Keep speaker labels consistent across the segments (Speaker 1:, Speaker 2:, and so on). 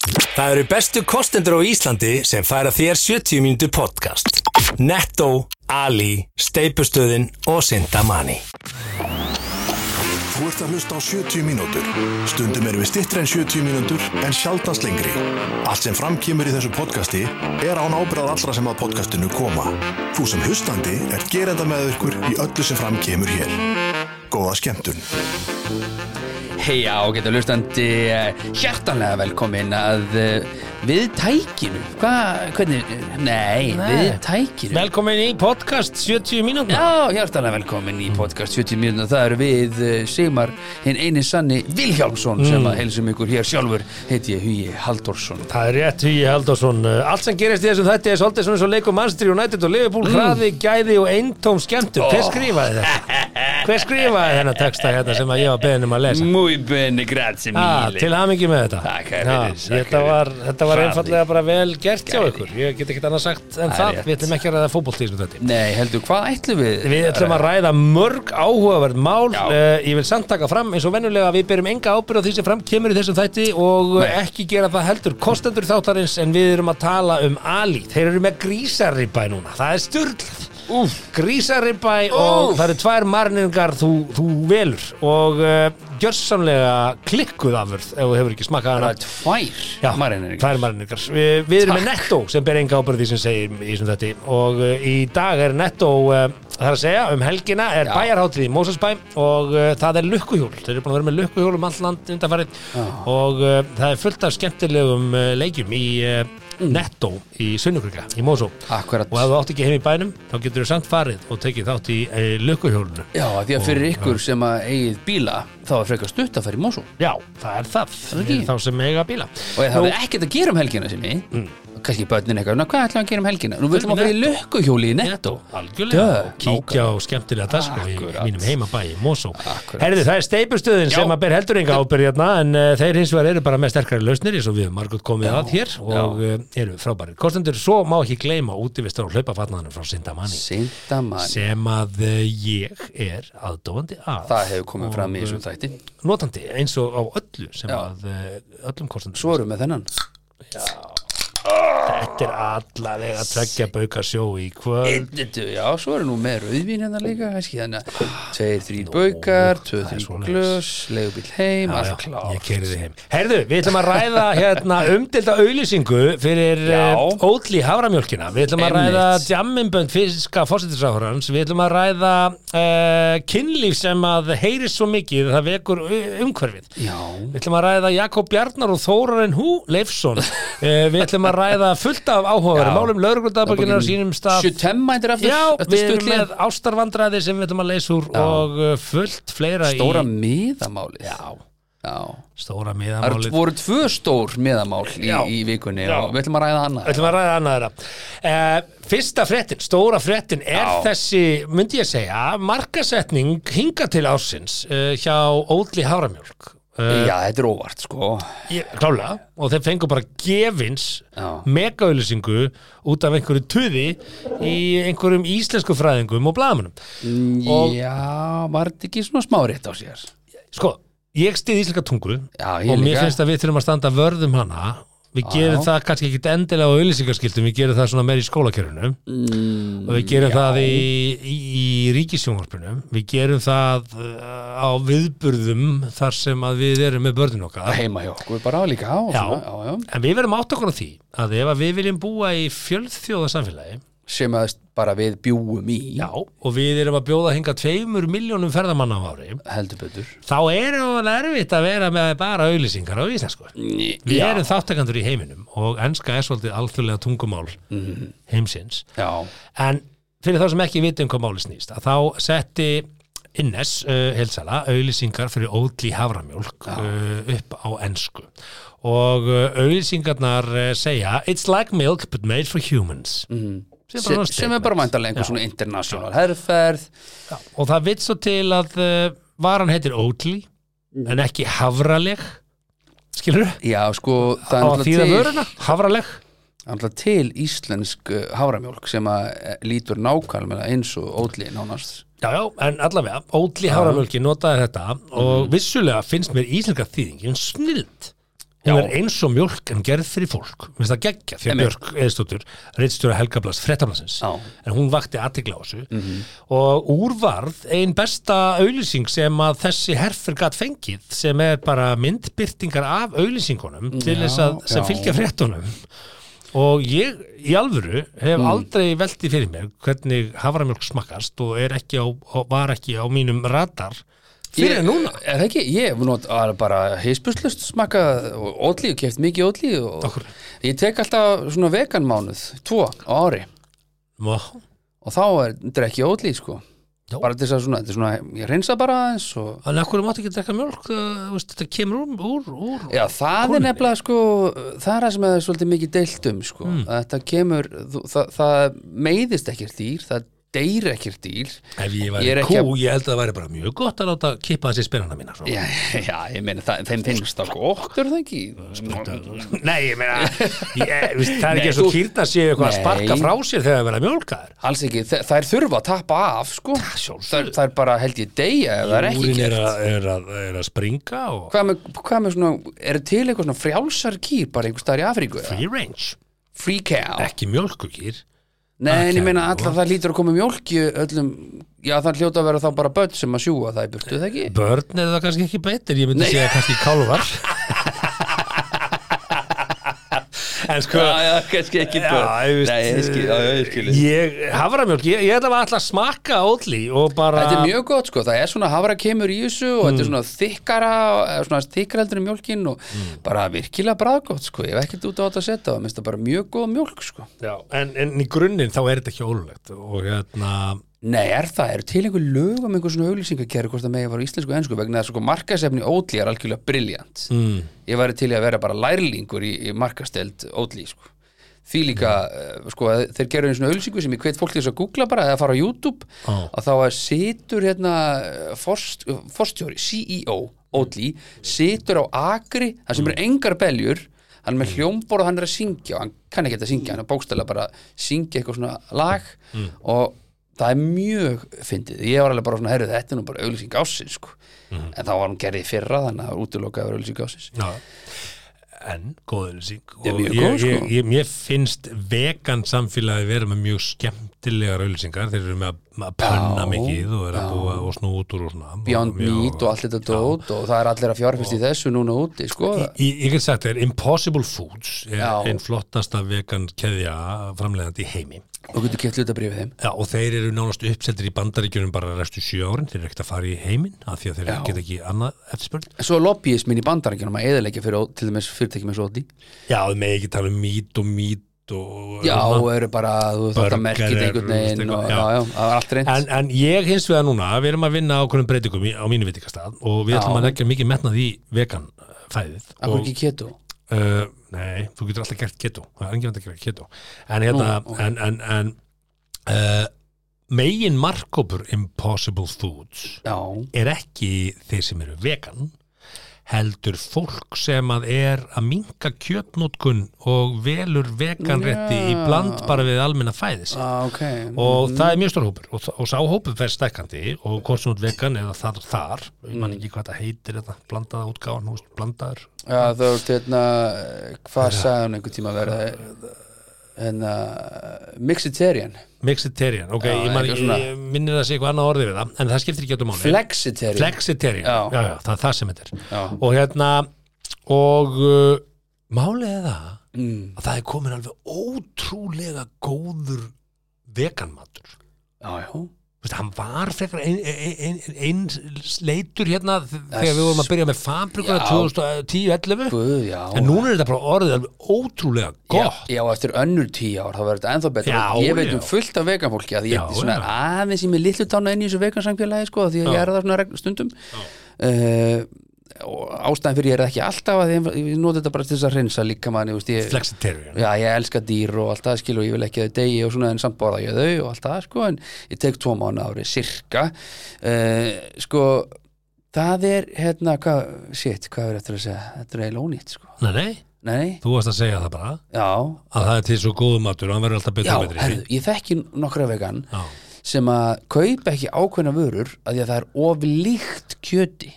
Speaker 1: Það eru bestu kostendur á Íslandi sem færa þér 70 mínútu podcast. Netto, Ali, Steipustöðin og Sindamani.
Speaker 2: Þú ert að hlusta á 70 mínútur. Stundum erum við stittri en 70 mínútur en sjaldast lengri. Allt sem framkýmur í þessu podcasti er án ábyrðað allra sem að podcastinu koma. Þú sem hlustandi er gerenda með ykkur í öllu sem framkýmur hér. Góða skemmtun.
Speaker 3: Hei á, getur hlustandi eh, hjartanlega velkomin að eh, við tækinu, hvað, hvernig, nei, við tækinu
Speaker 4: Velkomin í podcast 70 mínútur
Speaker 3: Já, hjartanlega velkomin í
Speaker 4: Mm.
Speaker 3: podcast 70 mínútur, það eru við eh, Sigmar, hinn eini sanni Vilhjálmsson
Speaker 4: Mm.
Speaker 3: sem að helsum ykkur hér sjálfur, heiti ég Hugi Halldórsson
Speaker 4: Það er rétt Hugi Haldarsson Allt sem gerist í þessum þætti er svolítið svona svo leikum Manchester United og Liverpool
Speaker 3: Mm.
Speaker 4: hraði, gæði og eintóm skemmtur Hver skrifaði þetta? Hver skrifaði þennan texta hérna sem að ég var beðin um að lesa?
Speaker 3: Muy bene, grazie
Speaker 4: Ah,
Speaker 3: mille
Speaker 4: til hamingi með þetta
Speaker 3: Takk, herri,
Speaker 4: Já,
Speaker 3: takk, herri.
Speaker 4: Þetta var, þetta var
Speaker 3: Hraði.
Speaker 4: einfallega bara vel gert hjá
Speaker 3: Gæði.
Speaker 4: ykkur Ég get ekkert annað sagt
Speaker 3: Það
Speaker 4: en
Speaker 3: er
Speaker 4: það
Speaker 3: rétt.
Speaker 4: Við ætlum ekki að ræða fótboltísum þetta
Speaker 3: Nei, heldur, hvað ætlum við?
Speaker 4: Við ætlum að ræða mörg áhugaverð mál
Speaker 3: Já.
Speaker 4: uh, Ég vil samt taka fram eins og venjulega að við berum enga ábyrð á því sem fram kemur í þessum þætti og Nei.
Speaker 3: Nei.
Speaker 4: ekki gera það heldur kostendur þáttarins en við erum að tala um Ali Þeir eru með grísaribæ núna, það er styrlað
Speaker 3: Úf,
Speaker 4: Grísaribæ og
Speaker 3: Úff.
Speaker 4: það eru tvær marningar þú, þú velur og uh, gjörsamlega klikkuð afurð ef þú hefur ekki smakað
Speaker 3: það
Speaker 4: hana
Speaker 3: er tvær,
Speaker 4: Já,
Speaker 3: marinir
Speaker 4: tvær marinigar Við, við erum með
Speaker 3: Takk.
Speaker 4: Netto sem ber enga ábyrði sem segir í sem þetta og uh, í dag er Netto uh, það er að segja, um helgina er
Speaker 3: Já.
Speaker 4: bæjarhátrið í Mósasbæ og uh, það er lukkuhjól þeir eru búin að vera með lukkuhjól um allt land undanfarið og uh, það er fullt af skemmtilegum uh, leikjum í uh,
Speaker 3: Mm.
Speaker 4: Netto í Sunnukrika, í Mósó
Speaker 3: Akkurat
Speaker 4: og ef þú átt ekki heim í bænum þá getur þú samt farið og tekið þátt í uh, lukkuhjólunu
Speaker 3: Já, af því að fyrir ykkur sem að eigið bíla þá er frekar stutt að fara í Mosó
Speaker 4: Já, það er það,
Speaker 3: er ekki.
Speaker 4: fyrir þá sem eiga bíla
Speaker 3: og ef
Speaker 4: Nú- Mm.
Speaker 3: það er ekkert að gera um helgina sem ég kannski börnin eitthvað, "Ná, hvað ætlum við að gera um helgina nú viljum að fara í lökkuhjóli í netto
Speaker 4: algjörlega
Speaker 3: Dö,
Speaker 4: og kíkja á skemmtilega dagskrá í
Speaker 3: Akkurat.
Speaker 4: mínum heimabæi, Mosó
Speaker 3: Akkurat.
Speaker 4: Herðu, það er steipustöðin
Speaker 3: Já.
Speaker 4: sem að ber heldur enga ábyrð hérna en uh, þeir hins vegar eru bara með sterkari lausnir eins og við höfum margut komið að hér og uh, eru frábæri kostendur, svo má ekki gleyma útivistar og hlaupafatnaðanum frá Sindamanni
Speaker 3: Sindamann,
Speaker 4: sem að uh, ég er aðdóandi að
Speaker 3: það hefur komið fram í
Speaker 4: Og,
Speaker 3: þessum þætti
Speaker 4: uh, notandi eins og á öllu sem
Speaker 3: Já.
Speaker 4: að uh, öllum kostendur
Speaker 3: svo erum við með þennan
Speaker 4: Þetta er allavega tveggja bauka sjó í kvöld
Speaker 3: Eddu, já, svo erum við með rauðvín hérna líka kannski, þannig að tveir, þrýr baukar tveir,
Speaker 4: það er
Speaker 3: þrýr
Speaker 4: svoleiðis.
Speaker 3: glös, legubíl heim
Speaker 4: Já,
Speaker 3: allt
Speaker 4: já, ég
Speaker 3: klart
Speaker 4: keiri þig heim Herðu, við ætlum að ræða hérna umdelda auðlýsingu fyrir
Speaker 3: Já.
Speaker 4: uh, Ótli haframjólkina Við ætlum að
Speaker 3: Einmitt.
Speaker 4: ræða djamminbönd fiska fósættisráhorans Við ætlum að ræða uh, kynlíf sem að heyri svo mikið að það vekur u- umhverfið
Speaker 3: já,
Speaker 4: Við ætlum að ræða Jakob Bjarnar og Þórarinn Hú Leifsson uh, Við ætlum að ræða fullt af áhugaður
Speaker 3: Já.
Speaker 4: Málum lauruglundabakinar á sínum stað
Speaker 3: sjutemma þetta er aftur
Speaker 4: Já,
Speaker 3: eftir
Speaker 4: við erum
Speaker 3: stuttlega.
Speaker 4: með ástarvandræði sem við ætlum að leysa úr
Speaker 3: Já.
Speaker 4: og uh, fullt fleira
Speaker 3: stóra
Speaker 4: í
Speaker 3: miðamálið
Speaker 4: Já,
Speaker 3: já.
Speaker 4: stóra
Speaker 3: það eru-
Speaker 4: miðamálið
Speaker 3: voru tvö stór miðamál í,
Speaker 4: Já.
Speaker 3: í vikunni
Speaker 4: Já.
Speaker 3: og við ætlum að ræða annað
Speaker 4: ætlum að ræða annað þeirra uh, Fyrsta fréttin, stóra fréttin er
Speaker 3: Já.
Speaker 4: þessi, myndi ég segja markasetning hinga til ársins uh, hjá Óli Háramjólk uh,
Speaker 3: Eh, já, þetta er óvart sko
Speaker 4: ég- klálega, og þeir fengu bara gefins
Speaker 3: Já.
Speaker 4: megaauðlýsingu út af einhverju tuði í einhverjum íslensku fræðingum og blaðamunum Og-
Speaker 3: Já, var þetta ekki svona smá rétt á sér
Speaker 4: sko, ég stið íslenska tungu
Speaker 3: Já, ég
Speaker 4: og mér
Speaker 3: líka.
Speaker 4: finnst að við þurfum að standa vörðum hana við gerum það kannski ekkit endilega á auðlýsingarskiltum, við gerum það svona meir í skólakerunum
Speaker 3: mm,
Speaker 4: og við gerum
Speaker 3: já.
Speaker 4: það í, í, í ríkisjónvarpunum við gerum það uh, á viðburðum þar sem að við erum með börnin okkar
Speaker 3: Heima hjá okkur bara líka og
Speaker 4: Já.
Speaker 3: svona, já, já.
Speaker 4: en við verðum átt okkur á því að ef að við viljum búa í fjölþjóðasamfélagi
Speaker 3: Sem að bara við bjúum í
Speaker 4: já, og við erum að bjóða hinga tveimur miljónum ferðamanna á ári
Speaker 3: Heldur betur
Speaker 4: þá er það erfitt að vera með bara auðlýsingar á íslensku við
Speaker 3: já.
Speaker 4: erum þáttakandur í heiminum og enska er svolítið alþjóðlega tungumál
Speaker 3: Mhm.
Speaker 4: heimsins
Speaker 3: Já,
Speaker 4: En fyrir þá sem ekki viti um hvað máli snýst að þá setti Innes uh, heilsala auðlýsingar fyrir ódli haframjólk uh, upp á ensku og uh, auðlýsingarnar uh, segja It's like milk but made for humans sem,
Speaker 3: Mhm. sem, sem
Speaker 4: bara
Speaker 3: er bara
Speaker 4: statement.
Speaker 3: væntalega einhver svona international herferð
Speaker 4: og það vitt svo til að uh, varan heitir ódli
Speaker 3: Mhm.
Speaker 4: en ekki hafraleg skilur
Speaker 3: Já, sko, það
Speaker 4: á
Speaker 3: er
Speaker 4: að
Speaker 3: náttúrulega
Speaker 4: þýða
Speaker 3: til,
Speaker 4: vöruna, hafraleg
Speaker 3: náttúrulega til íslensk uh, háramjólk sem að eh, lítur nákvæmlega eins og ódli nánast
Speaker 4: Já, já, en allavega,
Speaker 3: Mhm.
Speaker 4: Óli Háramölki notaði þetta og vissulega finnst mér íslenska þýðingin snild
Speaker 3: Já.
Speaker 4: hún er eins og mjólk en gerð fyrir fólk Mér finnst það geggja því að
Speaker 3: Einmitt.
Speaker 4: Björk Eðstóttur reitstjóra Helgablast frettablasins
Speaker 3: Já. Mhm.
Speaker 4: en hún vakti aðtikla á þessu og úrvarð ein besta auðlýsing sem að þessi herfer gat fengið sem er bara myndbyrtingar af auðlýsingunum til
Speaker 3: Já,
Speaker 4: þess að sem
Speaker 3: já.
Speaker 4: fylgja fréttunum og ég í alvöru hef
Speaker 3: Mm.
Speaker 4: aldrei veltið fyrir mér hvernig haframjólk smakkast og er ekki á, og var ekki á mínum radar fyrir
Speaker 3: Ég-
Speaker 4: núna
Speaker 3: Er það ekki? Ég hef not, var bara heispuslust smaka ódlíu, keft mikið ódlíu og
Speaker 4: Af hverju?
Speaker 3: ég tek alltaf svona vegan mánuð, tvo á ári
Speaker 4: Má.
Speaker 3: og þá er drekki ódlíu sko
Speaker 4: Já.
Speaker 3: bara til þess að svona, þetta er svona, ég reynsa bara aðeins og
Speaker 4: Þannig að hverju máttu ekki drekka mjölk, uh, veist, þetta kemur úr, úr, úr.
Speaker 3: Já, það er
Speaker 4: Konunni.
Speaker 3: nefnilega sko, það er það sem það er svolítið mikið deilt um sko,
Speaker 4: Hmm.
Speaker 3: að þetta kemur, þú, það, það meiðist ekkert dýr, það deyr ekkert dýr
Speaker 4: Ef ég
Speaker 3: Ég
Speaker 4: væri
Speaker 3: er
Speaker 4: kú,
Speaker 3: ekki að-
Speaker 4: ég held að það væri bara mjög gott að láta kippa þessi spennana mína. sko. svona.
Speaker 3: Já, já, ég meina, það, þeim finnst það gott, er það ekki?
Speaker 4: Nei, ég meina, ég, veist, það er
Speaker 3: Nei,
Speaker 4: ekki svo
Speaker 3: þú-
Speaker 4: kýrta séu eitthvað að
Speaker 3: Nei.
Speaker 4: sparka frá sér þegar það verða mjölkaður.
Speaker 3: Alls ekki, Þe, það er þurfa að tappa af sko. það,
Speaker 4: sjálfsögðu.
Speaker 3: það er bara held ég deyja ef það er ekki
Speaker 4: Úrin er,
Speaker 3: gert
Speaker 4: að- er, að- er að springa og
Speaker 3: hvað með, hvað með svona, er til eitthvað svona frjálsar kýr bara einhver staðar í Afríku eða?
Speaker 4: free range,
Speaker 3: free cow
Speaker 4: ekki mjölkukýr.
Speaker 3: nei en
Speaker 4: ok,
Speaker 3: ég meina
Speaker 4: nú.
Speaker 3: alltaf það lítur að koma mjólki öllum, já það hljóta að vera þá bara börn sem að sjúga það í burtu, er það ekki
Speaker 4: Börn er það kannski ekki betur, ég myndi
Speaker 3: Nei.
Speaker 4: segja kannski kálvar. en sko,
Speaker 3: já, kannski ekki
Speaker 4: Já, ég veist, ég, haframjólk, ég, ég ætla að alltaf smakka ódli og bara
Speaker 3: Þetta er mjög gott sko, það er svona hafra kemur í þessu og
Speaker 4: Mm.
Speaker 3: þetta er svona þykkara, eða svona þykkara heldur en mjólkin og
Speaker 4: Mm.
Speaker 3: bara virkilega braðgótt sko, ég hef ekkert út á þetta að setja það, minnst það bara mjög góð mjólk sko.
Speaker 4: já, en, en í grunninn þá er þetta ekki ólulegt og hérna
Speaker 3: Nei, er það, eru til einhver lög um einhver svona auglýsingakerri hvort það megi að fara á íslensku og ensku vegna þess að sko markasefni Ódli er algjörlega briljant mm. Ég væri til í að vera bara lærlingur í, í markasteld Ódli sko. Því líka, mm. sko, að þeir gerðu einu svona auglýsingu sem ég hvet fólk til þess að googla bara eða fara á YouTube
Speaker 4: Á.
Speaker 3: að þá að situr hérna eh, forst, forstjóri, CEO Ódli, situr á akri þar sem eru engar beljur hann er með hljómbor og hann er að syngja og hann kann ekki að syngja, hann er bókstælega bara að syngja eitthvað svona lag og það er mjög fyndið ég var alveg bara svona, herru þetta er nú bara auglýsing ásins sko. en þá var hann gerðið í fyrra þannig að það var útilokaður auglýsing ásins
Speaker 4: já, en góðlýsing
Speaker 3: Já,
Speaker 4: og
Speaker 3: mjög
Speaker 4: ég,
Speaker 3: góð,
Speaker 4: ég,
Speaker 3: sko.
Speaker 4: ég, mér finnst vegan samfélagi vera með mjög skemmtilegar auðlýsingar, þeir eru með að, að pönna
Speaker 3: Já,
Speaker 4: mikið og er að búa og snú út úr og svona
Speaker 3: Beyond
Speaker 4: mjög-
Speaker 3: Meat og allt þetta dót og það er allir að fjárfyrst í þessu núna úti sko.
Speaker 4: Ég, ég get sagt þér, Impossible Foods er
Speaker 3: Já.
Speaker 4: einn flottasta vegan keðja framleiðandi í heimi
Speaker 3: og getur keft hlutabrifið þeim
Speaker 4: Já, og þeir eru nánast uppseldir í bandaríkjunum bara restu sjö árin, þeir eru ekkert að fara í heiminn af því að þeir
Speaker 3: Já.
Speaker 4: geta ekki annað eftirspurn
Speaker 3: Svo er lobbyismin í bandarækjunum að eðalegja fyrir til dæmis fyrirtækjum eins og Ódli
Speaker 4: Já, þeir megi ekki tala um mít og mít og
Speaker 3: Já,
Speaker 4: og
Speaker 3: eru bara, þú veist, þetta
Speaker 4: Burger
Speaker 3: merkir
Speaker 4: er,
Speaker 3: einhvern
Speaker 4: veist,
Speaker 3: veginn og
Speaker 4: eitthvað,
Speaker 3: já,
Speaker 4: já.
Speaker 3: já, það var allt reynd
Speaker 4: En, en ég hins vegar núna, við erum að vinna á hvernig breytingum í- á mínu vitikastað og við
Speaker 3: Já.
Speaker 4: ætlum að leggja mikið metnað í vegan uh, fæðið
Speaker 3: Akkur
Speaker 4: og,
Speaker 3: ekki keto
Speaker 4: uh, Nei, þú getur alltaf gert keto það er enginn að gera keto en, hérna,
Speaker 3: Nú, ok.
Speaker 4: en, en, en uh, megin markopur Impossible Foods
Speaker 3: Já,
Speaker 4: er ekki þeir sem eru vegan heldur fólk sem að er að minka kjötnótkun og velur veganrétti í bland bara við almenna fæðis
Speaker 3: á, ok
Speaker 4: og það er mjög stór hópur og, þa- og sá hópur fer stækkandi og hvort sem út vegan eða þar þar mm. mann ekki hvað það heitir þetta blandaða útgáðan, húst, blandaður
Speaker 3: Já, þú veist, hérna, hvað sagði hún einhvern tíma að vera hérna, mixitarian
Speaker 4: mexitarian, ok,
Speaker 3: Já,
Speaker 4: ég, man,
Speaker 3: eitthvað
Speaker 4: ég,
Speaker 3: svona.
Speaker 4: ég minnir það sé eitthvað annað orðið við það en það skiptir ekki öllum máli
Speaker 3: Flexitarian
Speaker 4: Flexitarian,
Speaker 3: Já.
Speaker 4: já, já, það er það sem þetta er
Speaker 3: Já,
Speaker 4: og hérna og uh, málið er það
Speaker 3: mm,
Speaker 4: að það er komin alveg ótrúlega góður veganmatur
Speaker 3: já, já
Speaker 4: Vist, hann var frekar einn ein, ein, ein sleitur hérna þ- þegar við vorum að byrja með fabrikuna
Speaker 3: Já.
Speaker 4: 2010-11
Speaker 3: Guð, já
Speaker 4: en núna er þetta bara orðið alveg ótrúlega gott
Speaker 3: Já, já, eftir önnur tíu ár, þá verður þetta ennþá betra
Speaker 4: Já,
Speaker 3: Ég veit
Speaker 4: já.
Speaker 3: um fullt af veganfólki að
Speaker 4: Já,
Speaker 3: ég svona,
Speaker 4: já.
Speaker 3: er aðeins í mig litlu tánu inn í þessu vegansamfélagi sko, því að ég er það svona regn- stundum uh, og ástæðan fyrir ég er það ekki alltaf að ég, ég nota þetta bara til þess að hreinsa líka mann ég,
Speaker 4: flexitarian
Speaker 3: Já, ég elska dýr og allt það skil og ég vil ekki að þau degi og svona en samt borða ég þau og allt það sko en ég tek tvo mánu ári sirka uh, sko það er hérna hvað, shit, hvað er eftir að segja þetta er eiginlega ónýtt sko
Speaker 4: nei, nei,
Speaker 3: Nei,
Speaker 4: þú varst að segja það bara
Speaker 3: já,
Speaker 4: að það er til svo góður matur og hann verður alltaf
Speaker 3: Já,
Speaker 4: betur og betri
Speaker 3: herðu, ég þekki nokkra vegan
Speaker 4: Já.
Speaker 3: sem að kaupa ekki ákveðna vörur að því að það er oflíkt kjöti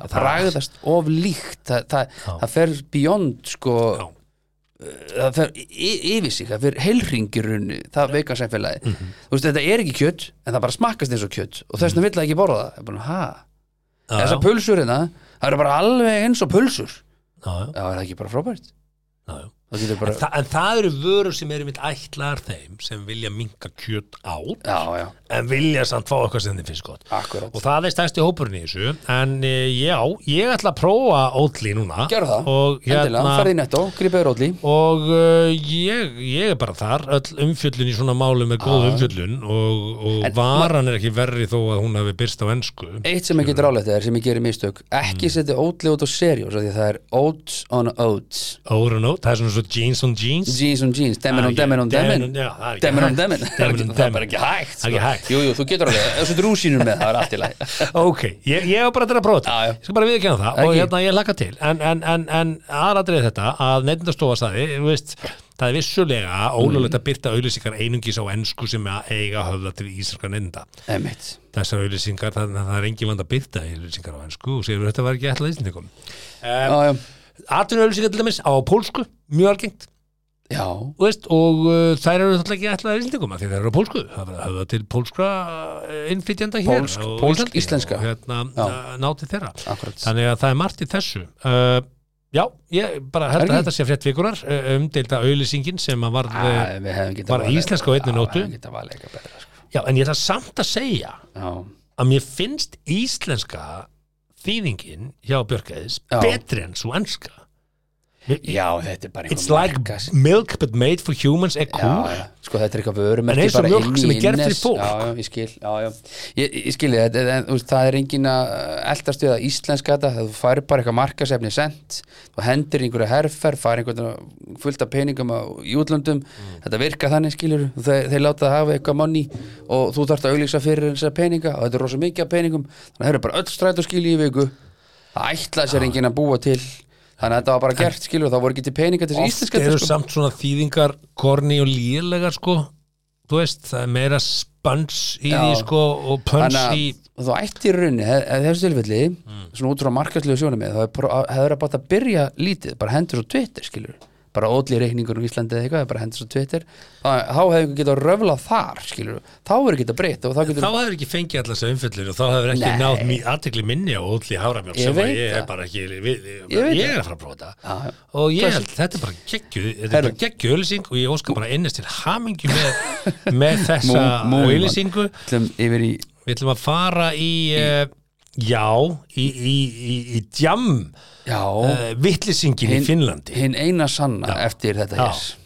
Speaker 3: það bragðast of líkt það, það, það fer beyond sko eh,
Speaker 4: Já.
Speaker 3: það fer y- yfir sig, það fer heilringirunni það veika sæfélagi
Speaker 4: Mhm.
Speaker 3: þú veist, þetta er ekki kjött, en það bara smakkast eins og kjött og þess vegna vill það ekki borða það, það er bara, ha
Speaker 4: Já,
Speaker 3: þessar pulsur hérna, það eru bara alveg eins og pulsur,
Speaker 4: já, já,
Speaker 3: já, er það ekki bara frábært
Speaker 4: já, já.
Speaker 3: það getur
Speaker 4: En,
Speaker 3: bara,
Speaker 4: þa en það eru vörur sem eru mitt ætlar þeim sem vilja minka kjöt át
Speaker 3: já, já,
Speaker 4: en vilja samt fá eitthvað sem þeim finnst gott
Speaker 3: akkurat
Speaker 4: og það er stærsti hópurinn í þessu en e, já, ég ætla að prófa ótli núna
Speaker 3: Gerðu það.
Speaker 4: og,
Speaker 3: endilega,
Speaker 4: hérna,
Speaker 3: ferði í netto, gripið er ólí
Speaker 4: og uh, ég, ég er bara þar öll umfjöllun í svona málum er góð umfjöllun og, og
Speaker 3: En
Speaker 4: varan er ekki verri þó að hún hafi byrst á ennsku
Speaker 3: Eitt sem ekki ráleitt er sem ég gerir mistök ekki
Speaker 4: Mm.
Speaker 3: setja ótli út á seriós því að það er oats on oats
Speaker 4: Óra nót, það er svona svo jeans on jeans
Speaker 3: jeans on jeans,
Speaker 4: Ah,
Speaker 3: demin on demin on demin
Speaker 4: Já, það er ekki
Speaker 3: demin on
Speaker 4: hægt.
Speaker 3: demin
Speaker 4: Demin on
Speaker 3: það er bara
Speaker 4: demin.
Speaker 3: ekki hægt sko.
Speaker 4: Það er ekki hægt.
Speaker 3: jú, jú, þú getur alveg, ef þú setur rúsínum með það er allt í lagi
Speaker 4: Ok, ég, ég var bara til að prófa þetta
Speaker 3: Já, já.
Speaker 4: Ég skal bara viðkjöna það og
Speaker 3: Ekki.
Speaker 4: hérna ég laka til En, en, en, en aðradrið þetta að nefndastofa staði veist, Það er vissulega ólöflegt að byrta auðlýsingar einungis á ensku sem að eiga höfða til íslenska nefnda
Speaker 3: Einmitt.
Speaker 4: Þessar auðlýsingar, það, það er engin vand að byrta auðlýsingar á ensku og segir þetta var ekki ætlað íslendingum
Speaker 3: já, já,
Speaker 4: Atvinnu auðlýsingar til dæmis á pólsku, mjög algengt
Speaker 3: já,
Speaker 4: þú veist, og uh, þær eru náttúrulega ekki ætlaðar íslendingum af því þær eru á pólsku það verður höfða til pólskra uh, innflytjanda hér
Speaker 3: Pólsk-
Speaker 4: og
Speaker 3: pólsk-
Speaker 4: Íslandi
Speaker 3: íslenska.
Speaker 4: og hérna,
Speaker 3: Já.
Speaker 4: uh, náti þeirra
Speaker 3: akkurat
Speaker 4: þannig að það er margt í þessu uh, já, ég bara held
Speaker 3: Er
Speaker 4: að
Speaker 3: ekki?
Speaker 4: þetta sé frétt vikurar uh, umdelda auðlýsingin sem að varð
Speaker 3: Æ,
Speaker 4: uh,
Speaker 3: við hefum getað
Speaker 4: bara
Speaker 3: valið-
Speaker 4: íslenska á einni
Speaker 3: Já,
Speaker 4: nótu.
Speaker 3: við hefum getað valið eitthvað betra, sko.
Speaker 4: já, en ég ætla samt að segja
Speaker 3: Já.
Speaker 4: að mér finnst íslenska þýðingin hjá Björkæðis
Speaker 3: Já.
Speaker 4: betri en svo enska
Speaker 3: já, þetta er bara
Speaker 4: it's
Speaker 3: einhver
Speaker 4: like
Speaker 3: markas-
Speaker 4: milk but made for humans er
Speaker 3: Já,
Speaker 4: cool
Speaker 3: já. sko þetta er eitthvað vörum
Speaker 4: En eins og mjólk sem er gerð fyrir fólk.
Speaker 3: já, já, ég skil, já, já. Ég, ég skil ég, þetta, en, þú veist, það er engin að eldast við að íslenska þetta þegar þú færir bara eitthvað markasefni sent og hendir í einhverju herfer, færir einhvern fullt af peningum á, í útlöndum
Speaker 4: Mm.
Speaker 3: þetta virka þannig skilur, þeir, þeir láta það hafa eitthvað manni og þú þarft að auglýsa fyrir þessar peninga og þetta er rosa mikið af peningum þannig að það eru bara öll strætó skili í viku það ætlaði sér enginn að búa til þannig að þetta var bara gert skilur og það voru ekki til peninga til þess
Speaker 4: oft
Speaker 3: íslenska
Speaker 4: eru
Speaker 3: þetta, sko.
Speaker 4: samt svona þýðingar korni og líðlegar sko þú veist, það er meira spans í
Speaker 3: Já.
Speaker 4: því sko og pöns í
Speaker 3: þannig að þú ætti í rauninni hef, hef þessu tilfelli,
Speaker 4: Mm.
Speaker 3: svona út frá markaslegu sjónum þá hefur það bara átt að byrja lítið bara hendur svo Twitter skilur bara ódli reikningur um Íslandi eða eitthvað bara hendur svo Twitter, þá, þá hefur ekki getað röflað þar skilur, þá verður getað breytt og þá
Speaker 4: þá
Speaker 3: getur
Speaker 4: hefur ekki fengið allar þessu umfyllir og þá hefur ekki
Speaker 3: Nei.
Speaker 4: nátt mi aðtekli minni á ótli háramjál
Speaker 3: Ég
Speaker 4: sem að
Speaker 3: veit
Speaker 4: ég
Speaker 3: það.
Speaker 4: er bara ekki við, ég,
Speaker 3: veit
Speaker 4: ég er
Speaker 3: það.
Speaker 4: að fara að prófa þetta
Speaker 3: Já, já.
Speaker 4: og ég
Speaker 3: Klassik.
Speaker 4: held, þetta er bara geggju þetta er
Speaker 3: Herru.
Speaker 4: bara geggju ölýsing og ég óska bara innist til hamingju með, með þessa
Speaker 3: Mú- múum, mann.
Speaker 4: ölýsingu
Speaker 3: ætlum yfir í
Speaker 4: við ætlum að fara í, uh, já í, í, í, í djam
Speaker 3: já,
Speaker 4: uh, vitlisingin í Finnlandi
Speaker 3: hinn eina sanna eftir þetta
Speaker 4: Eh, Já.
Speaker 3: hér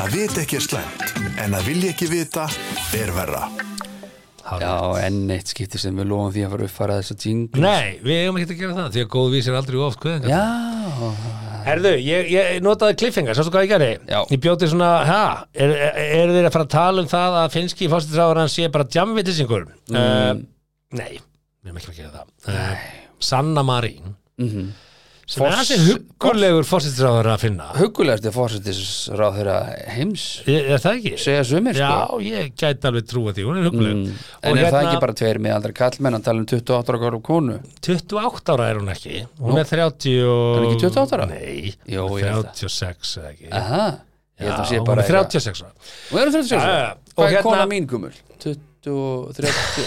Speaker 2: Að vita ekki er slæmt en að vilja ekki vita er verra.
Speaker 4: Hárrétt.
Speaker 3: já, enn eitt skipti sem við lofum því að fara að uppfara þessa jingle
Speaker 4: Nei, við eigum ekki að gera það því að góð vísir aldrei of kveðingar
Speaker 3: já,
Speaker 4: Herðu, ég, ég notaði cliffhanger, sástu hvað ég gerði?
Speaker 3: Já.
Speaker 4: Ég bjóti svona, ha, er, er þeir að fara að tala um það að finnski fórstæðsráður hans sé bara djamvitisingur? Mm. nei, við erum ekki að gera það uh, Sanna Marín mm -hmm. sem er
Speaker 3: Mhm. Foss-
Speaker 4: aðeins huggulegur fórstæðsráður að finna
Speaker 3: huggulegasti fórsetisráð þeirra heims
Speaker 4: Er er það ekki?
Speaker 3: segja sumir sko Mm.
Speaker 4: Já, ég gæti alveg trúa því, hún er hugguleg
Speaker 3: En er
Speaker 4: hérna-
Speaker 3: það ekki bara tveir með aldrei kallmenn að tala um 28 ára og konu?
Speaker 4: 28 ára er hún ekki Hún er 30 og...
Speaker 3: Er hún ekki 28 ára?
Speaker 4: Nei,
Speaker 3: Jó, ég held
Speaker 4: 36 eða ekki
Speaker 3: Aha, ég held að sé
Speaker 4: Já, hún
Speaker 3: bara
Speaker 4: er 36 ára
Speaker 3: eitthvað. Hún er 36 ára?
Speaker 4: Já, já,
Speaker 5: Eh,
Speaker 4: já. um Og
Speaker 3: Hvað er
Speaker 4: hérna-
Speaker 3: kona mín gumul? 20, 30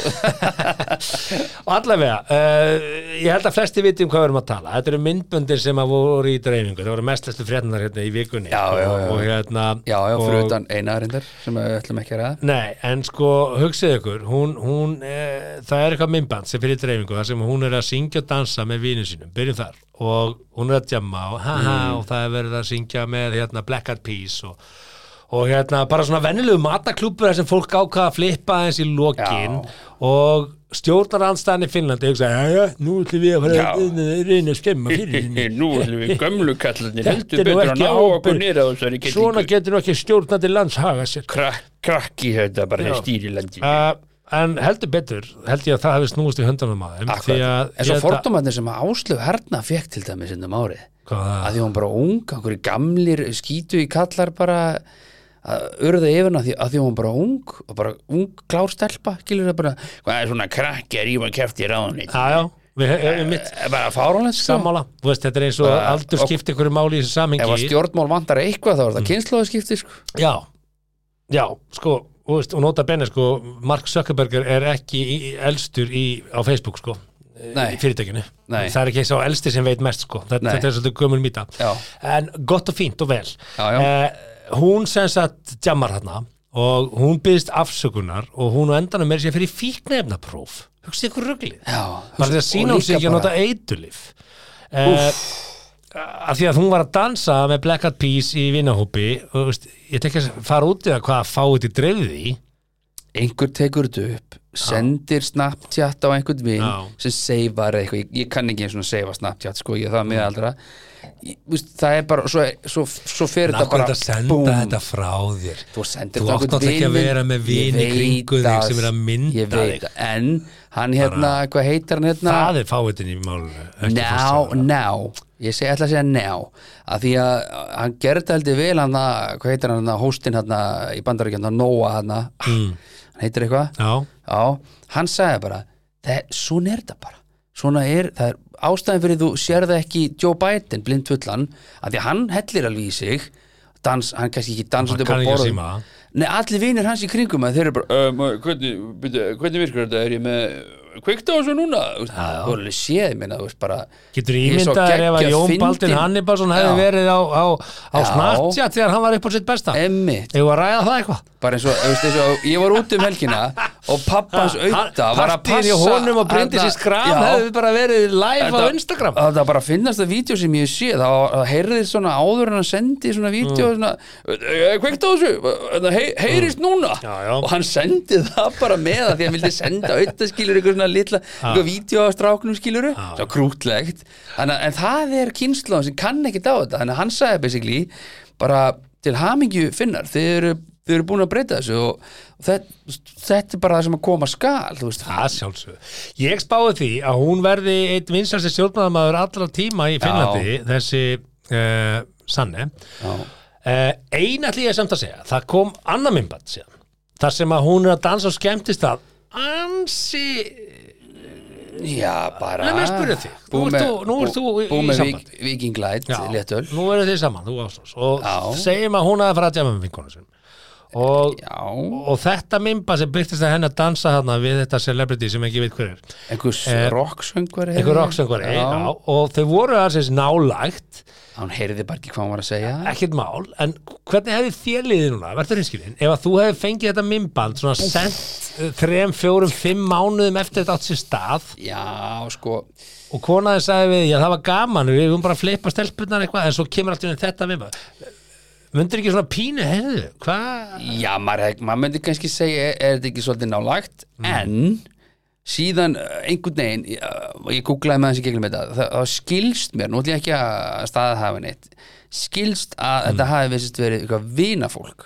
Speaker 4: Og allavega, uh, ég held að flesti viti um hvað við erum að tala Þetta eru myndböndir sem að voru í dreifingu Það voru mestlestu frétnar hérna í vikunni
Speaker 3: Já, já, já.
Speaker 4: Og, og hérna
Speaker 3: Já, já, fyrir
Speaker 4: og-
Speaker 3: utan eina reyndar sem við ætlum ekki að ræða
Speaker 4: Nei, en sko, hugsið ykkur hún, hún, e, það er eitthvað myndband sem fyrir dreifingu, þar sem hún er að syngja og dansa með vínum sínum, byrjum þar og hún er að djamma og, ha, ha,
Speaker 5: Mm.
Speaker 4: og það er verið að syngja með hérna, Black Eyed Peas og, og hérna, bara svona venjulegu mataklúpur þar sem fólk ákvað að flippa eins í lokin
Speaker 3: Já.
Speaker 4: og stjórnarandstæðan í Finnlandi hugsa, já, já, nú ætlum við að fara að reyna að skemma fyrir henni
Speaker 5: Nú ætlum við gömlu kallarnir
Speaker 4: þetta
Speaker 5: heldur
Speaker 4: er nú
Speaker 5: betur að
Speaker 4: ekki
Speaker 5: ná okkur niður á þessari
Speaker 4: ábyrg svona
Speaker 5: gettingu.
Speaker 4: getur nú ekki stjórnandi lands haga sér
Speaker 5: Krak, krakki þetta bara stýrilandi.
Speaker 4: uh, en heldur betur held ég að það hefði snúist í höndunum að þeim því að
Speaker 3: En svo
Speaker 4: ég held að-
Speaker 3: fordómatni sem að Áslöf Herna fekk til dæmis innum árið
Speaker 4: Hvað það-
Speaker 3: að því hún bara ung, einhverju gamlir skítu í kallar bara að urða yfir hana því, að því hún bara ung og bara ung klár stelpa, skilur það bara
Speaker 5: Hvað er svona krakki að rífa kæfti í ráðunni?
Speaker 4: já, já, við höfum mitt
Speaker 3: Það er bara fáránlegt sko
Speaker 4: sammála, þú veist, þetta er eins og
Speaker 3: Bara-
Speaker 4: aldur
Speaker 3: og-
Speaker 4: skipti einhverju máli í þessu
Speaker 3: Ef að
Speaker 4: samingi
Speaker 3: stjórnmál vantar eitthvað þá er það
Speaker 4: Mm.
Speaker 3: kynnslóðaskipti sko
Speaker 4: já, já, sko þú veist, og nota benni, sko, Mark Zuckerberger er ekki í, í- elstur í, á Facebook, sko,
Speaker 3: Nei.
Speaker 4: í fyrirtækinu
Speaker 3: Nei.
Speaker 4: það er ekki sá elsti sem veit mest, sko þetta,
Speaker 3: Nei.
Speaker 4: þetta er svolítið gömul mýta
Speaker 3: Já.
Speaker 4: en gott og fínt og vel
Speaker 3: Já, já.
Speaker 4: Eh, hún sem sagt jammar hérna og hún byggðist afsökunar og hún á endanum meiri sér fyrir fíknefnapróf hugsið ykkur ruglið
Speaker 3: Já,
Speaker 4: bara því að sína hún sig ekki að nota eitulif uh, að því að hún var að dansa með Black Eyed Peas í vinahópi og veist, ég tek að fara út í það hvað að fá þetta í dreifði í
Speaker 3: einhver tekur þetta upp sendir Snapchat á einhvern vinn
Speaker 4: Já.
Speaker 3: sem seifar eitthvað, ég, ég kann ekki eins og seifa Snapchat sko, ég er það
Speaker 4: Mm.
Speaker 3: miðaldra Ég- þú veist, það er bara, svo, svo, svo fer þetta
Speaker 4: Nákvæmt
Speaker 3: bara,
Speaker 4: að senda
Speaker 3: búm.
Speaker 4: þetta frá þér
Speaker 3: þú sendir
Speaker 4: Þú
Speaker 3: þetta á
Speaker 4: átt
Speaker 3: einhvern
Speaker 4: náttúrulega ekki að
Speaker 3: vin minn.
Speaker 4: vera með
Speaker 3: Ég
Speaker 4: vini í
Speaker 3: veit
Speaker 4: kringum þig
Speaker 3: að-
Speaker 4: sem er að mynda
Speaker 3: ég veit,
Speaker 4: þig.
Speaker 3: að- en hann hérna, hvað heitir hann hérna
Speaker 4: Það er fáitin í málunum ekki
Speaker 3: now,
Speaker 4: forstjóri.
Speaker 3: now ég segi ætla að segja now að því að hann gerði það heldur vel hann að, hvað heitir hann, hérna, hóstinn hann í bandaríkjönda, Noah hann mm. hann heitir eitthvað
Speaker 4: Já,
Speaker 3: Já, hann sagði bara það, svona er þetta bara svona er, það er ástæðan fyrir þú sérð ekki Joe Biden, blindfullan að því að hann hellir alveg í sig dans, hann kannski ekki dansandi
Speaker 4: hann
Speaker 3: upp á
Speaker 4: kann ekki að
Speaker 3: borðum
Speaker 4: síma það.
Speaker 3: Nei, allir vinir hans í kringum að þeir eru bara "Eh,
Speaker 5: um, hvernig, byrja, hvernig virkar þetta er ég með kveikta á þessu núna
Speaker 3: "Þú hefur alveg séð, minna, þú veist bara
Speaker 4: Getur
Speaker 3: ég er svo
Speaker 4: ímyndaðir ef að
Speaker 3: geggjað
Speaker 4: Jón
Speaker 3: fyndin."
Speaker 4: Baldin Hannibalsson hefði
Speaker 3: Já.
Speaker 4: verið á, á, á
Speaker 3: Já.
Speaker 4: snartja þegar hann var upp á sitt besta
Speaker 3: Einmitt.
Speaker 4: Eða að ræða það eitthvað
Speaker 3: bara eins og, þú veist, eins og ég var út um helgina og pappans
Speaker 4: Hann-
Speaker 3: auða var að
Speaker 4: partíin
Speaker 3: passa
Speaker 4: í honum og brindi sér skram
Speaker 3: Já.
Speaker 4: hefði bara verið live á
Speaker 3: Þetta-
Speaker 4: Instagram
Speaker 3: að það bara finnast það vídeo sem ég sé það, það heyrðið svona áður en hann sendi svona
Speaker 4: Mm.
Speaker 3: vídeo svona, "Eh, kveikt á þessu það hey, heyrist núna
Speaker 4: Já, já.
Speaker 3: og hann sendi það bara með að því að hann vildi senda auðvitaðskilur eitthvað svona litla eitthvað vídeo á stráknum skiluru svo krútlegt en, en það er kynslan sem kann ekkit á þetta þannig að hann sagði basically bara til hamingju finnar þið eru, þið eru búin að breyta þessu og, og þetta, þetta er bara það sem að koma skal þú veist
Speaker 4: Það sjálfsög. Ég spáði því að hún verði eitt vinsalsti stjórnmaðamaður allra tíma í Finnlandi, þessi uh, Sanne.
Speaker 3: Já.
Speaker 4: Uh, eina ætli ég samt að segja, það kom annar minnbætt síðan, þar sem að hún er að dansa og skemmtist að ansi,
Speaker 3: Já, bara
Speaker 4: Nei, maður spurði þig. Nú
Speaker 3: Búið
Speaker 4: ert
Speaker 3: með-
Speaker 4: þú- nú ert þú í-
Speaker 3: Búið
Speaker 4: í
Speaker 3: með
Speaker 4: sambandi.
Speaker 3: vik- vikinglæt, léttöl
Speaker 4: nú eru þið saman, þú ástans, og
Speaker 3: Já.
Speaker 4: segjum að hún að fara að djama með vinkonum sinum. Og,
Speaker 3: Já,
Speaker 4: og þetta minnbætt sem byrtist að henni að dansa þarna við þetta celebrity sem ekki veit hver er.
Speaker 3: einhvers
Speaker 4: Eh,
Speaker 3: rocksöngvari
Speaker 4: Einhver rocksöngvari, já. og þau voru aðeins nálægt,
Speaker 3: Hann heyrði bara ekki hvað hann var að segja
Speaker 4: ekkert mál, en hvernig hefði þér liðið núna, verður hinskilin, ef að þú hefði fengið þetta minnband svona sent eh, þrem, fjórum, fimm mánuðum eftir þetta átt sér stað
Speaker 3: Já, sko
Speaker 4: og konaði sagði við, já það var gaman, við höfum bara að fleipa stelpunnar eitthvað, en svo kemur alltaf inn þetta minnband. Mundur ekki svona pínu, heyrðu, hvað?
Speaker 3: Já, maður, hef- maður myndi kannski segja er, er þetta ekki svolítið nálægt
Speaker 4: Mhm.
Speaker 3: en síðan eh, einhvern veginn eh, og ég googlaði með hans í gegnum þetta það, það skilst mér, nú ætlum ég ekki að staða hafa neitt skilst
Speaker 4: Mhm.
Speaker 3: að þetta hafi vissist verið eitthvað vinafólk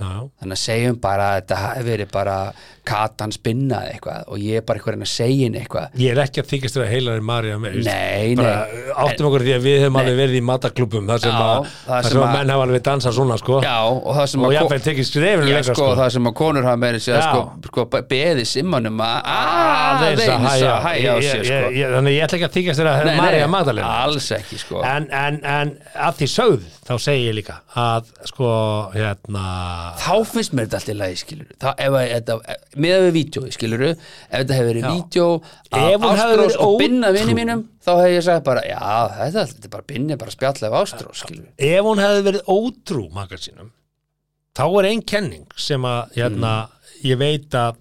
Speaker 4: Já,
Speaker 3: þannig að segjum bara að þetta hafi verið bara katan spinnað eitthvað og ég er bara eitthvað að reyna að segja henni eitthvað
Speaker 4: ég er ekki að þykist þér að heilaði Marja með, veist,
Speaker 3: nei,
Speaker 4: bara eh,
Speaker 3: nei,
Speaker 4: áttum okkur því að við höfum alveg verið í mataklubum, þar sem
Speaker 3: Já,
Speaker 4: að,
Speaker 3: þar
Speaker 4: þar
Speaker 3: sem
Speaker 4: sem að
Speaker 3: að-
Speaker 4: menn hafa alveg dansað svona, sko.
Speaker 3: já og það sem
Speaker 4: og
Speaker 3: að
Speaker 4: jafnveg tekið skrefinu
Speaker 3: já,
Speaker 4: lengra
Speaker 3: sko, það sem að konur hafa meira sér
Speaker 4: Já.
Speaker 3: sko, sko be- beðið simmanum að
Speaker 4: aðeins að hæja,
Speaker 3: hæja á
Speaker 4: Ég-
Speaker 3: sér
Speaker 4: ég-
Speaker 3: sko
Speaker 4: ég- þannig ég ætla ekki að þykast þér að Marja Magdalena
Speaker 3: alls ekki sko
Speaker 4: en, en, en að því sögð þá segi ég líka að sko hérna
Speaker 3: þá finnst mér þetta alltaf í lagi skilur ef að þetta, með við vídeo skilur ef þetta hefur verið vídeo
Speaker 4: Ef hún
Speaker 3: af
Speaker 4: hefði verið
Speaker 3: Ástrós og binna
Speaker 4: ótrú.
Speaker 3: vinni mínum þá hefði ég sagt bara, já, þetta, er allt- þetta er bara binni bara spjalla af ástrós skilur
Speaker 4: ef hún hefði verið ótrú maka sínum þá er ein kenning sem að
Speaker 3: Mm.
Speaker 4: hérna, ég veit að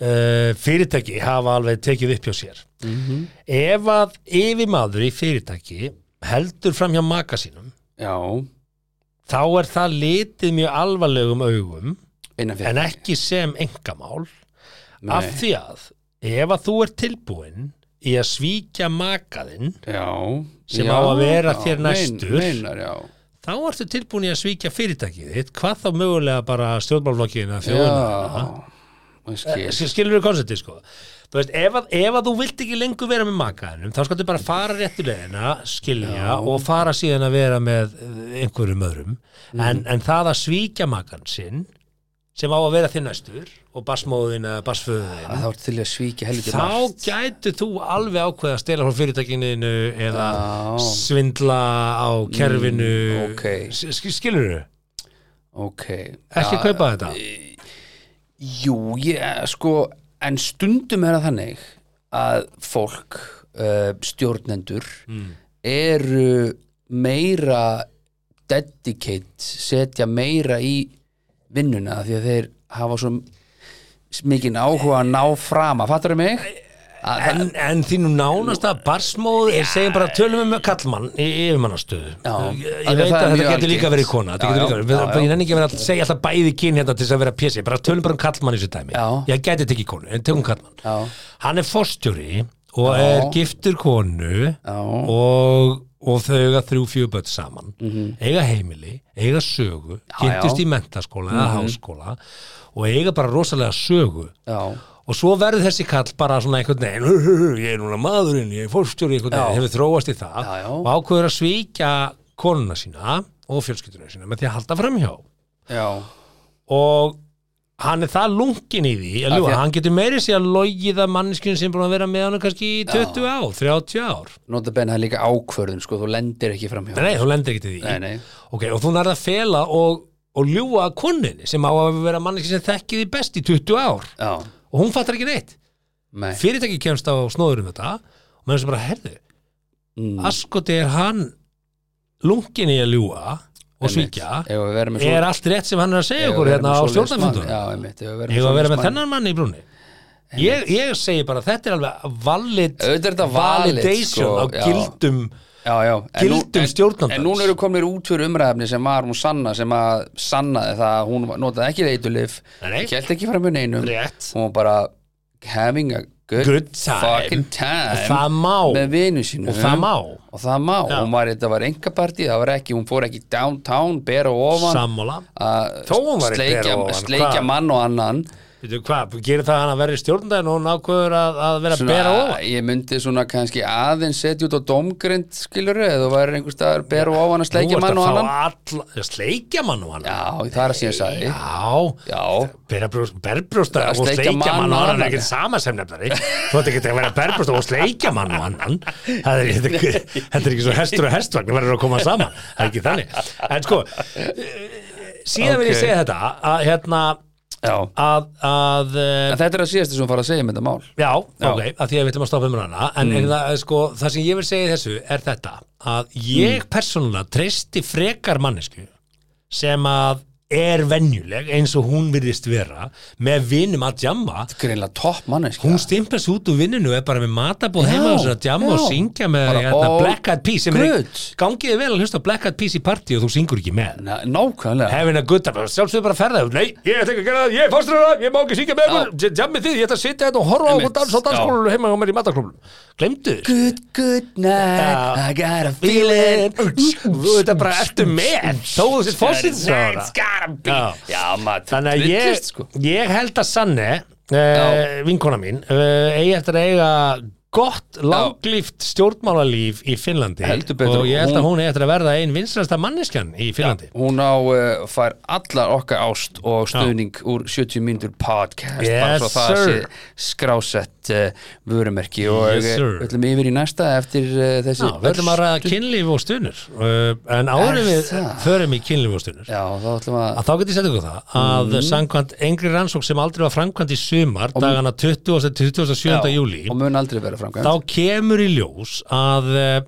Speaker 4: uh, fyrirtæki hafa alveg tekið upp hjá sér Mhm. ef að yfirmaður í fyrirtæki heldur fram hjá maka sínum
Speaker 3: já,
Speaker 4: þá er það litið mjög alvarlegum augum
Speaker 3: innan fyrir
Speaker 4: en ekki sem engamál
Speaker 3: Nei.
Speaker 4: af því að ef að þú er tilbúinn í að svíkja makaðinn
Speaker 3: já,
Speaker 4: sem
Speaker 3: já,
Speaker 4: á að vera þér
Speaker 3: mein-
Speaker 4: næstur.
Speaker 3: meinar, já.
Speaker 4: þá ertu tilbúinn í að svíkja fyrirtækið þitt hvað þá mögulega bara stjórnmálflokkiðina þjóðuna
Speaker 3: já. ég skil.
Speaker 4: skilur við konceptið sko Þú veist, ef, að, ef að þú vilt ekki lengur vera með makaðinum þá skaltu bara fara réttulegina skilja og fara
Speaker 3: Mm.
Speaker 4: síðan að vera með eh, einhverjum öðrum en, en það að svíkja makan sinn sem á að vera þinn næstur og basmóðin eða basföðin
Speaker 3: að þá ertu til í að svíkja helviti
Speaker 4: þá
Speaker 3: margt.
Speaker 4: gætu þú alveg ákveða að stela frá fyrirtækininu eða
Speaker 3: Já.
Speaker 4: svindla á kerfinu
Speaker 3: Mm, ókei.
Speaker 4: skilur þú?
Speaker 3: ok
Speaker 4: Ekki
Speaker 3: Já,
Speaker 4: kaupa þetta?
Speaker 3: jú, ég sko en stundum er það þannig að fólk uh, stjórnendur
Speaker 4: Mm.
Speaker 3: eru meira dedicate setja meira í vinnuna því að þeir hafa svo mikið áhuga að ná frama fattar þau mig? Að,
Speaker 4: En, en því nú nánast að barsmóð er segjum bara tölum um kallmann í yfirmannastöðu
Speaker 3: Já. Af
Speaker 4: ég,
Speaker 3: því
Speaker 4: ég veit
Speaker 3: það
Speaker 4: að
Speaker 3: er
Speaker 4: þetta
Speaker 3: mjög
Speaker 4: getur líka
Speaker 3: algengt.
Speaker 4: verið kona þetta
Speaker 3: Já, já,
Speaker 4: getur líka verið,
Speaker 3: já, já.
Speaker 4: ég nenni ekki að vera að segja alltaf bæði kyn hérna til þess að vera pési, bara tölum bara um kallmann í þessu dæmi,
Speaker 3: Já.
Speaker 4: ég gæti tekið konu en tökum kallmann,
Speaker 3: Já.
Speaker 4: hann er forstjóri og er giftur konu
Speaker 3: Já.
Speaker 4: og, og þau eiga þrjú fjögur börn saman eiga heimili, eiga sögu
Speaker 3: Mhm. já.
Speaker 4: kynntust
Speaker 3: Mhm.
Speaker 4: í mentaskóla eða háskóla og eiga bara rosalega sögu
Speaker 3: já,
Speaker 4: og svo verður þessi kall bara svona einhvern veginn "Hu, hu, hu, ég er núna maðurinn, ég er fórstjóri einhvern veginn,
Speaker 3: Já.
Speaker 4: hefur þróast í það
Speaker 3: Já, já.
Speaker 4: og ákveður að svíkja konuna sína og fjölskylduna sína með því að halda framhjá
Speaker 3: já.
Speaker 4: og hann er það lunkin í því að
Speaker 3: Af því
Speaker 4: ljúga,
Speaker 3: að-
Speaker 4: hann getur meiri sér að logið að manneskjum sem er búin að vera með hann kannski í 20 ár, 30 ár
Speaker 3: nota benn það er líka ákvörðun sko, þú lendir ekki framhjá
Speaker 4: nei, þú lendir ekki til því
Speaker 3: nei, nei.
Speaker 4: Ok, og þú nærði að fela og, og ljúga að konunni sem á að vera manneskjum sem þekkið því best í 20 ár
Speaker 3: Já,
Speaker 4: og hún fattar ekki neitt
Speaker 3: nei.
Speaker 4: fyrirtæki kemst á snóður um þetta og maður sem bara, herðu,
Speaker 3: Mm,
Speaker 4: askoti er hann lunkin í að ljúa og
Speaker 3: einmitt.
Speaker 4: svíkja
Speaker 3: Ef við verðum með svo-
Speaker 4: er allt rétt sem hann er að segja
Speaker 3: ef við
Speaker 4: okkur
Speaker 3: verðum
Speaker 4: hérna
Speaker 3: með
Speaker 4: á
Speaker 3: svoleiðis
Speaker 4: stjórnarfundur
Speaker 3: mann- Já, einmitt, ef við verðum
Speaker 4: ég var að vera
Speaker 3: svoleiðis
Speaker 4: með
Speaker 3: mann-
Speaker 4: þennan mann í brúni ég, ég segi bara, þetta er alveg valid
Speaker 3: Auðvitað er þetta valid,
Speaker 4: validation
Speaker 3: sko,
Speaker 4: á
Speaker 3: já.
Speaker 4: gildum
Speaker 3: já, já. En nú-
Speaker 4: gildum
Speaker 3: en-
Speaker 4: stjórnandans.
Speaker 3: En núna eru komnir út fyrir umræðafni sem var hún sanna sem að sannaði það að hún notaði ekki reytulif
Speaker 4: Nei.
Speaker 3: Kjælt ekki framhjá neinum
Speaker 4: rétt
Speaker 3: Hún var bara having a good,
Speaker 4: Good time.
Speaker 3: fucking time
Speaker 4: Og það má.
Speaker 3: Með vinu sínum
Speaker 4: og það má
Speaker 3: Og það má,
Speaker 4: Já.
Speaker 3: hún var, þetta var engapartí, það var ekki, hún fór ekki downtown, bera ofan
Speaker 4: sammála Þó hún
Speaker 3: að
Speaker 4: var ekki
Speaker 3: sleikja,
Speaker 4: bera ofan,
Speaker 3: sleikja
Speaker 4: hvað?
Speaker 3: mann og annan
Speaker 4: Veitu, hvað, gerir það hann að vera í stjórnandaginn og hún ákveður að, að vera að bera ofan
Speaker 3: ég myndi svona kannski aðeins setja út á domgrind skilur eða þú væri einhver staðar bera ofan að sleikja mann og annan
Speaker 4: annan all, sleikja mann og annan
Speaker 3: já, það er að síðan sagði já,
Speaker 4: já berbrjósta berbrjósta
Speaker 3: Að
Speaker 4: og
Speaker 3: sleikja
Speaker 4: sleikja
Speaker 3: mann
Speaker 4: mann
Speaker 3: og
Speaker 4: og annan
Speaker 3: annan.
Speaker 4: er ekkert sama sem nefnari þú ætti ekki að vera berbrjósta og sleikja mann og annan það er, þetta, er ekki- þetta er ekki svo hestur og hestvagn það verður að koma saman, það er ekki þannig en sko síðan vil
Speaker 3: Ok.
Speaker 4: ég segja þetta að hérna
Speaker 3: já.
Speaker 4: að, að eh,
Speaker 3: En þetta er að síðast þessum fara að segja með þetta mál
Speaker 4: Já,
Speaker 3: Já. Mm.
Speaker 4: ok, að því að við ætlum að stoppa um hana en, en það, er sko, það sem ég vil segja í þessu er þetta að ég
Speaker 3: Mm.
Speaker 4: persónulega treysti frekar mannesku sem að er venjuleg eins og hún virðist vera með vinum að djamma
Speaker 3: greinlega topp mannesk
Speaker 4: hún stimpast út úr vinninu og er bara með matabóð
Speaker 3: Já,
Speaker 4: heima og að djamma og
Speaker 3: já.
Speaker 4: syngja með
Speaker 3: Bara
Speaker 4: hérna,
Speaker 3: all
Speaker 4: Black Eyed Peas sem er,
Speaker 3: good.
Speaker 4: gangiði vel að hlusta á Black Eyed Peas í partí og þú syngur ekki með
Speaker 3: nákvæmlega
Speaker 4: hefina gutta, bara sjálfsögðu bara að ferða nei, ég ætla ekki að gera það, ég er fórstræðar ég má ekki syngja með ykkur, jammið þið, ég ætla að sitja þetta og horfa á
Speaker 3: Einmitt,
Speaker 4: okkur dans á dansskólanu heima hjá mér í mataklúblum glemdu þið
Speaker 3: good, good night,
Speaker 4: Já.
Speaker 3: I got a
Speaker 4: feeling
Speaker 3: feeling Mm,
Speaker 4: þú þetta bara ertu með þó þú sér fórstræðar
Speaker 3: It's gotta be
Speaker 4: Já.
Speaker 3: já, maður
Speaker 4: þannig að ég,
Speaker 3: tryllist, sko.
Speaker 4: ég held að Sanne uh, vinkona mín uh, eigi eftir að eiga gott langlíft stjórnmálalíf í Finnlandi
Speaker 3: Heldur betur.
Speaker 4: og ég held að
Speaker 3: Hún-
Speaker 4: hún eigi eftir að verða ein vinstrasta manneskjan í Finnlandi
Speaker 3: hún á uh, fær allar okkar ást og stuðning úr 70 mínútur podcast bara
Speaker 4: Yes,
Speaker 3: svo það
Speaker 4: sir.
Speaker 3: sé skrásett uh, vörumerki og
Speaker 4: Yes,
Speaker 3: eh,
Speaker 4: sir.
Speaker 3: við ætlum yfir í næsta eftir uh, þessi
Speaker 4: Já, við ætlum að ræða kynlíf og stunur uh, en áður
Speaker 3: Er
Speaker 4: en við
Speaker 3: það?
Speaker 4: förum í kynlíf og stunur
Speaker 3: Já, þá ætlum að
Speaker 4: að þá getur ég sett ykkur það að
Speaker 3: Mhm.
Speaker 4: samkvæmt engri rannsók sem aldrei var framkvæmt í sumar dagana 20. og
Speaker 3: Já,
Speaker 4: 27. júli
Speaker 3: og mun aldrei vera framkvæmt
Speaker 4: þá kemur í ljós að uh,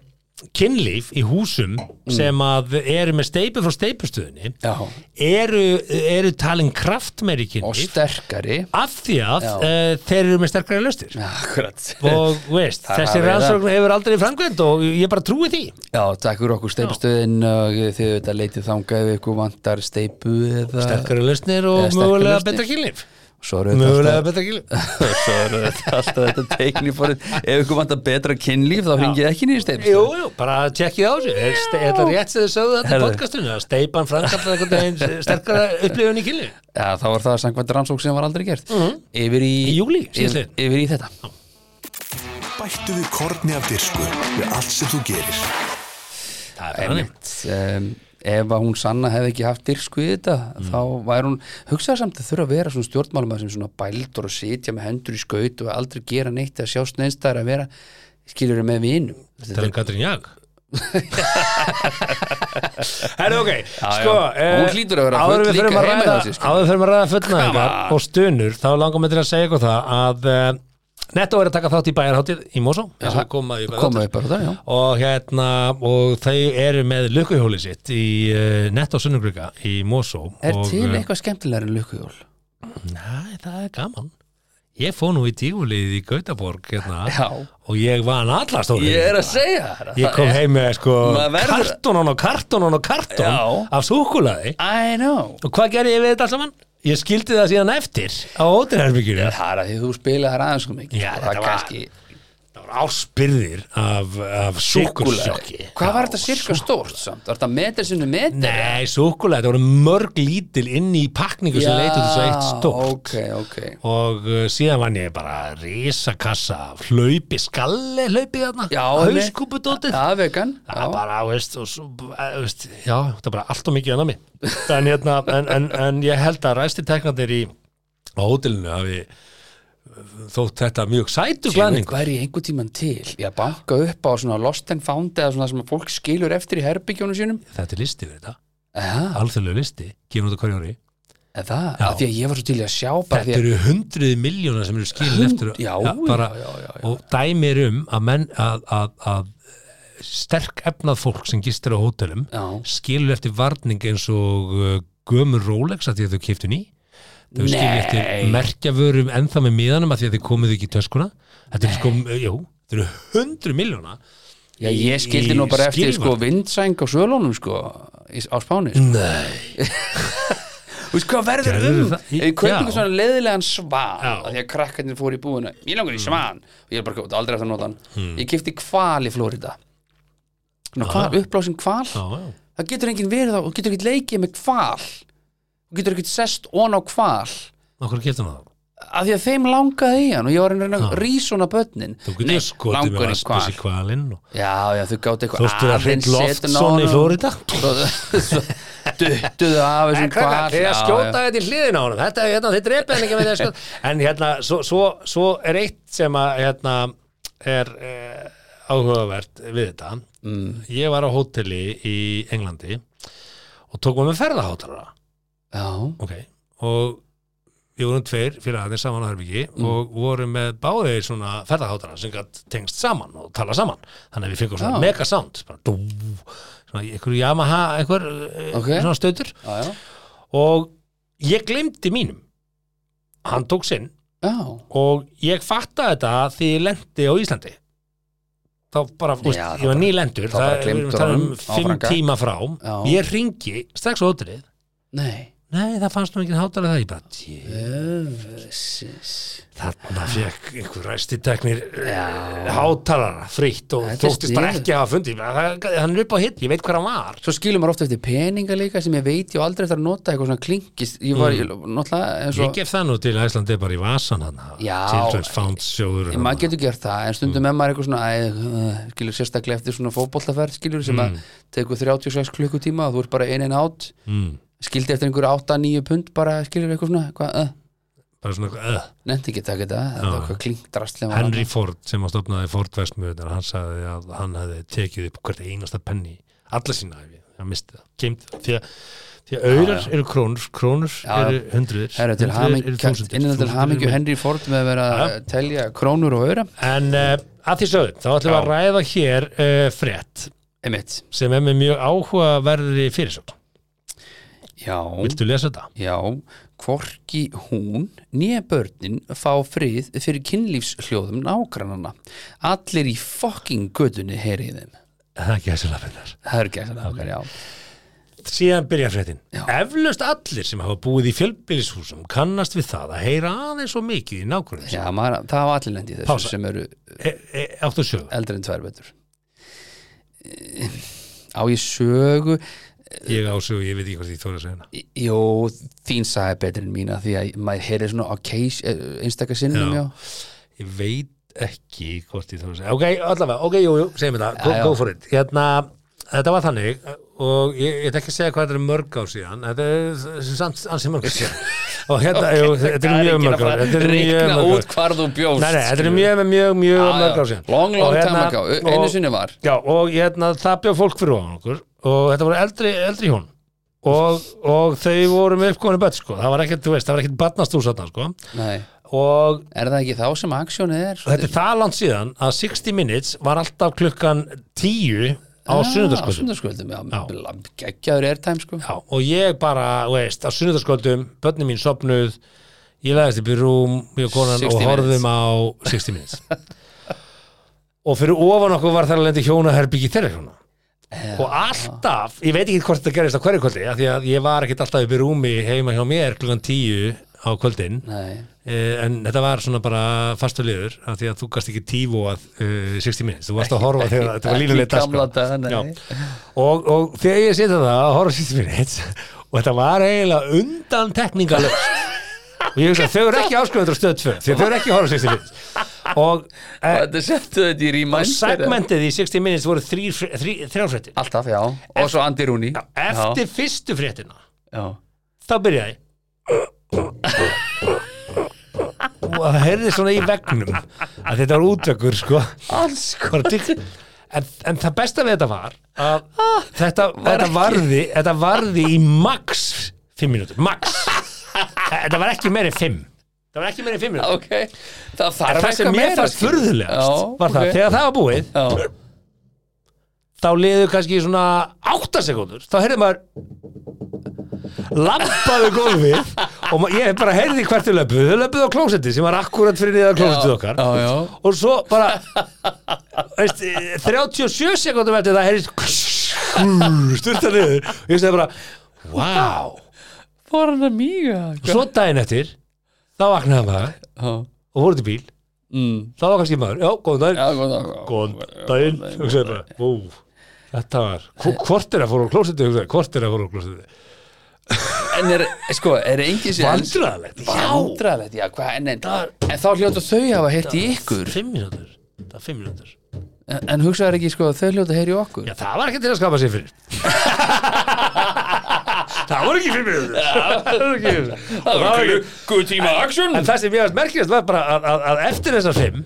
Speaker 4: kynlíf í húsum sem að eru með steipu frá steipustöðinni
Speaker 3: Mm. Já,
Speaker 4: eru, eru talin kraftmeiri
Speaker 3: og
Speaker 4: kynlíf
Speaker 3: sterkari
Speaker 4: af því að
Speaker 3: Já.
Speaker 4: uh, þeir eru með sterkari löstir
Speaker 3: Akkurat
Speaker 4: og veist,
Speaker 3: Það
Speaker 4: þessi
Speaker 3: hafi það.
Speaker 4: rannsókn hefur aldrei framkvæmt og ég bara trúi því
Speaker 3: Já, takk fyrir okkur steipstöðin og eh, þið þetta leitið þangað ef ykkur vantar steipu eða
Speaker 4: sterkari löstir
Speaker 3: Eða
Speaker 4: og
Speaker 3: sterkari
Speaker 4: mögulega
Speaker 3: lausnir.
Speaker 4: betra kynlíf
Speaker 3: Svo eru þetta alltaf-
Speaker 4: mögulega betra kynlíf
Speaker 3: svo er þetta alltaf þetta teikniforið ef ykkur vantar betra kynlíf þá hringið ekki nýjum steipst
Speaker 4: Jú, jú, bara tjekkið á þessu Er ste- er þetta rétt sem þið sögðu þetta í
Speaker 3: Herðu.
Speaker 4: podcastinu að steipan framkallar einhvern veginn sterkara upplifun í kynlíf
Speaker 3: ja, þá var það sangvænt rannsók sem var aldrei gert yfir í,
Speaker 4: Mhm. Í júlí,
Speaker 3: yfir,
Speaker 4: síðastliðin.
Speaker 3: yfir í þetta
Speaker 2: Bættu við korni af dirsku við allt sem þú gerir.
Speaker 4: Það er bara þannig
Speaker 3: Einmitt, um, ef að hún sanna hefði ekki haft dyrsku í þetta
Speaker 4: Mm.
Speaker 3: þá væri hún, hugsaði samt að þurfa að vera svona stjórnmálum sem svona bældur og sitja með hendur í skaut og aldrei gera neitt að sjást neinstæðar að vera skilur með vinum
Speaker 4: Þetta er um Katrín Jag Herðu ok, sko
Speaker 3: já. Hún hlýtur að vera
Speaker 4: áður
Speaker 3: full
Speaker 4: við förum
Speaker 3: líka
Speaker 4: að
Speaker 3: heima
Speaker 4: ræða-
Speaker 3: hjá sér, sko.
Speaker 4: Áður við fyrir að ræða fullnæðingar og stunur þá langar mig til að segja eitthvað það að uh, Netto er að taka þátt í bæjarháttið í Mosó eins og komaði upp að
Speaker 3: komaði upp að það, já
Speaker 4: og hérna og þau eru með lukkuhjóli sitt í uh, Netto Sunnugruga í Mosó
Speaker 3: Er
Speaker 4: og,
Speaker 3: til
Speaker 4: eh,
Speaker 3: eitthvað skemmtilegar en lukkuhjól?
Speaker 4: Næ, það er gaman Ég fó nú í tífulið í Gautaborg hérna,
Speaker 3: Já.
Speaker 4: og ég vann allar stóri
Speaker 3: Ég er að segja þér að
Speaker 4: Ég
Speaker 3: það
Speaker 4: kom
Speaker 3: er-
Speaker 4: heim með sko
Speaker 3: Maður verður-
Speaker 4: kartónan og kartónan og kartón
Speaker 3: Já.
Speaker 4: af súkulaði
Speaker 3: I know
Speaker 4: og hvað gerði ég við þetta allt saman? Ég skildi það síðan eftir á óterherbygjur
Speaker 3: Það er að því þú spilaði þar aðeins sko mikið og
Speaker 4: Já, þetta
Speaker 3: það
Speaker 4: var-
Speaker 3: kannski
Speaker 4: Það var áspyrðir af, af súkulasjokki
Speaker 3: Hvað var þetta sirka stórt samt? Var þetta metri sinni metri?
Speaker 4: Nei, súkulaði, það voru mörg lítil inn í pakningu sem leit út þess að eitt stórt
Speaker 3: Ok, ok
Speaker 4: og uh, síðan vann ég bara risakassa af hlaupi skalli hlaupið þarna,
Speaker 3: Já,
Speaker 4: hauskúpudótið
Speaker 3: Já, vegan
Speaker 4: Það
Speaker 3: já.
Speaker 4: er bara, veist, og svo, eh, veist, já, það er bara allt og mikið enn að mig. En, hérna, en, en, en ég held að ræsti teknandir í á hótelinu hafi eh, þótt þetta mjög sætu
Speaker 3: Glæning
Speaker 4: glæningu.
Speaker 3: væri einhvern tíman til Ég að banka upp á svona lost and found eða svona sem að fólk skilur eftir í herbygjónu sínum
Speaker 4: Þetta er listi við þetta,
Speaker 3: Já,
Speaker 4: alþjóðlegu listi, gefur út á hverju ári.
Speaker 3: er það,
Speaker 4: Já.
Speaker 3: af því að ég var svo til í að sjá bara því
Speaker 4: Þetta
Speaker 3: að
Speaker 4: eru hundruð miljónar sem eru skilin eftir.
Speaker 3: já,
Speaker 4: bara,
Speaker 3: já, já, já.
Speaker 4: Og dæmir um að, menn, að, að, að sterk efnað fólk sem gistir á hótelum
Speaker 3: Já.
Speaker 4: skilur eftir varning eins og uh, gömur Rolex að því að þau keiptu ný þau skilur eftir
Speaker 3: Nei.
Speaker 4: merkjavörum ennþá með miðanum að því að þau komuðu ekki í töskuna þetta er sko, jú, þetta eru hundru miljóna
Speaker 3: Já, ég skildi nú bara eftir sko vindsæng á svölunum sko í- á Spáni sko.
Speaker 4: Nei,
Speaker 3: Þú veist hvað verður
Speaker 4: Gerðu
Speaker 3: um?
Speaker 4: það?
Speaker 3: Ég kaupi
Speaker 4: Já.
Speaker 3: ekki svona leiðilegan svan
Speaker 4: Já. Mm.
Speaker 3: af því að krakkarnir fóru í búinu Ég langar í svan og ég er bara "Þú ert aldrei eftir að nota hann Ég kefti kval í Flórida Uppblásin kval
Speaker 4: já, já,
Speaker 3: það getur enginn verið á, þú getur ekkert leikið með kval þú getur ekkert sest on á kval
Speaker 4: okkur keiptu hana þá
Speaker 3: af því að þeim langaði í hann og ég var að reyna að
Speaker 4: Já.
Speaker 3: rísuna börnin
Speaker 4: Þú getur skotið með vaspis í kvalinn og
Speaker 3: já, já, þau gátt eitthvað
Speaker 4: Þóttur að hreint
Speaker 3: aðeins setna
Speaker 4: Loftsson í
Speaker 3: honum.
Speaker 4: Flórida
Speaker 3: Svo- svo duttuðu af þessum kval
Speaker 4: þegar
Speaker 3: Já,
Speaker 4: skjóta
Speaker 3: já.
Speaker 4: þetta í hliðin á honum þetta, hérna, þeir drepa henni ekki með þetta skjóta en hérna, svo, svo, svo er eitt sem að hérna, er eh, áhugavert við þetta mm. ég var á hóteli í Englandi og tók maður með ferðahátara
Speaker 3: já,
Speaker 4: ok, og við vorum tveir félagarnir saman á Herbyggi
Speaker 3: Mm.
Speaker 4: og vorum með báðir svona ferðahátara sem gætt tengst saman og tala saman þannig að við fengum svona
Speaker 3: Já.
Speaker 4: mega sound bara, dú, svona einhver Yamaha einhver eh,
Speaker 3: Ok.
Speaker 4: svona stöður
Speaker 3: já, já,
Speaker 4: og ég glemdi mínum hann tók sinn
Speaker 3: já.
Speaker 4: og ég fattaði þetta því ég lendi á Íslandi þá bara, þú veist,
Speaker 3: Já, þá
Speaker 4: ég var
Speaker 3: bara-
Speaker 4: nýlendur
Speaker 3: þá bara
Speaker 4: það er
Speaker 3: gleymdur
Speaker 4: að tala um
Speaker 3: honum á
Speaker 4: fimm
Speaker 3: Franka.
Speaker 4: tíma frá
Speaker 3: Já.
Speaker 4: ég ringi strax á ótrið
Speaker 3: nei
Speaker 4: nei, það fannst nú enginn hátalega það ég bara, djö,
Speaker 3: Öfsis.
Speaker 4: þarna fekk einhver ræstiteknir
Speaker 3: Já.
Speaker 4: hátalara fritt og
Speaker 3: Þetta er
Speaker 4: þóttist bara
Speaker 3: sniðugt.
Speaker 4: ekki að hafa fundið Ég bara, það- hann er upp á hitt, ég veit hver hann var
Speaker 3: Svo skilur maður ofta eftir peninga líka sem ég veit ég á aldrei eftir að nota eitthvað svona klinkist ég var, ég, náttúrulega eins og-
Speaker 4: Mm. ég gef það nú til að Íslandi bara í vasan hann
Speaker 3: Já.
Speaker 4: Children's Found sjóður
Speaker 3: Ég, maður getur gert það, en
Speaker 4: Mm.
Speaker 3: stundum er maður eitthvað svona æ, uh, skilur sérstaklega eftir svona fótbollaferð skilur sem að tekur 36 klukkutíma og þú ert bara in and out
Speaker 4: mm,
Speaker 3: skildi eftir einhverju 8-9 pund bara skilur eitthvað svona, hvað, uh,
Speaker 4: bara svona, öð
Speaker 3: nefndi ekki að taka þetta það var eitthvað klinkdrastlega
Speaker 4: Henry Ford sem að stofnaði Ford Vestmjöðunar hann sagði að hann hefði tekið upp hvert einasta penni, alla sína hefði hann misti það, kemd það því að, því að auðar eru krónur, krónur
Speaker 3: Já, já.
Speaker 4: eru hundruðir,
Speaker 3: Herra, til
Speaker 4: eru
Speaker 3: hamingju,
Speaker 4: þúsundir
Speaker 3: innan til
Speaker 4: þúsundir
Speaker 3: hamingju
Speaker 4: eru milljónir.
Speaker 3: Henry Ford með að vera að telja krónur og öra
Speaker 4: en uh, að því sögðu, þá ætlum við að ræða hér uh, frett
Speaker 3: einmitt,
Speaker 4: sem er með mjög áhugaverði fyrirsögn,
Speaker 3: já,
Speaker 4: viltu lesa þetta?
Speaker 3: já hvorki hún nýja börnin fá frið fyrir kynlífshljóðum nágrannana allir í fucking gödunni herið þeim
Speaker 4: Það er ekki þessi lafinnar.
Speaker 3: Það eru gæsana okkar, já
Speaker 4: Síðan byrja fréttin. Eflaust allir sem hafa búið í fjölbýlishúsum kannast við það að heyra aðeins og mikið í nákvæmum.
Speaker 3: Já, maður, það var allir lendi þessu
Speaker 4: Pása.
Speaker 3: sem eru
Speaker 4: E, e, áttu sögur.
Speaker 3: eldri en tvær betur Á ég sögu
Speaker 4: Ég ásögu, ég veit ekki hvað því þóra að segja hana.
Speaker 3: í- Jó, þín sagði betur en mína því að maður heyri svona á case eh, einstaka sinnum,
Speaker 4: Já.
Speaker 3: já,
Speaker 4: Ég veit ekki hvort ég þóra að segja. Ok, allavega, ok, jú, jú, segjum þetta, go,
Speaker 3: Já, já.
Speaker 4: go for it. Hérna, Þetta var þannig uh, og ég ég ætla ekki að segja hvað þetta er mörg ár síðan þetta er samt ansi mörg ár síðan og hérna, jú, þetta er mjög mörg ár þetta er mjög
Speaker 3: Reikna
Speaker 4: mörg
Speaker 3: út
Speaker 4: ár
Speaker 3: hvar þú bjóst
Speaker 4: Nei, nei, þetta er
Speaker 3: skilur.
Speaker 4: mjög, mjög, mjög
Speaker 3: Já,
Speaker 4: mörg
Speaker 3: já.
Speaker 4: ár síðan
Speaker 3: Long, long
Speaker 4: Og hérna-
Speaker 3: time ago. E- Einu
Speaker 4: og-
Speaker 3: sinni var.
Speaker 4: Já, og hérna, það bjóð fólk fyrir ofan okkur og þetta voru eldri, eldri hjón og, og þau voru með uppkonu börn, sko, það var ekkert, þú veist, það var ekkert barnastús þarna, sko,
Speaker 3: Nei,
Speaker 4: og
Speaker 3: er það ekki þá sem aksjónið er?
Speaker 4: þetta er það langt síðan að 60 Minutes var alltaf klukkan 10
Speaker 3: Á
Speaker 4: Ah, á sunnundarskvöldum
Speaker 3: sunnudagskvöldum,
Speaker 4: Já.
Speaker 3: já, geggjaður airtime sko
Speaker 4: Já, og ég bara, þú veist, á sunnundarskvöldum börnin mín sopnuð ég leðist upp í rúm, ég og konan
Speaker 3: 60
Speaker 4: og horfðum á 60 Minutes og fyrir ofan okkur var þar að lendi hjónaherbyggi þeirra hjóna og alltaf, ég veit ekki hvort þetta gerist á hverju kvöldi, af því að ég var ekkert alltaf upp í rúmi heima hjá mér klukkan 10 á kvöldin
Speaker 3: Nei,
Speaker 4: Eh, en þetta var svona bara fastu liður af því að þú gast ekki tífóað uh, 60 minutes, þú varst að horfa þegar þetta var sko. línulega
Speaker 3: Ekki gamla daga, nei.
Speaker 4: og, og þegar ég setja það að horfa á 60 minutes og þetta var eiginlega undan tekningalöst og ég veist að þau eru ekki áskrifundur á stöð 2 því að þau eru ekki að horfa á 60 minutes og eh,
Speaker 3: þetta settu þetta í
Speaker 4: og
Speaker 3: rýmæn
Speaker 4: segmentið í 60 minutes voru þrjár þrý, þrý, þrjár fréttir
Speaker 3: Alltaf, já, og svo Andi Rúni
Speaker 4: eftir fyrstu fréttina
Speaker 3: já, já.
Speaker 4: þá byrjaði og það heyrði svona í vegnum að þetta var útvökkur sko
Speaker 3: Alls
Speaker 4: Bara tík- en, en það besta við þetta var að þetta, þetta, varði, þetta varði í max 5 mínútur, max þetta var ekki meiri 5 það var ekki meiri 5 mínútur
Speaker 3: Ok, það þarf
Speaker 4: það sem
Speaker 3: eitthvað
Speaker 4: mér
Speaker 3: meira
Speaker 4: fannst furðulegast
Speaker 3: Já,
Speaker 4: var það,
Speaker 3: ok.
Speaker 4: þegar það var búið
Speaker 3: Já,
Speaker 4: þá liðu kannski svona 8 sekúndur þá heyrði maður lampaði gólfið og ma- ég bara heyrði hvert þau löpuð þau löpuð á klósetti sem var akkurat fyrir niður klósettið okkar
Speaker 3: já, já
Speaker 4: og svo bara veist, 37 sekundum eftir það heyrðist styrta niður og ég segi bara wow
Speaker 3: Fór hann að mýga
Speaker 4: og svo daginn eftir þá vaknaði maður og voru til bíl
Speaker 3: mm.
Speaker 4: þá var kannski maður já, góðan daginn
Speaker 3: Já, góð, já, góð
Speaker 4: góðan sko, um daginn og segir bara vó Þetta var, hvort er að fóru á klósetu, hvort er að fóru á klósetu.
Speaker 3: En er, sko, er engin sér
Speaker 4: Vandræðalegt.
Speaker 3: Vandræðalegt, já, hvað, en, en, en þá hljóta þau hafa hitt í ykkur
Speaker 4: Fimm mínútur. Það er fimm mínútur.
Speaker 3: En, en hugsaðu ekki, sko, þau hljóta heyri í okkur
Speaker 4: Já, það var ekki til að skapa sér fyrir. það voru ekki fimm mínútur.
Speaker 5: Það var klukkutíma aksjón
Speaker 4: En það sem ég veist merkilegt var bara að, að, að eftir þessar fimm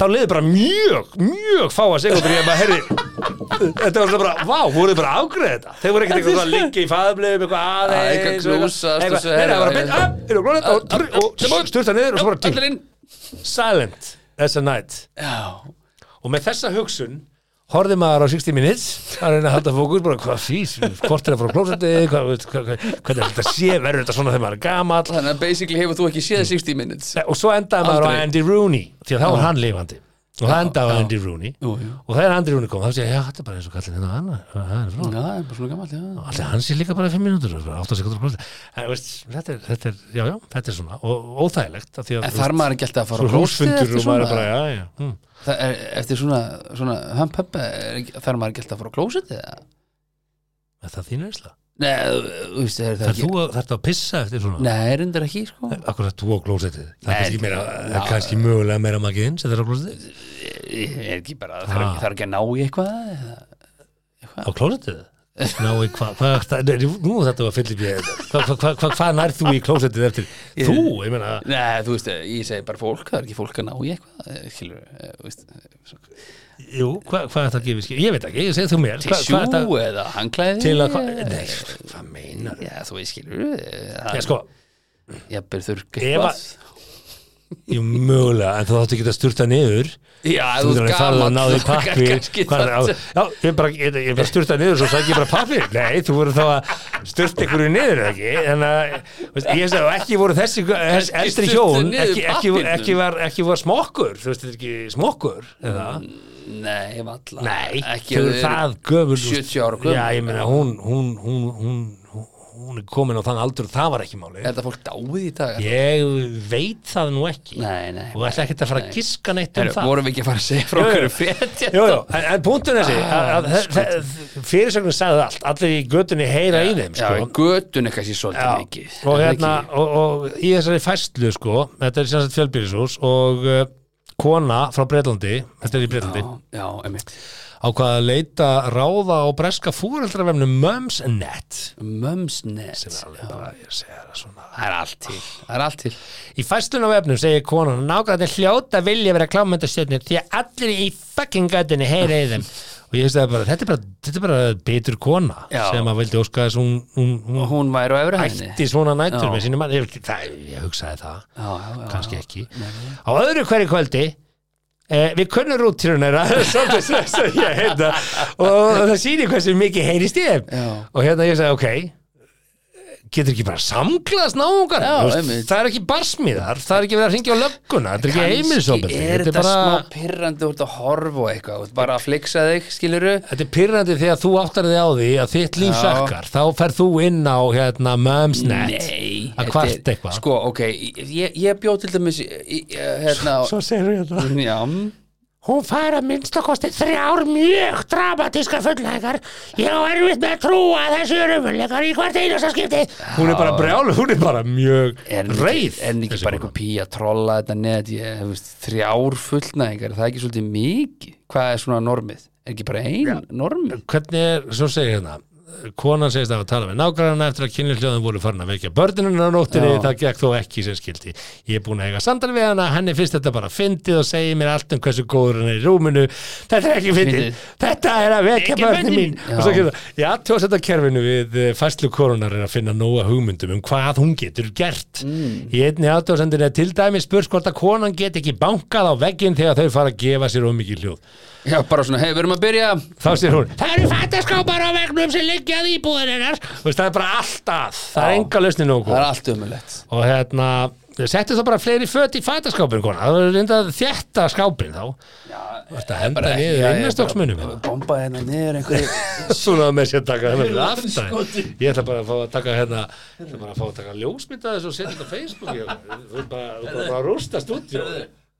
Speaker 4: þá liði bara mjög, mjög fáa sekundur ég bara, herri þetta var svona bara, vá, voruð þið bara afgreðið þetta þeir voru ekkert eitthvað svona að liggja í faðumlefum eitthvað
Speaker 3: Já,
Speaker 4: aðeins
Speaker 3: eitthvað knúsast og
Speaker 4: eitthvað,
Speaker 3: svo,
Speaker 4: nei, nei, það var
Speaker 3: herri,
Speaker 4: beint upp, eru glóðið og, trr- og styrta niður og svo bara
Speaker 3: Allir
Speaker 4: tíl
Speaker 3: inn
Speaker 4: silent, þessa night
Speaker 3: Já,
Speaker 4: og með þessa hugsun horfði maður á 60 minutes að reyna að halda fókus, bara hvað fís hvort er að fara á klósetti, hvað, hvað, hvað, hvernig er þetta sé, verður þetta svona þegar maður er gamall
Speaker 3: þannig að basically hefur þú ekki séð
Speaker 4: Mm.
Speaker 3: 60 minutes
Speaker 4: Nei, og svo endaði maður á
Speaker 3: Aldrei.
Speaker 4: Andy Rooney því að þá var hann lifandi og það endaði á
Speaker 3: já.
Speaker 4: Andy Rooney
Speaker 3: Jú, jú.
Speaker 4: og þegar Andy Rooney kom þá sé ég, já, þetta er bara eins og kallin hérna hann, hann er frá
Speaker 3: Já, það er bara svona gammal, já
Speaker 4: alltaf hann sé líka bara 5 mínútur, 8 sekundur og en, veist, þetta, er, þetta er, já, já, þetta er svona og óþægilegt af því að,
Speaker 3: En þar maður ekki alltaf að fara á klósið
Speaker 4: húsfundur
Speaker 3: eftir
Speaker 4: og maður
Speaker 3: svona
Speaker 4: er bara, já, já hm.
Speaker 3: Það er- Eftir svona, svona, hann pöppa Þar maður ekki alltaf að fara á klósið eða?
Speaker 4: er það þín einsla?
Speaker 3: Nei, þú- þú veist, er það
Speaker 4: Þar
Speaker 3: ekki
Speaker 4: þú að- þarftu að pissa eftir svona?
Speaker 3: Nei, reyndar ekki, sko
Speaker 4: Akkur það þú á klósettið? Það
Speaker 3: Nei,
Speaker 4: er kannski, meira,
Speaker 3: já.
Speaker 4: er kannski mögulega meira magiðin sem það er á klósettið?
Speaker 3: Ég Eh, er ekki bara, það er
Speaker 4: Ah.
Speaker 3: ekki, það er ekki að ná í eitthvað eða?
Speaker 4: Á klósettið? Ná, í hvað, hvað, hvað, nei, nú þetta var fyllir bíð, hvað, hvað, hvað, hvað, hvað nærð þú í klósettið eftir? Þú, ég meina,
Speaker 3: Nei, þú veist, ég segi bara fólk Það er ekki fólk að ná í eitthvað eh, Skilur, eh, þú veist svo-
Speaker 4: jú, hvað, hvað er það að gefa í skil? Ég veit ekki, ég segi þú mér. Hvað-
Speaker 3: Tissjú
Speaker 4: hvað er það-
Speaker 3: eða hangklæði
Speaker 4: Til að, hvað, nei, hvað meinar
Speaker 3: Já, þú veist, skilur eh, það-
Speaker 4: Já, sko,
Speaker 3: Jafnvel þurrk
Speaker 4: Ef að- jú, mögulega, en þú þáttu ekki að sturta niður.
Speaker 3: Já,
Speaker 4: Þú
Speaker 3: þú
Speaker 4: þarf
Speaker 3: ert
Speaker 4: að fara að
Speaker 3: gamall
Speaker 4: náði pappir
Speaker 3: kannski það-
Speaker 4: Já, ég bara, ég, ég bara sturta niður svo sæk ég bara pappir Nei, þú voru þá að sturta ykkur niður eða ekki En að, veist, ég sagði, og ekki voru þessi þess,
Speaker 3: Ekki
Speaker 4: eldri
Speaker 3: sturtu
Speaker 4: hjón
Speaker 3: niður
Speaker 4: ekki, ekki,
Speaker 3: pappírnum.
Speaker 4: ekki, var, ekki var smokkur, þú veist, þetta er ekki smokkur eða,
Speaker 3: Nei, valla
Speaker 4: nei,
Speaker 3: Mm, ekki
Speaker 4: þau
Speaker 3: ef
Speaker 4: eru
Speaker 3: þau
Speaker 4: það gömul
Speaker 3: 70 ára gömul.
Speaker 4: Já, ég meina, hún, hún, hún, hún, hún, hún er komin á þann aldur, það var ekki máli
Speaker 3: Er þetta fólk dáið í dag?
Speaker 4: Ég veit það nú ekki
Speaker 3: Nei, nei
Speaker 4: og ætla ekkert að fara að giska neitt um
Speaker 3: Heru,
Speaker 4: það
Speaker 3: Vorum við ekki að fara að segja frá
Speaker 4: Jú, jú.
Speaker 3: okkur frétt
Speaker 4: Jú, jú, en, en punktun þessi
Speaker 3: Ah,
Speaker 4: að- að þe- þe- fyrirsögnin sagði allt allir í göttunni heyra í þeim
Speaker 3: sko. Já, í
Speaker 4: sko.
Speaker 3: götun eitthvað sér svolítið mikið
Speaker 4: og,
Speaker 3: Er það
Speaker 4: hérna, og, og í þessari fæstlu sko, þetta er sem sagt eh, fjölbýlishús og uh, kona frá Breitlandi þetta er í Breitlandi
Speaker 3: ekki? Já, já, einmitt
Speaker 4: ákvað að leita ráða og breska fúreldravefnum Mumsnet
Speaker 3: Mömsnet
Speaker 4: sem er alveg bara, Ah. ég segja það svona
Speaker 3: Það er allt til Það er allt til
Speaker 4: Í fæstunum vefnum segir konan nákvæmlega hljóta vilja vera klámyndastjörnir því að allir í fucking gætinni heyra í þeim og ég hefst það bara, þetta er bara, þetta er bara betur kona
Speaker 3: Já.
Speaker 4: sem að vildi óska þess hún, hún, hún,
Speaker 3: Og hún væri á efri hæðinni
Speaker 4: hætti svona nættur
Speaker 3: Já.
Speaker 4: með sínum mann ég, það, ég hugsaði það,
Speaker 3: Já, já, já.
Speaker 4: kannski ekki á öðru hverju kvöldi eh, við kunnum rúttirunera svolítið stress að ég heita og það sýnir hversu mikið heyrist ég
Speaker 3: Já.
Speaker 4: og hérna ég sagði ok getur ekki bara samklaðast náungar
Speaker 3: Já,
Speaker 4: Þú veist,
Speaker 3: einmitt.
Speaker 4: það er ekki barsmiðar það er ekki verið að ringja á lögguna þetta er ekki heimilisofbeldi
Speaker 3: er
Speaker 4: þetta
Speaker 3: þetta
Speaker 4: er bara
Speaker 3: smá pirrandi úr að horfa og eitthvað þú ert bara að fliksa þig, skiluru
Speaker 4: Þetta er pyrrandi þegar þú áttar þig á því að þitt líf
Speaker 3: Já.
Speaker 4: sakkar, þá ferð þú inn á hérna mömsnet
Speaker 3: Nei
Speaker 4: að
Speaker 3: þetta
Speaker 4: kvart
Speaker 3: er-
Speaker 4: eitthvað
Speaker 3: Sko, ok, ég, ég bjóð til dæmis í- í- hérna
Speaker 4: Svo segir við þetta
Speaker 3: Já,
Speaker 4: Hún fær að minnstakosti þrjár mjög dramatíska fullnæðingar. Ég á erfitt með að trúa að þessu eru umvöldleikar í hvert einasta skipti. Hún er bara brjál, hún er bara mjög
Speaker 3: er henni ekki,
Speaker 4: reið.
Speaker 3: er henni ekki
Speaker 4: þessi
Speaker 3: bara
Speaker 4: kona.
Speaker 3: eitthvað pí að trolla þetta net ég, þú veist, þrjár fullnæðingar, það er ekki svolítið mikið hvað er svona normið, er ekki bara ein normið
Speaker 4: Hvernig er, svo segir hérna, konan segist að hafa talað við nágrana eftir að kynlífljóðin voru farin að vekja börnunum á nóttinni,
Speaker 3: Já.
Speaker 4: það gekk þó ekki sem skildi. Ég er búin að eiga samtal við hana, henni finnst þetta bara fyndið og segir mér allt um hversu góður hann er í rúminu. Þetta er ekki
Speaker 3: Fyndið.
Speaker 4: fyndið, þetta er að vekja
Speaker 3: Ekki
Speaker 4: börnin
Speaker 3: börnin
Speaker 4: mín.
Speaker 3: mín.
Speaker 4: Og svo kemur það, já, tjóðsetta kerfinu við eh, færslu korunar er að finna nóga hugmyndum um hvað hún getur gert.
Speaker 3: Mm.
Speaker 4: Í einni aðtjóðsendinu er til dæmi spurs hvort að konan get ekki bankað á veggin þegar þau fara að gefa sér of mikið hljóð.
Speaker 3: Já, bara svona, hei, við erum að byrja
Speaker 4: Þá sér hún, það eru fattaskápar á vegnum sem liggjað íbúðin hennar Þú veist, það er bara allt að, það er
Speaker 3: Já.
Speaker 4: enga lausni nú
Speaker 3: það er allt umulett
Speaker 4: Og hérna, settu þá bara fleiri föt í fattaskápin kona Það er reynda að þétta skápin þá Þú veist að henda niður einnastóksmunum
Speaker 3: bomba hérna niður einhverju
Speaker 4: Svona með sér taka hérna við aftan Ég ætla bara að fá að taka hérna Ég ætla bara að fá að taka ljósmynda þessu og setja þetta á Facebook Þú ert bara, þú ert bara að rústa stúdíu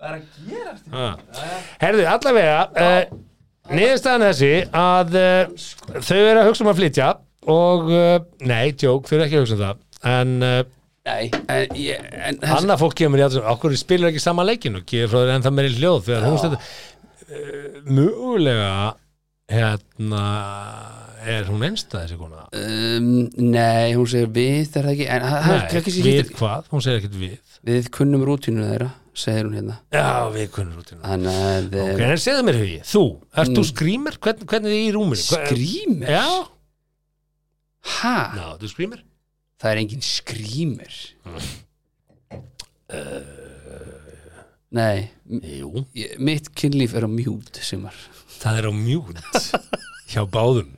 Speaker 3: Það er að gera þetta Eh.
Speaker 4: Ah. Herðu, allavega uh, niðurstaðan er þessi að uh, þau eru að hugsa um að flytja og, uh, nei, tjók, þau eru ekki að hugsa um það en uh,
Speaker 3: Nei, en, ég, en þessi,
Speaker 4: annað fólk kemur í aðsum okkur spilur ekki sama leikin og gefur frá þér ennþá meiri hljóð þegar hún stöður uh, mjögulega hérna er hún einstæð þessi kona
Speaker 3: um, nei, hún segir við, er það ekki En það er
Speaker 4: nei,
Speaker 3: ekki sér
Speaker 4: við
Speaker 3: hittir
Speaker 4: hvað, hún segir ekkert við
Speaker 3: Við kunnum rútínu þeirra, segir hún hérna
Speaker 4: já, við kunnum Mm. út í hún
Speaker 3: Þannig að
Speaker 4: ok, en segðu mér hugi, þú, ert þú skrýmir? Hvern, hvernig er í rúminu? Hva-
Speaker 3: Skrýmir?
Speaker 4: já,
Speaker 3: Ha?
Speaker 4: ná, þú skrýmir
Speaker 3: Það er engin skrýmir
Speaker 4: Mm.
Speaker 3: Nei, m-
Speaker 4: jú
Speaker 3: ég- mitt kynlíf er á mjút sumar
Speaker 4: Það er á mjút hjá báðum.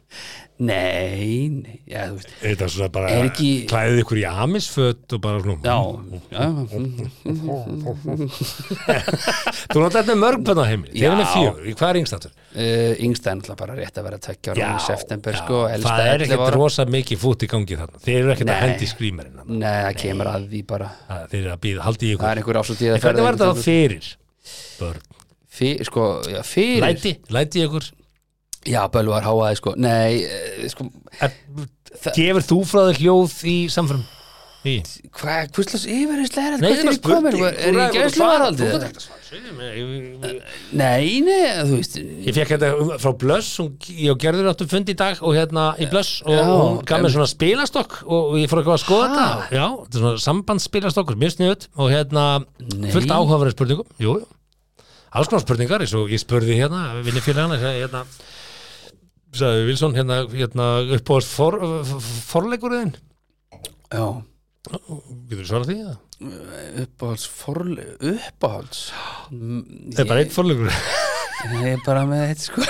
Speaker 3: Nei, nei, já, þú veist
Speaker 4: Þetta er svona bara
Speaker 3: Er ekki-
Speaker 4: klæðið ykkur í amisföt og bara svona.
Speaker 3: Já, já, mm,
Speaker 4: Þú notar þetta með mörg bönn á heimili. Þið
Speaker 3: Já.
Speaker 4: er henni fjögur. Í Hvað er yngstáttur?
Speaker 3: uh, yngsta er náttúrulega bara rétt að vera tveggja ára í september sko, elsta
Speaker 4: það er
Speaker 3: 11
Speaker 4: ekkert
Speaker 3: ára.
Speaker 4: rosa mikið fút í gangi þarna. Þið eru ekkert að
Speaker 3: Nei.
Speaker 4: hendi skrýmerinn hann.
Speaker 3: Nei, það kemur að því bara
Speaker 4: Þið eru að býða, haldið í
Speaker 3: Það er
Speaker 4: ykkur.
Speaker 3: einhver ásóttíð
Speaker 4: En hvernig var þetta þá fyrir? Börn.
Speaker 3: Fyr, sko, já, fyrir
Speaker 4: Læti, læti í ykkur.
Speaker 3: Já, Bölvar háaði sko Nei, eh, sko
Speaker 4: Er, gefur þú frá þér hljóð í samfram? Í.
Speaker 3: Hvað, hvurslags yfirherslega er þetta?
Speaker 4: Nei,
Speaker 3: Hvernig er ég komin? Var- Er ég gæsluvarhaldi?
Speaker 4: Þú gæst svarað.
Speaker 3: Nei, nei, þú veist
Speaker 4: Ég fekk þetta frá Blöss hún, ég og Gerður áttum fund í dag og hérna í Blöss og
Speaker 3: Já.
Speaker 4: hún gaf mér svona spilastokk og, og ég fór eitthvað að skoða þetta Já, þetta er svona sambandsspilastokkur, mjög sniðut og hérna
Speaker 3: Nei.
Speaker 4: fullt áhugaverið spurningum Jú, jú, alls konar spurningar eins og ég spurði hérna, vinni fyrir hana hérna, sagði Vilsson hérna, hérna uppbóðast for, forleikurinn
Speaker 3: Já,
Speaker 4: Getur þú svarað því? eða?
Speaker 3: uppáhalds forle... Uppáhalds? Mm,
Speaker 4: Það er bara eitt forleikur
Speaker 3: Ég er bara með eitt sko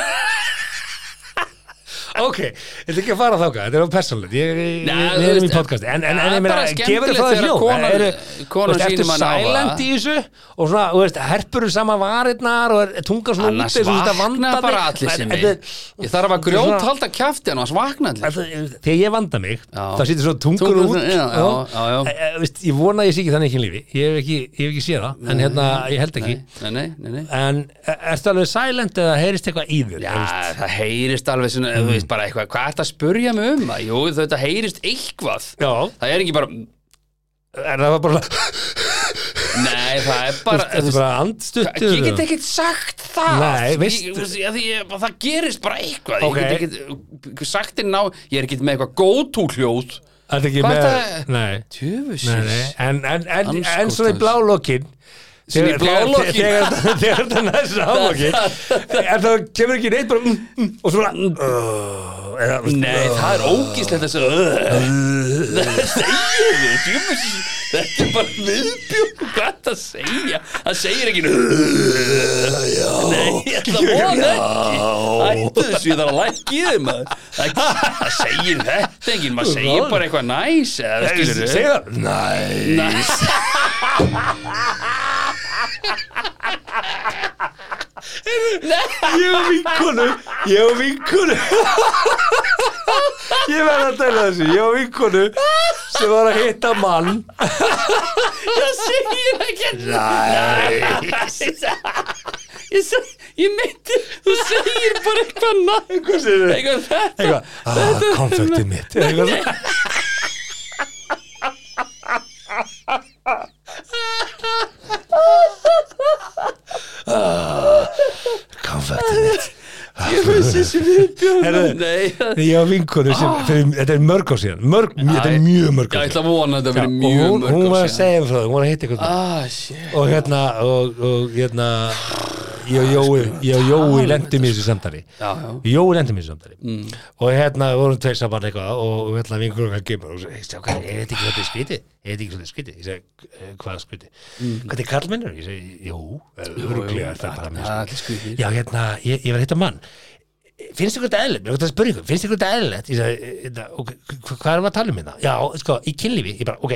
Speaker 4: Ok, þetta er ekki að fara þáka, þetta er of persónlegt Ég, ég,
Speaker 3: Nei,
Speaker 4: ég,
Speaker 3: þú
Speaker 4: við erum í
Speaker 3: veist,
Speaker 4: podcasti En, en,
Speaker 3: það
Speaker 4: en
Speaker 3: er
Speaker 4: ég meina,
Speaker 3: bara
Speaker 4: gefur
Speaker 3: skemmtilegt
Speaker 4: það
Speaker 3: þegar
Speaker 4: hljóð
Speaker 3: konan-
Speaker 4: Er-
Speaker 3: konan
Speaker 4: þú veist,
Speaker 3: sýnir
Speaker 4: Ertu
Speaker 3: manni á það?
Speaker 4: silent í þessu og svona, þú veist, herpur sama varirnar og er tunga svona út
Speaker 3: Annars
Speaker 4: eins og þetta
Speaker 3: vakna
Speaker 4: vanda
Speaker 3: bara
Speaker 4: mig.
Speaker 3: allir
Speaker 4: En-
Speaker 3: sinni
Speaker 4: en-
Speaker 3: Ég þarf að grjót halda kjafti hann og svakna allir
Speaker 4: en- en- Þegar ég vanda mig,
Speaker 3: Já.
Speaker 4: þá sýttir svona tungur
Speaker 3: Tungur-
Speaker 4: út
Speaker 3: já, já, já, já.
Speaker 4: E- e, veist, Ég vona að ég sé ekki þannig ekki í lífi Ég hef ekki, ég hef ekki séð það, en hérna, ég held ekki
Speaker 3: Nei, nei, nei, nei
Speaker 4: En e- ertu alveg silent eða heyrist eitthvað í þér?
Speaker 3: Já,
Speaker 4: Þú veist,
Speaker 3: það heyrist alveg svona, þú
Speaker 4: Mm.
Speaker 3: veist bara eitthvað, hvað ertu að spurja mig um það? Jú, þetta heyrist eitthvað
Speaker 4: já
Speaker 3: Það er ekki bara,
Speaker 4: en það var bara
Speaker 3: Nei, Nei, það er bara
Speaker 4: Þetta er bara andstuttur
Speaker 3: Ég get ekkert sagt það
Speaker 4: Nei, veist-
Speaker 3: ég, veist, ég, ég, bara, Það gerist bara eitthvað
Speaker 4: Ok.
Speaker 3: Ég get ekkert uh, sagt inn á Ég er ekkert með eitthvað góðtúkljóð
Speaker 4: Þetta ekki
Speaker 3: Hvað
Speaker 4: með
Speaker 3: það-
Speaker 4: Nei, nei,
Speaker 3: Tjöfusins
Speaker 4: nei En, en, en, en
Speaker 3: Andskotans.
Speaker 4: svona í blálokkin
Speaker 3: Svona í blálokkin?
Speaker 4: Þegar þegar- þegar þetta næst aflokkin En það kemur ekki neitt bara mm, mm, Og svona uh, eða, veist,
Speaker 3: Nei, það er ógíslegt þessu Það segir við djúfis, Þetta er bara viðbjörn Hvað það segja? Það segir ekki Já Nei, ég ætla að vona ekki Ættu þessu, ég þarf að lækki þið maður Það það segir þetta ekki Maður segir bara eitthvað næs eða skilur
Speaker 4: Segðu það Nei
Speaker 3: Næs
Speaker 4: Ég og vinkonu Ég og vinkonu Ég verð að tala þessu Ég og vinkonu sem var að hitta mann
Speaker 3: Það segir ekki Næs Ég, seg, ég meinti, þú segir bara eitthvað næs
Speaker 4: Hvað segir þau?
Speaker 3: Eitthvað þetta
Speaker 4: Eitthvað ah, Konfektið mitt Eitthvað svona.
Speaker 3: Ég veist þessi viðbjóð
Speaker 4: Herðu.
Speaker 3: Nei, það-
Speaker 4: Ég og vinkonu sem fyrir, Þetta er mörg á síðan Mörg, Þetta er mjög mörg
Speaker 3: Ah. Já, ég
Speaker 4: á síðan
Speaker 3: ætla að vona að þetta verið
Speaker 4: og
Speaker 3: mjög
Speaker 4: hún,
Speaker 3: mörg
Speaker 4: hún
Speaker 3: ár
Speaker 4: var að
Speaker 3: síðan.
Speaker 4: segja um það, hún var að hitta eitthvað
Speaker 3: Ah, shit
Speaker 4: og hérna og, og hérna ég og Jói, ég og Jói lendum í þessu samtali
Speaker 3: Já, já
Speaker 4: Jói lendum í þessu samtali
Speaker 3: Mm.
Speaker 4: og hérna vorum tveir saman eitthvað og og hérna vingur okkar gemur og ég sagði, hvað, er þetta ekki svolítið skrítið? Er þetta ekki svolítið skrítið? Ég sagði, "Eh, hvað skrítið? Hvað er kallmennur? Ég sagði, jú, örglega það er bara mjög
Speaker 3: Mm. Það er
Speaker 4: skrítið
Speaker 3: allir skrýtið
Speaker 4: já hérna, ég, ég var að hitta mann finnst ykkur þetta eðlilegt, mér er gott að spyrja ykkur finnst ykkur þetta eðlilegt, ég sagði, hérna, ok, hva- hvað erum við að tala um hérna, já, sko, í kynlífi ég bara, ok,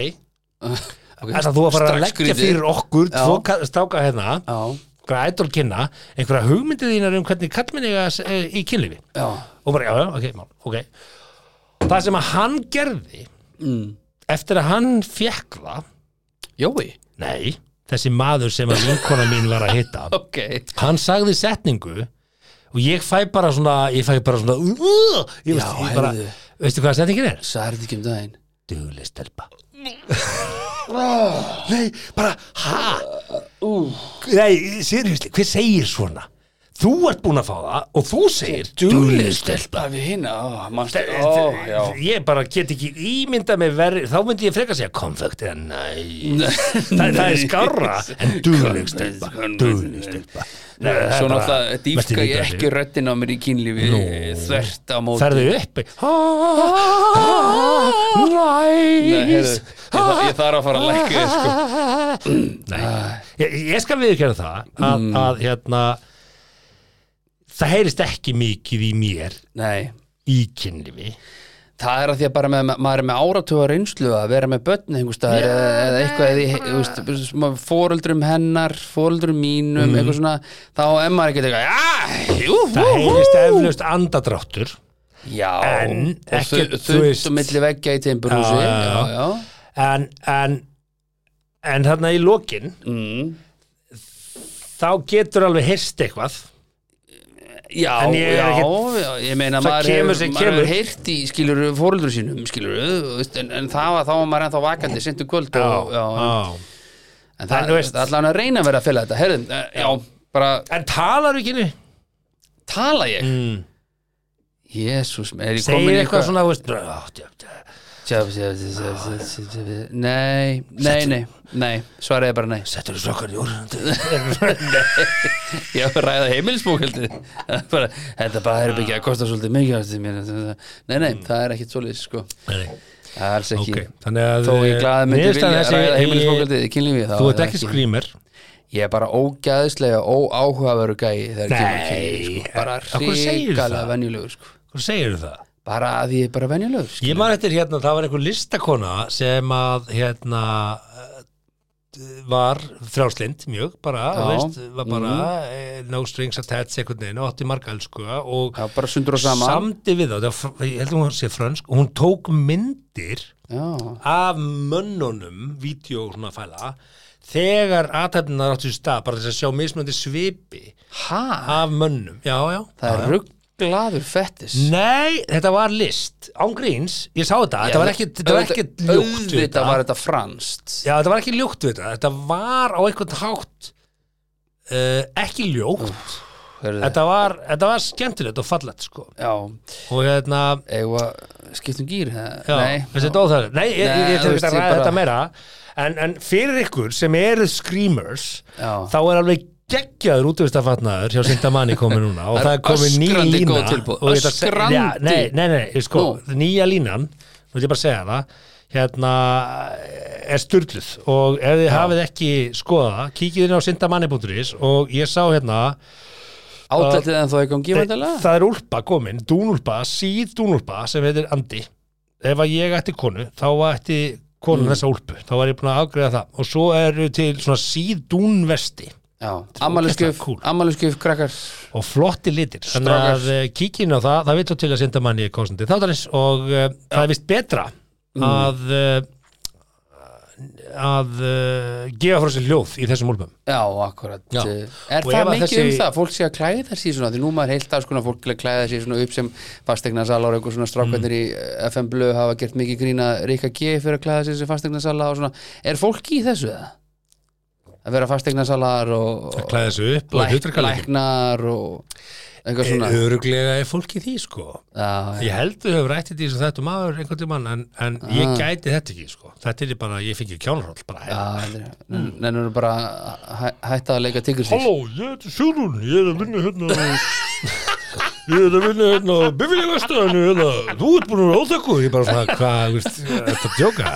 Speaker 3: Ok.
Speaker 4: þess að þú að fara að
Speaker 3: Strax
Speaker 4: leggja
Speaker 3: skrýtið.
Speaker 4: fyrir okkur
Speaker 3: Já.
Speaker 4: tvo ka- stráka hérna,
Speaker 3: Já,
Speaker 4: einhverja idol kynna einhverja hugmyndið þínar um hvernig kallmenni eiga að se- eh, í kynlífi,
Speaker 3: já
Speaker 4: og bara, já, já, ok, mál, ok það sem að hann gerði
Speaker 3: mm.
Speaker 4: eftir að hann fekk það
Speaker 3: Jói
Speaker 4: nei, þessi maður sem að vinkona mín var að hitta
Speaker 3: Ok
Speaker 4: hann sagði setningu og ég fæ bara svona ég fæ bara svona uh, ég veist,
Speaker 3: Já,
Speaker 4: ég bara,
Speaker 3: heyrðu.
Speaker 4: veistu hvað setningin er?
Speaker 3: Særi þetta ekki um daginn
Speaker 4: dugleg stelpa nei, bara ha
Speaker 3: Uh,
Speaker 4: nei, seriðsli, hver segir svona? þú ert búin að fá það og þú segir dugleg stelpa
Speaker 3: Að við hinna, ó, mannstu Ó, já
Speaker 4: ég bara get ekki ímynda með verri þá myndi ég frekar segja konfekt eða næ það, það er
Speaker 3: Nei.
Speaker 4: skarra en dugleg stelpa
Speaker 3: Konfekt.
Speaker 4: dugleg stelpa Nei, það er
Speaker 3: Svo
Speaker 4: bara-
Speaker 3: náttúrulega
Speaker 4: Mesti
Speaker 3: dýfka ég
Speaker 4: viðbjóður.
Speaker 3: ekki röddina á mér í kynlífi Þvert á móti
Speaker 4: ferðu upp Næs
Speaker 3: heyrðu, ég þarf- ég þarf að fara að sko. lækka þig, sko. Mm.
Speaker 4: Nei, ég, ég skal viðurkjöra það að, að hérna það heyrist ekki mikið í mér
Speaker 3: Nei
Speaker 4: í kynlífi
Speaker 3: Það er að því að bara með, maður er með áratuga reynslu að vera með börn einhvers staðar eða, eða eitthvað eða, í- þú veist, maður- fóreldrum hennar, fóreldrum mínum eitthvað svona, þá er maður ekkert eitthvað já, jú,
Speaker 4: Mhm. það
Speaker 3: hú,
Speaker 4: heyrist eflaust andadráttur
Speaker 3: hú já,
Speaker 4: en
Speaker 3: og
Speaker 4: ekkert,
Speaker 3: þu-
Speaker 4: þú veist-
Speaker 3: þunnt og milli veggja í timburhúsi
Speaker 4: Já,
Speaker 3: já,
Speaker 4: já,
Speaker 3: já,
Speaker 4: en, en en þarna í lokin
Speaker 3: Mm.
Speaker 4: þá getur alveg heyrst eitthvað
Speaker 3: já,
Speaker 4: En
Speaker 3: já,
Speaker 4: ég er ekkert-
Speaker 3: já ég meina,
Speaker 4: Það
Speaker 3: maður
Speaker 4: kemur
Speaker 3: hefur-
Speaker 4: sem
Speaker 3: maður
Speaker 4: kemur.
Speaker 3: hefur heyrt í skilur fóreldrum sínum, skilur en, en það var, þá var maður ennþá vakandi sentu kvöld og, já,
Speaker 4: já.
Speaker 3: en
Speaker 4: En
Speaker 3: það
Speaker 4: þú
Speaker 3: er
Speaker 4: veist-
Speaker 3: allan að reyna að vera að fylga þetta, herðum, já, bara
Speaker 4: en talar ekki niður
Speaker 3: tala ég Jésús, er ég komin
Speaker 4: Mm.
Speaker 3: í
Speaker 4: segir eitthvað
Speaker 3: eitthvað
Speaker 4: svona þú veist, "Ah, djö, djö."
Speaker 3: Tjá, tjá, tjá, tjá, tjá, tjá, tjá, tjá. Nei, nei, nei, nei Svaraði bara nei
Speaker 4: settur þú svakkar í orðandi
Speaker 3: Ég var að ræða heimilisbókaldi bara, Þetta bara er ekki að kosta svolítið mikið ástu mér Nei, nei, það er ekkit svolítið sko Það er Alls ekki
Speaker 4: Mm. Ok, þannig að eh,
Speaker 3: Þó ég glaði myndi vilja
Speaker 4: niðurstaðan
Speaker 3: að
Speaker 4: þessi-
Speaker 3: ræða heimilisbókaldi í kynlífi þá er
Speaker 4: Þú ert
Speaker 3: það
Speaker 4: ekki skrýmer
Speaker 3: Ég er bara ógæðislega óáhugaveru gæi þegar
Speaker 4: Nei,
Speaker 3: kemur að kynlífi sko. Bara
Speaker 4: af hverju segirðu
Speaker 3: ríkala
Speaker 4: það?
Speaker 3: venjulegur sko.
Speaker 4: Hvað segir það?
Speaker 3: Bara að ég er bara venjulegur sko.
Speaker 4: Ég man eftir hérna, það var einhver listakona sem að hérna eh, var frjálslind mjög bara,
Speaker 3: Já.
Speaker 4: þú veist, var bara mm. no strings attached einhvern veginn og átti marga elsku og
Speaker 3: Já, bara sundur og saman
Speaker 4: samdi við þá, það var fr- ég heldur hún sé frönsk og hún tók myndir
Speaker 3: Já
Speaker 4: af mönnunum vídeo og svona fæla þegar aðtæfninar áttu í stað bara til að sjá mismöndi svipi
Speaker 3: Hæ?
Speaker 4: af mönnum já, já,
Speaker 3: Það
Speaker 4: já,
Speaker 3: er
Speaker 4: já.
Speaker 3: rugg gladur fettis
Speaker 4: Nei, þetta var list ángríns, ég sá þetta, þetta var ekki, þetta var ekki ljúkt við
Speaker 3: Auðvitað
Speaker 4: þetta
Speaker 3: var þetta franst
Speaker 4: Já, þetta var ekki ljúkt við þetta, þetta var á einhvern hátt uh, ekki ljúkt
Speaker 3: Þetta
Speaker 4: þetta, var, þetta var skemmtilegt og fallegt sko
Speaker 3: Já,
Speaker 4: og hérna
Speaker 3: eigum að skiptum gýr
Speaker 4: Já,
Speaker 3: Nei,
Speaker 4: þessi dóþæður Nei, ég, ég,
Speaker 3: Nei,
Speaker 4: ég
Speaker 3: þú
Speaker 4: þarf
Speaker 3: veist, ég
Speaker 4: ekki að ræða
Speaker 3: bara-
Speaker 4: þetta meira en, en fyrir ykkur sem eru screamers
Speaker 3: Já.
Speaker 4: þá er alveg geggjaður útvistafatnaður hjá Sintamanni komið núna og
Speaker 3: Það er
Speaker 4: það er komið ný
Speaker 3: öskrandi
Speaker 4: lína
Speaker 3: góð tilboð,
Speaker 4: og ég ætla að segja-
Speaker 3: öskrandi.
Speaker 4: Já, Nei, nei, nei, nei, sko, nýja línan nú ætla ég bara að segja það hérna er styrluð og ef þið hafið ekki skoða það, kíkið inn á sindamanni.is og ég sá hérna
Speaker 3: átlættið en þó ekki um gífandilega
Speaker 4: það er úlpa komin, dúnúlpa, síð dúnúlpa sem heitir Andi ef að ég ætti konu, þá ætti konun þessa úlpu, þá var ég búin að afgreða það og svo eru til svona síð dúnvesti
Speaker 3: Amaliskjöf,
Speaker 4: Ógeðslega cool.
Speaker 3: amaliskjöf krakkar
Speaker 4: og flotti litir þannig að eh, kíkja inn á það, það vill til að senda manni kostandi þáttarins og uh, það er vist betra að uh, að uh, gefa frá sér hljóð í þessum úlpum
Speaker 3: Já, akkurat Eh,
Speaker 4: Já.
Speaker 3: Er
Speaker 4: Og ef
Speaker 3: það
Speaker 4: að
Speaker 3: mikið um
Speaker 4: þessi-
Speaker 3: það? Fólk sé að klæða sér svona því nú maður heilt að sko fólk til að klæða sér svona upp sem fastegnasala og einhver svona strákvættir
Speaker 4: Mm.
Speaker 3: í FM Blöð hafa gert mikið grína Rika G fyrir að klæða sér sem fastegnasala og svona Er fólk í þessu það? Að vera fastegnasalar og, og
Speaker 4: klæða þessu upp og
Speaker 3: læk,
Speaker 4: hljóðverkarleikum
Speaker 3: læknar og
Speaker 4: Eh,
Speaker 3: eitthvað svona
Speaker 4: öruglega er fólki því sko
Speaker 3: Já, já.
Speaker 4: ég held við höfum rættið því sem þetta maður einhvern tímann en, en ég gæti þetta ekki sko þetta er bara, ég fengi kjánarhóll bara
Speaker 3: Já, þetta er- nennirðu bara að hæ- hætta að leika tiggur sér
Speaker 4: Mm. Halló, ég heiti Sjórún, ég er að vinna hérna á- Ég er að vinna hérna á Bifilegastæðinu hérna. Þú ert búin að vera óþekkur Ég er bara svona, hvað, þú veist, þetta djóka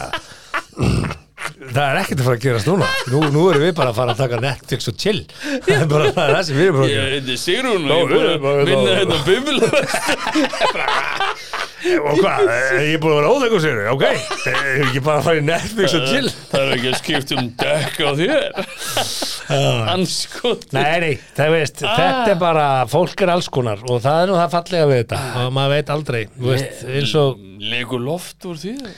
Speaker 4: Það er ekkert að fara að gerast núna Nú, nú erum við bara að fara að taka Netflix og chill Það er bara það, er það sem við erum bara að gera
Speaker 5: Ég heiti Sigrún
Speaker 4: Já,
Speaker 5: og ég er búin
Speaker 4: bara-
Speaker 5: að vinna hérna bimla
Speaker 4: Og hvað, ég er búin að vera óþekkur sér Ok, ég er ekki bara að fara í Netflix og chill
Speaker 5: Það er ekki að skipta um dekk á þér Anskot
Speaker 4: Nei, nei, það veist,
Speaker 3: Ah.
Speaker 4: þetta er bara fólk er alls konar og það er nú það fallega við þetta og maður veit aldrei, þú veist, eins og
Speaker 5: Legur loft úr þér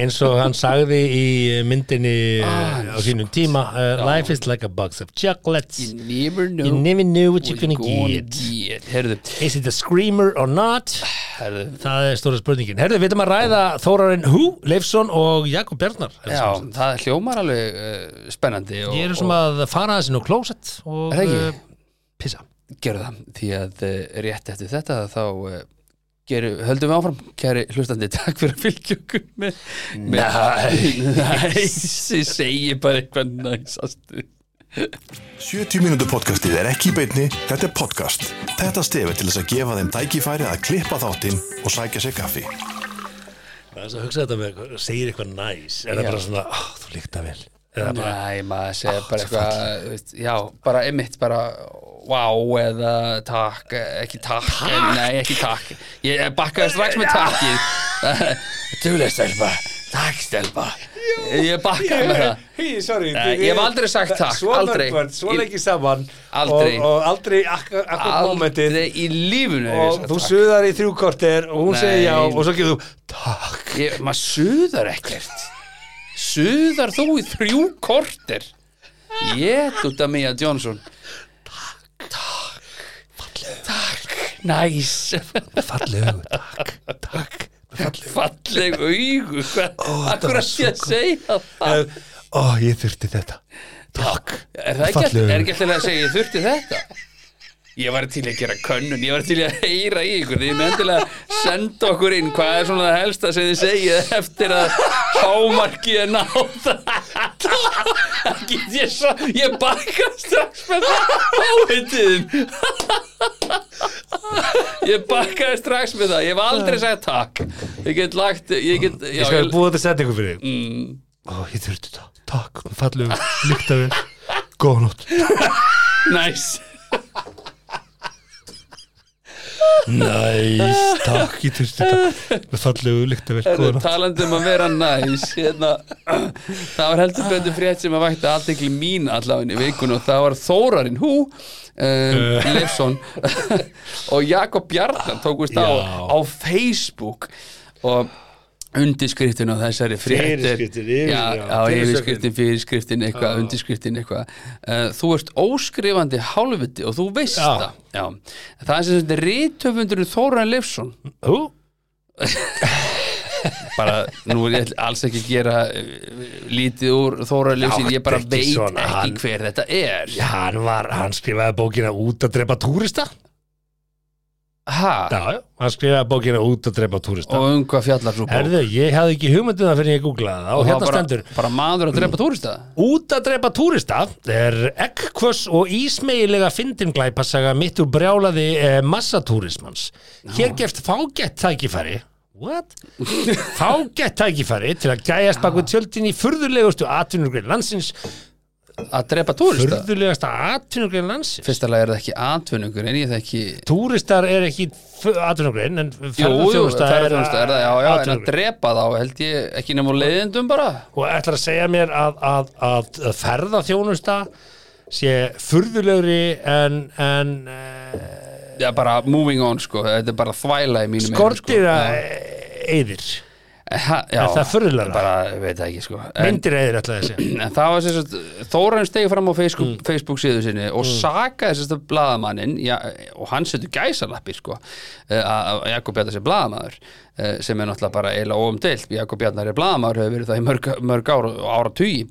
Speaker 4: eins og hann sagði í myndinni ah, á sínum tíma uh, Life is like a box of chocolates
Speaker 3: You never know
Speaker 4: You never know what you're
Speaker 3: what
Speaker 4: gonna
Speaker 3: gonna
Speaker 4: get
Speaker 3: get. Heyrðu,
Speaker 4: Is it a screamer or not?
Speaker 3: heyrðu
Speaker 4: Það er stóra spurningin Herðu, við erum að ræða Þórarinn Hú, Leifsson og Jakob Bjarnar
Speaker 3: Já, það hljómar alveg uh, spennandi og,
Speaker 4: Ég er sem að fara þessi nú klósett og
Speaker 3: Er það
Speaker 4: uh,
Speaker 3: ekki?
Speaker 4: pissa
Speaker 3: og gerðu það því að uh, rétt eftir þetta þá uh, geru, höldum við áfram kæri hlustandi, takk fyrir að fylgja okkur með, með næs ég segi bara eitthvað næsastu
Speaker 2: 70 mínútur podcastið er ekki í beinni, þetta er podcast. Þetta stefið til þess að gefa þeim tækifæri að klippa þáttinn og sækja sér kaffi.
Speaker 4: Það er svo að hugsa þetta með eitthvað, segir eitthvað næs er það bara svona, oh, þú líkta vel Eða bara,
Speaker 3: Nei, maður segir bara eitthvað þú veist, Já, bara einmitt, bara Wow, eða takk eh, Ekki takk, takk? nei, ekki takk Ég eh, bakkaði strax með takkið Duglega stelpa Takk stelpa Ég bakkaði með það
Speaker 4: Hei, sorry
Speaker 3: Nei, ég hef aldrei sagt takk,
Speaker 4: Svo
Speaker 3: aldrei.
Speaker 4: mörgvart, svo lengi saman
Speaker 3: Aldrei.
Speaker 4: Og, og aldrei akkur, akkur momentið
Speaker 3: Aldrei í lífinu hef ég
Speaker 4: Og
Speaker 3: sagt
Speaker 4: þú
Speaker 3: takk.
Speaker 4: suðar í þrjú korter og hún
Speaker 3: Nei.
Speaker 4: segir já og svo getur þú Takk
Speaker 3: ég, Maður suðar ekkert Suðar þú í þrjú korter Ég út að Mia Johnson Takk Takk Takk Næs
Speaker 4: Fallið augu, takk, takk
Speaker 3: falleg augu
Speaker 4: þetta
Speaker 3: akkur
Speaker 4: var
Speaker 3: að
Speaker 4: svo
Speaker 3: ég að segja það
Speaker 4: Ó, ég þurfti þetta Takk
Speaker 3: er það ekki,
Speaker 4: Falleg
Speaker 3: alltaf-
Speaker 4: augu.
Speaker 3: er ekki alltaf að segja ég þurfti þetta ég var til að gera könnun ég var til að heyra í ykkur þið meðendilega senda okkur inn hvað er svona það helsta sem þið segið eftir að hámarki er náð það get ég svo ég bakka strax með það áheitiðum ég bakkaði strax með það ég hef aldrei sagt takk ég get lagt ég Mm. get já,
Speaker 4: Ég skal búið þetta setningu fyrir þig Ó, ég þurfti þetta, takk, fallið augu, líkta vel Góða nótt
Speaker 3: næs
Speaker 4: Næs, takk, ég þurfti þetta Með fallið augu, líkta vel, góða nótt
Speaker 3: talandi um að vera næs hérna, það var heldur betur frétt sem að vækta aðtekli mín allafinn í vikun og það var Þórarinn Hú um,
Speaker 4: Eh.
Speaker 3: Leifsson og Jakob Bjarnar tókust á
Speaker 4: Já.
Speaker 3: á Facebook og undirskriftin og þessari fréttir
Speaker 6: Fyrirskriftin, yfir-
Speaker 3: já,
Speaker 6: já,
Speaker 3: já,
Speaker 6: fyrirsögnin.
Speaker 3: yfirskriftin, fyrirskriftin eitthvað, undirskriftin eitthvað uh, þú ert óskrifandi hálfviti og þú veist
Speaker 4: Já.
Speaker 3: það já. það er sem þetta rítöfundurinn Þóran Leifsson
Speaker 4: Ú,
Speaker 3: bara, nú er ég alls ekki að gera uh, lítið úr Þóran Leifsson
Speaker 4: Láttu
Speaker 3: ég bara
Speaker 4: ekki
Speaker 3: veit
Speaker 4: svona,
Speaker 3: ekki
Speaker 4: hann-
Speaker 3: hver þetta er
Speaker 4: hann var, hann skrifaði bókina út að drepa túrista
Speaker 3: ha,
Speaker 4: Já, já, hann skrifaði bókina út að drepa túrista
Speaker 3: og um hvað fjallar svo bók
Speaker 4: Herðu, ég hafði ekki hugmyndið það fyrir ég googlaði það og,
Speaker 3: það
Speaker 4: hérna
Speaker 3: var bara,
Speaker 4: stendur
Speaker 3: bara maður að drepa túrista
Speaker 4: Út að drepa túrista er ekkvöss og ísmegilega fyndin glæpasaga mitt úr brjálaði eh, massatúrismans. Hér gefst fágett tækifæri What? fágett tækifæri til að gæjast bak við tjöldin í furðulegustu atvinnugrein landsins
Speaker 3: að drepa túrista
Speaker 4: furðulegasta atvinnugrein landsins
Speaker 3: fyrsta lag er það ekki atvinningur en ég það ekki
Speaker 4: Túristar er ekki atvinnugrein en
Speaker 3: Jú, jú,
Speaker 4: ferðarþjónusta er
Speaker 3: ferðarþjónusta er það, já, já, en að
Speaker 4: atvinnugrein
Speaker 3: drepa þá held ég ekki nema úr leiðindum bara
Speaker 4: og ætlar að segja mér að, að, að, að ferðarþjónusta sé furðulegri en, en eh,
Speaker 3: Já, bara moving on, sko, þetta er bara þvæla í mínum
Speaker 4: skortir að
Speaker 3: að
Speaker 4: eðir
Speaker 3: Já,
Speaker 4: er það furðulegra?
Speaker 3: Bara, ég veit það ekki, sko en,
Speaker 4: myndir eðir alltaf þessi
Speaker 3: en það var sérst Þóraun stegi fram á Facebook,
Speaker 4: Mm.
Speaker 3: Facebook síðu sinni og sakaði sérst blaðamanninn já, og hann setur gæsalappi, sko eh, að að Jakob Bjarnar sé blaðamaður eh, sem er náttúrulega bara eiginlega óumdeilt Jakob Bjarnar er blaðamaður, hefur verið það í mörg, mörg ára, ára tugi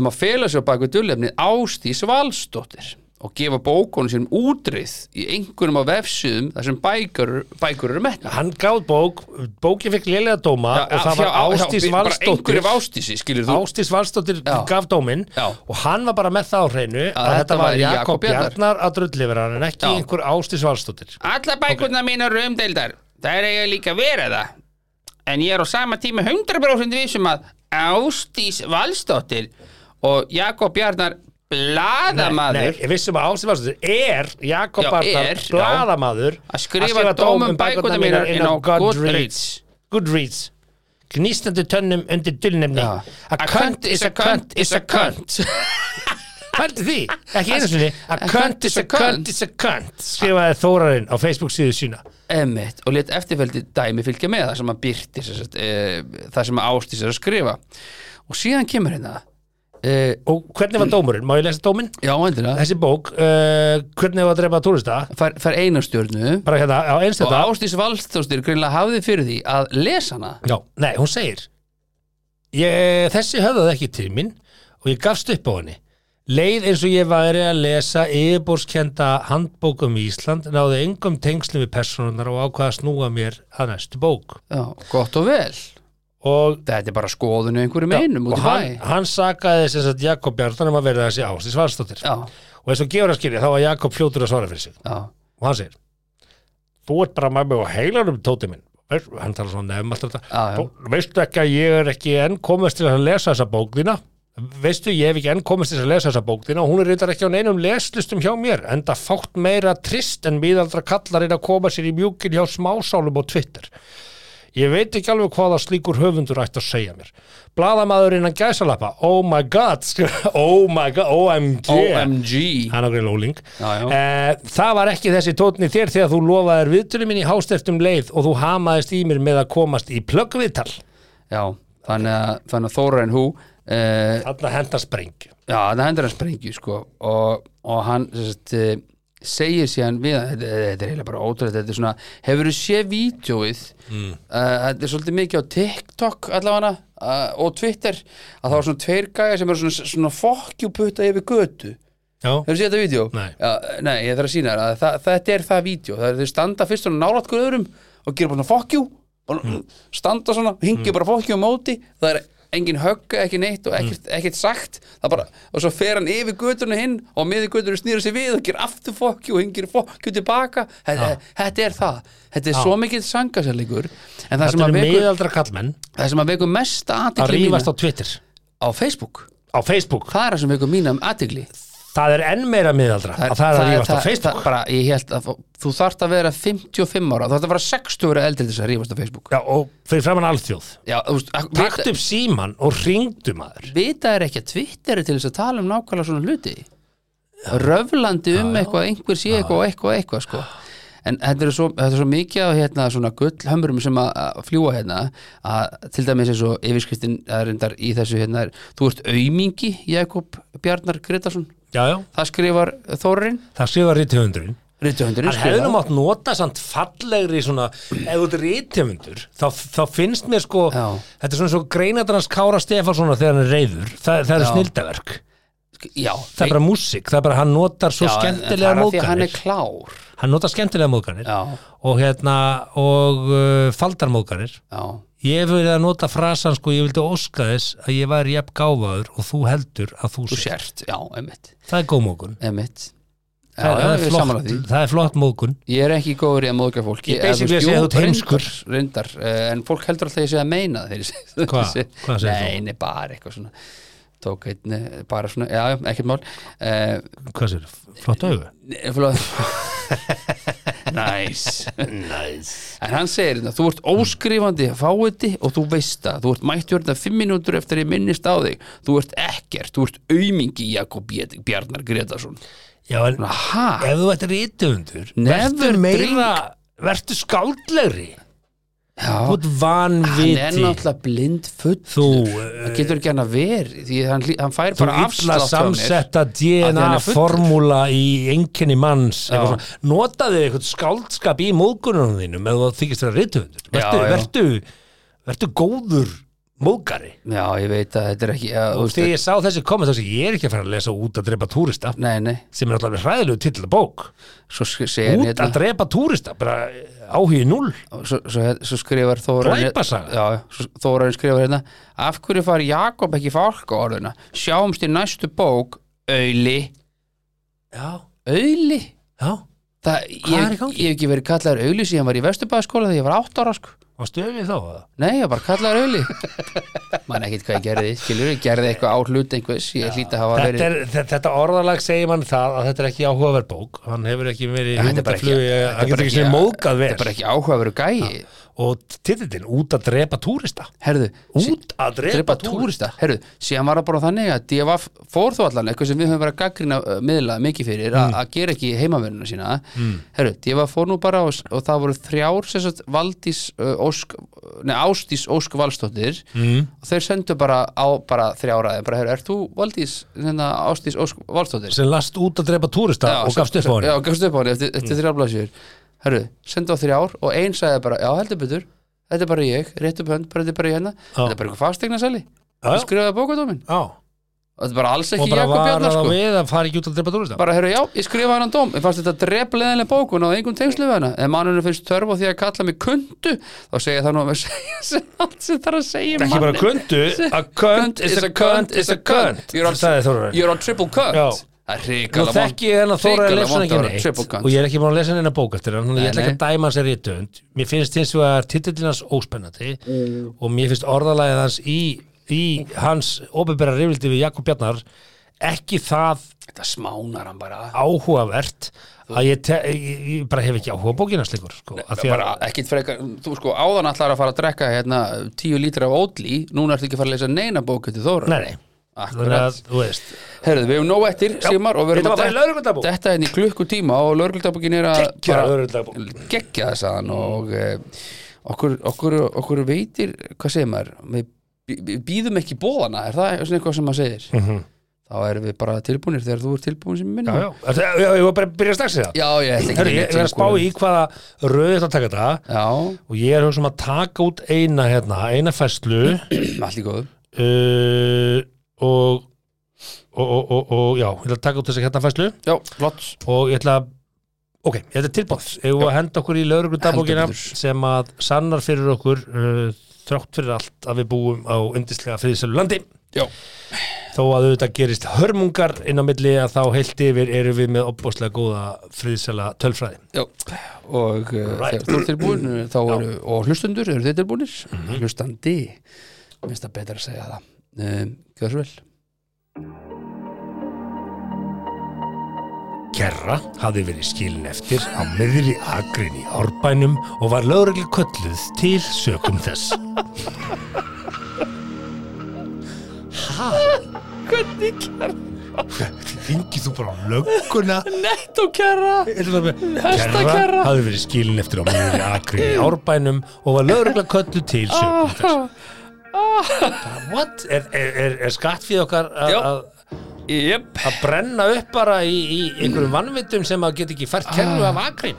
Speaker 3: um að fela sér bak við dullefni Ástís Valsdóttir og gefa bókunum sínum útrið í einhverjum á vefsíðum þar sem bækur, bækur eru metna
Speaker 4: hann gáð bók, bókin fekk lélega dóma og það var Ástís Valstóttir
Speaker 3: einhverjum Ástísi, skilur þú
Speaker 4: Ástís Valstóttir
Speaker 3: Já.
Speaker 4: gaf dóminn
Speaker 3: Já.
Speaker 4: og hann var bara með það á hreinu að, þetta var Jakob Bjarnar að drullifra hann en ekki
Speaker 3: Já.
Speaker 4: einhver Ástís Valstóttir
Speaker 3: Alla bækurnar mínar eru umdeildar Það er eiga líka að vera það En ég er á sama tíma 100% vissum að Ástís Valsdóttir og Jakob Bjarnar blaðamaður
Speaker 4: ég vissum að Ástís Valstóttir er Jakob
Speaker 3: Já,
Speaker 4: Bjarnar
Speaker 3: er, já.
Speaker 4: blaðamaður
Speaker 3: að skrifa dóm um bækurnar mínar inn á Goodreads
Speaker 4: Goodreads gnýstandi tönnum undir dulnefni
Speaker 3: Já.
Speaker 4: a cunt is a cunt is a cunt Pældi því, ekki einu sinni A cunt is a cunt is a cunt skrifaði Þórarinn á Facebook síðu sína
Speaker 3: Emmett og let eftirfældi dæmi fylgja með það sem að byrti sagt, e, það sem að Ástís er að skrifa og síðan kemur hérna e,
Speaker 4: Og hvernig var dómurinn? Má ég lesa dóminn?
Speaker 3: Já, endilega
Speaker 4: Þessi bók, uh, hvernig var að drepa túrista?
Speaker 3: Fær, fær eina stjörnu
Speaker 4: Bara hérna, á eins
Speaker 3: og
Speaker 4: þetta
Speaker 3: Ástís Valstóttir greinlega hafði fyrir því að lesa hana
Speaker 4: Já, nei, hún segir ég, Þessi höfðaði ekki til mín og ég gafst upp á henni Leið eins og ég væri að lesa yfirbórskenda handbókum í Ísland náði engum tengslum við personunar og ákvaða að snúa mér að næstu bók
Speaker 3: Já, gott og vel
Speaker 4: og
Speaker 3: Þetta er bara skoðun í einhverjum einum út í
Speaker 4: og hann,
Speaker 3: bæ
Speaker 4: hann sakaði sem sagt Jakob Bjarnar um að verða þessi Ásís Valstóttir
Speaker 3: Já,
Speaker 4: og eins og gefur að skilja þá var Jakob fljótur að svara fyrir sig
Speaker 3: já,
Speaker 4: og hann segir þú ert bara með mig á heilanum tóti minn Veist- hann talar svona nefn alltaf þetta
Speaker 3: Já, já.
Speaker 4: "Þú- veistu ekki að ég er ekki enn komast til að lesa þessa bók þína veistu ég hef ekki enn komast til að lesa þessa bók þína og hún er reyndar ekki á neinum leslistum hjá mér enda fátt meira trist en miðaldra kallarinn að koma sér í mjúkin hjá smásálum og Twitter ég veit ekki alveg hvaða slíkur höfundur ætti að segja mér bladamaður innan gæsalappa oh my god skrifa- oh my god OMG
Speaker 3: OMG
Speaker 4: hann á greið lóling
Speaker 3: Já, já.
Speaker 4: Eh, það var ekki þessi tótni þér þegar þú lofaðir viðtölu minn í hástertum leið og þú hamaðist í mér með að komast í plöggviðtal
Speaker 3: Já, þannig að, þannig að Þórainn Hú uh,
Speaker 4: þarna henda sprengju
Speaker 3: Já, það hendur hann sprengju sko og, og hann sem sagt, eh, segir síðan við hann, þetta, þetta er heila bara ótrúlega þetta er svona, hefur þú séð vídjóið mm. þetta er svolítið mikið á TikTok allavega uh, og Twitter að það var svona tveir gæja sem eru svona, svona fokkjúputta yfir götu
Speaker 4: já,
Speaker 3: Hefur séð þetta vídeo?
Speaker 4: Nei.
Speaker 3: Já, nei, ég þarf að sína þér að það, þetta er það vídeo Það er þau standa fyrst svona nálægt hver öðrum og gera bara svona fuck you bara,
Speaker 4: Mm.
Speaker 3: standa svona, hingja bara fuck you á móti það er engin högga, ekki neitt og ekkert,
Speaker 4: Mm.
Speaker 3: ekkert sagt Það bara, og svo fer hann yfir göturnu hinn og miður göturnu snýra sér við og gera aftur fuck you og hingir fuck you tilbaka þetta, þetta er það, þetta er svo mikið sangasælingur en það sem, að
Speaker 4: þetta eru
Speaker 3: vekur,
Speaker 4: miðaldra kallmenn
Speaker 3: það sem að veku mest
Speaker 4: að
Speaker 3: aðtikli mína
Speaker 4: rífast á Twitter
Speaker 3: á Facebook
Speaker 4: á Facebook,
Speaker 3: hvað er það sem veku mína um aðtikli?
Speaker 4: það er enn meira miðaldra að það er að rífast á
Speaker 3: það,
Speaker 4: Facebook
Speaker 3: bara, ég held að þú þarft að vera 55 ára, þú þarft að vera 60 ára eldri til þess að rífast á Facebook
Speaker 4: já, og fyrir framann alþjóð
Speaker 3: Já, þú veist, ak-
Speaker 4: takt
Speaker 3: vita,
Speaker 4: upp síman og ringdu maður
Speaker 3: vita er ekki að Twitter er til þess að tala um nákvæmlega svona hluti röflandi um eitthvað, einhver sé eitthvað og eitthvað og eitthvað sko en þetta er svo, þetta er svo mikið af hérna, svona gullhömrum sem að, að fljúa hérna að til dæmis eins og yfirskriftin það er endar í þessu hérna er, þú ert aumingi Jakob Bjarnar Gretarsson
Speaker 4: já, já,
Speaker 3: það skrifar Þórin
Speaker 4: það skrifar rithöfundurinn
Speaker 3: Rithöfundurinn
Speaker 4: hann hefði nú mátt nota samt fallegri svona, ef þú ert rithöfundur þá, þá finnst mér sko
Speaker 3: Já.
Speaker 4: þetta er svona svo greinadarnas Kára Stefánssona þegar hann er reyður, það, það er
Speaker 3: Já.
Speaker 4: snildaverk
Speaker 3: já,
Speaker 4: það er bara músík, það er bara hann notar svo
Speaker 3: já, en- en það er að
Speaker 4: skemmtilega
Speaker 3: því að hann
Speaker 4: móðganir
Speaker 3: er klár
Speaker 4: hann notar skemmtilega móðganir
Speaker 3: já,
Speaker 4: og hérna og uh, faldar móðganir
Speaker 3: já,
Speaker 4: ég hef verið að nota frasan sko, ég vildi óska þess að ég væri jafn gáfaður og þú heldur að þú,
Speaker 3: þú
Speaker 4: sért.
Speaker 3: sért já, emitt,
Speaker 4: það er góð móðgun
Speaker 3: emitt já,
Speaker 4: það,
Speaker 3: já, ég
Speaker 4: það, er
Speaker 3: er sammála
Speaker 4: flott,
Speaker 3: því
Speaker 4: það er flott móðgun
Speaker 3: Ég er ekki góður í að móðga fólk
Speaker 4: Ég basically að segja að þú ert heimskur.
Speaker 3: reyndar, eh, En fólk heldur alltaf að ég sé að meina það þegar ég
Speaker 4: Hva?
Speaker 3: segi-
Speaker 4: Hvað segir þú?
Speaker 3: Nei, nei, bara eitthvað svona Tók einn, eh, bara svona, já, já, ekkert mál uh,
Speaker 4: hvað sér, flott auðu
Speaker 3: Næs Næs En hann segir þetta, þú ert óskrifandi fáiði og þú veist það, þú ert mættur þetta fimm mínútur eftir ég minnist á þig þú ert ekkert, þú ert aumingi Jakob Bj- Bjarnar Gretarsson
Speaker 4: já en
Speaker 3: Aha,
Speaker 4: ef þú ert reytöfundur
Speaker 3: Never
Speaker 4: verður meira
Speaker 3: drink.
Speaker 4: verður skáldlegri
Speaker 3: já,
Speaker 4: þú ert
Speaker 3: hann er
Speaker 4: vanviti
Speaker 3: náttúrulega blind full
Speaker 4: þú
Speaker 3: það getur ekki hann að veri því hann, hlý- hann fær
Speaker 4: Þú
Speaker 3: bara
Speaker 4: illa
Speaker 3: afslátt hjá mér
Speaker 4: samsetta
Speaker 3: Af því hann er fullur.
Speaker 4: DNA-formúla í enginni manns
Speaker 3: Já.
Speaker 4: eitthvað svona. notaðu eitthvað skáldskap í móðgununum þínum eða þú þykist þér að reytöfundur vertu,
Speaker 3: já.
Speaker 4: vertu, vertu góður móðgari
Speaker 3: já ég veit að þetta er ekki að,
Speaker 4: og
Speaker 3: þú veist,
Speaker 4: þegar ég sá þessi komið þessi ég er ekki að fara að lesa út að drepa túrista
Speaker 3: nei nei
Speaker 4: sem er alltaf hræðilegu til bók
Speaker 3: svo sk- segir hann
Speaker 4: út að
Speaker 3: hérna
Speaker 4: drepa túrista bara áhugi null
Speaker 3: svo, svo, hér- svo skrifar hérna- Þórainn
Speaker 4: Glæpasaga.
Speaker 3: já, svo Þórainn skrifar hérna af hverju far Jakob ekki fálka orðuna sjáumst í næstu bók auðli
Speaker 4: já,
Speaker 3: auðli
Speaker 4: já,
Speaker 3: það,
Speaker 4: Hvað er
Speaker 3: ég,
Speaker 4: í gangi?
Speaker 3: ég hef ekki verið kallaður auðli síðan var í Vesturbæðaskóla þegar ég var 8 ára sko
Speaker 4: og stöfið þá eða?
Speaker 3: Nei, ég var bara kallaður auðli Man ekkit hvað ég gerði, skilur ég gerði eitthvað á hlut einhvers, ég hlýta að hafa verið
Speaker 4: þetta, er, þe- þetta orðalag segir mann það að þetta er ekki áhugaverð bók hann hefur ekki verið
Speaker 3: Þetta er bara ekki-
Speaker 4: hugmyndaflugi
Speaker 3: þetta er
Speaker 4: hann
Speaker 3: bara
Speaker 4: getur ekki sem móðgað
Speaker 3: Þetta er bara
Speaker 4: vel
Speaker 3: ekki áhugaveru gæi
Speaker 4: og titillin út að drepa túrista
Speaker 3: Herðu, sí-
Speaker 4: út að drepa
Speaker 3: drepa
Speaker 4: túrista
Speaker 3: túrista Herðu, síðan var það bara þannig að DFF fór þó allan eitthvað sem við höfum verið að gaggrina miðla mikið fyrir mm. að gera ekki heimavörnuna sína mm. Herðu, DFF fór nú bara og, og það voru þrjár sem sagt Valdís uh, Ósk Nei, Ástís Ósk Valstóttir mm. og þeir sendu bara á bara þrjáraði bara, herru, ert þú Valdís hérna, Ástís Ósk Valstóttir?
Speaker 4: sem last út að drepa túrista og
Speaker 3: sem-
Speaker 4: gafst upp á
Speaker 3: Já,
Speaker 4: henni
Speaker 3: gafst upp á henni eftir, eftir mm. þrjá blaðsjur Herru, senda á þrjár og einn sagði bara, já, heldur betur Þetta er bara ég, rétt upp hönd, bara þetta er bara ég hérna Þetta er bara eitthvað fastegna sali
Speaker 4: Já, já.
Speaker 3: Skrifaði bókadómin
Speaker 4: Já.
Speaker 3: Og þetta er bara alls
Speaker 4: og
Speaker 3: ekki
Speaker 4: bara
Speaker 3: Jakob
Speaker 4: var
Speaker 3: Bjarnar
Speaker 4: það
Speaker 3: sko
Speaker 4: við að fara ekki út að drepa túrista
Speaker 3: Bara, herru, já, ég skrifaði hann dóm Ég fannst þetta drepleðinlega bókun á engum tengslu við hana En mannunum finnst törf á því að kalla mig kundu Þá segja það nú að mér segja sem allt sem þarf að segja
Speaker 4: ekki bara
Speaker 3: manni.
Speaker 4: kundu a cunt is a cunt is a cunt
Speaker 3: You're on-
Speaker 4: sagði Þórarinn
Speaker 3: You're on triple
Speaker 4: Já.
Speaker 3: cunt Það er
Speaker 4: Nú
Speaker 3: hrikalega vont-
Speaker 4: þekki ég hennar Þóra
Speaker 3: hrikalega
Speaker 4: Leifsson
Speaker 3: vont
Speaker 4: ekki
Speaker 3: að vera
Speaker 4: neitt
Speaker 3: triple cunt.
Speaker 4: og ég er ekki búin að lesa hennar bók eftir hann þannig að ég ætla
Speaker 3: Nei,
Speaker 4: ekki að dæma hans er réttönd mér finnst hins vegar titillinans óspennandi og mér finnst orðalagið hans í, í hans opinbera reyfildi við Jakob Bjarnar ekki það
Speaker 3: Þetta smánar hann bara
Speaker 4: áhugavert að ég, te, ég, ég bara hef ekki áhuga á bókina slikur sko, að því að
Speaker 3: bara ekkit frekar, þú sko áðan allar að fara að drekka hérna tíu lítra af ódli núna ertu ekki að fara að lesa neina bóku til Þóra
Speaker 4: nei, nei, þannig að þú veist
Speaker 3: Herðu, við hefum nóg eftir, Sigmar og við
Speaker 4: þetta
Speaker 3: erum
Speaker 4: var bara
Speaker 3: detta-
Speaker 4: lögreglutabók.
Speaker 3: detta henni klukkutíma og lögreglutabókin er að
Speaker 4: Geggjaða lögreglutabók.
Speaker 3: geggja þess að hann og eh, okkur, okkur, okkur veitir hvað segir maður, við bí- býðum ekki bóðana, er það svona eitthvað sem maður segir þá erum við bara tilbúinir þegar þú er tilbúin sem
Speaker 4: Mhm. já,
Speaker 3: minnum
Speaker 4: já, Þetta- já, ég var bara að byrja strax í það
Speaker 3: já, ég ætla ekki
Speaker 4: Hörru, ég, ég er að spá í hvaða röðu þetta að taka þetta
Speaker 3: Já,
Speaker 4: og ég er hugsa um að taka út eina hérna, eina fæslu
Speaker 3: allt í góðu
Speaker 4: uh, og, og, og, og, og já, ég ætla að taka út þessa hérna fæslu
Speaker 3: Já, flott
Speaker 4: og ég ætla að ok, þetta er tilbóð, ég var að henda okkur í lögreglu dagbókina
Speaker 3: Heldur betur.
Speaker 4: sem að sannar fyrir okkur uh, þrátt fyrir allt að við búum á yndislega friðsölu landi
Speaker 3: Já,
Speaker 4: þó að auðvitað gerist hörmungar inn á milli að þá heilt yfir eru við með opbóðslega góða friðsela tölfræði
Speaker 3: Já, og uh,
Speaker 4: Right.
Speaker 3: þegar þú ert tilbúin uh, þá eru, og hlustundur, eru þið tilbúinir? Hlustandi, minnst það betra að segja það um, Gjör svo vel
Speaker 4: Kerra hafði verið skilin eftir á miðri akrin í árbænum og var lögreglu kölluð til sökum þess.
Speaker 5: Hvernig gerði það?
Speaker 4: Ringið þú bara á lögguna
Speaker 7: Netto kæra Hestakerra.
Speaker 4: Kerra hafði verið skilin eftir á mjög akri í árbænum og var lögregla köllu til sögum þess. What? Er, er, er, er skattfíð okkar að-
Speaker 7: Já.
Speaker 4: að
Speaker 7: Jep
Speaker 4: að brenna upp bara í, í einhverjum vannvindum sem að geta ekki fært kerru af akri?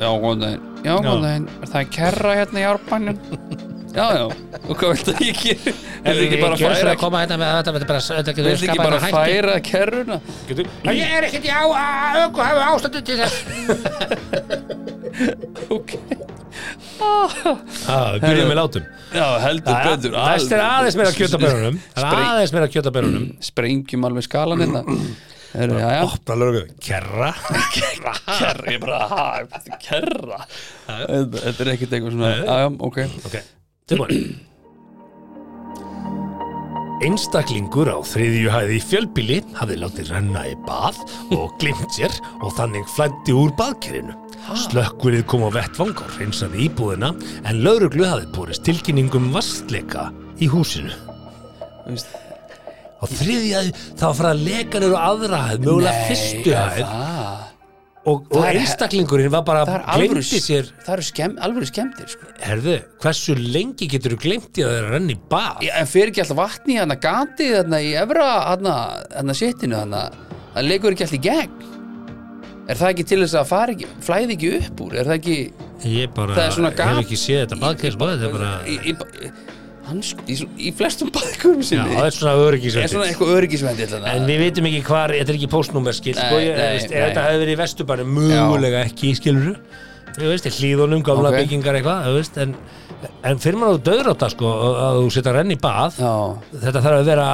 Speaker 5: Já, góðan daginn Já, góðan daginn Er það kerra hérna í árbænum? já, já Og hvað viltu að ég gera? Viltu ekki bara
Speaker 4: Gjörðu svo
Speaker 5: færa
Speaker 4: að koma hérna með þetta, þetta, bara- þetta getur
Speaker 5: Viltu ekki
Speaker 4: skapað
Speaker 5: bara
Speaker 4: hérna hættu.
Speaker 5: færa kerruna?
Speaker 4: Getur- Ég er ekkert í á, að auku hafa ástöndu til þess.
Speaker 5: Ok
Speaker 4: Það byrjum með Ah, látum.
Speaker 5: Já, heldur betur
Speaker 4: Þess er aðeins meira kjötabörunum. Það er
Speaker 5: Spreng-
Speaker 4: aðeins meira kjötabörunum.
Speaker 5: Sprengjum alveg skalan hérna Heru, já, já.
Speaker 4: Opna lögum. Kerra.
Speaker 7: Kerra Ég bara ha Kerra
Speaker 5: Þetta þetta er ekkert eitthvað svona Já, já, ok
Speaker 4: Ok, tilbúin. Einstaklingur á þriðju hæði í fjölbíli hafði látið renna í bað og glimt sér og þannig flændi úr baðkerinu. Slökkvilið kom á vettvang og hreinsaði íbúðina en lauruglu hafði borist tilkynningum vastleika í húsinu.
Speaker 5: Veist-
Speaker 4: Á þriðju hæði þá fara lekanur og aðra hæð, mögulega fyrstu hæð
Speaker 5: ah,
Speaker 4: og, og
Speaker 5: Það er-
Speaker 4: einstaklingurinn var
Speaker 5: Það
Speaker 4: bara
Speaker 5: er alvöru
Speaker 4: glimti sér.
Speaker 5: Það eru skemm, alvöru skemmtir sko.
Speaker 4: Herðu, hversu lengi getur þú glimti að þeirra renna í bað?
Speaker 5: Já, En fyrir ekki alltaf vatni í hana gatið hana í efra hana, hana sittinu hana Það leikur ekki alltaf í gegn Er það ekki til þess að fara ekki, flæði ekki upp úr? Er það ekki
Speaker 4: Ég bara
Speaker 5: Það er svona
Speaker 4: hef
Speaker 5: gap.
Speaker 4: ekki séð þetta baðkæðisbað Þetta er bara
Speaker 5: í, í, í, hans, í, í flestum baðkurum
Speaker 4: Já,
Speaker 5: sinni
Speaker 4: það er svona
Speaker 5: Er svona
Speaker 4: öryggisvætti
Speaker 5: eitthvað hérna? öryggisvendi
Speaker 4: En við veitum ekki hvar, þetta er ekki postnúmerskil
Speaker 5: Nei,
Speaker 4: sko, ég-
Speaker 5: nei,
Speaker 4: veist,
Speaker 5: nei.
Speaker 4: Ef þetta hefði verið í vesturbænum Mögulega ekki, skilur Þú veist, í hlýðunum, gamla
Speaker 5: Ok.
Speaker 4: byggingar eitthvað þú veist, En, en fyrir maður þú döður á þetta sko, Að þú setja renn í bað
Speaker 5: Já,
Speaker 4: Þetta þarf að vera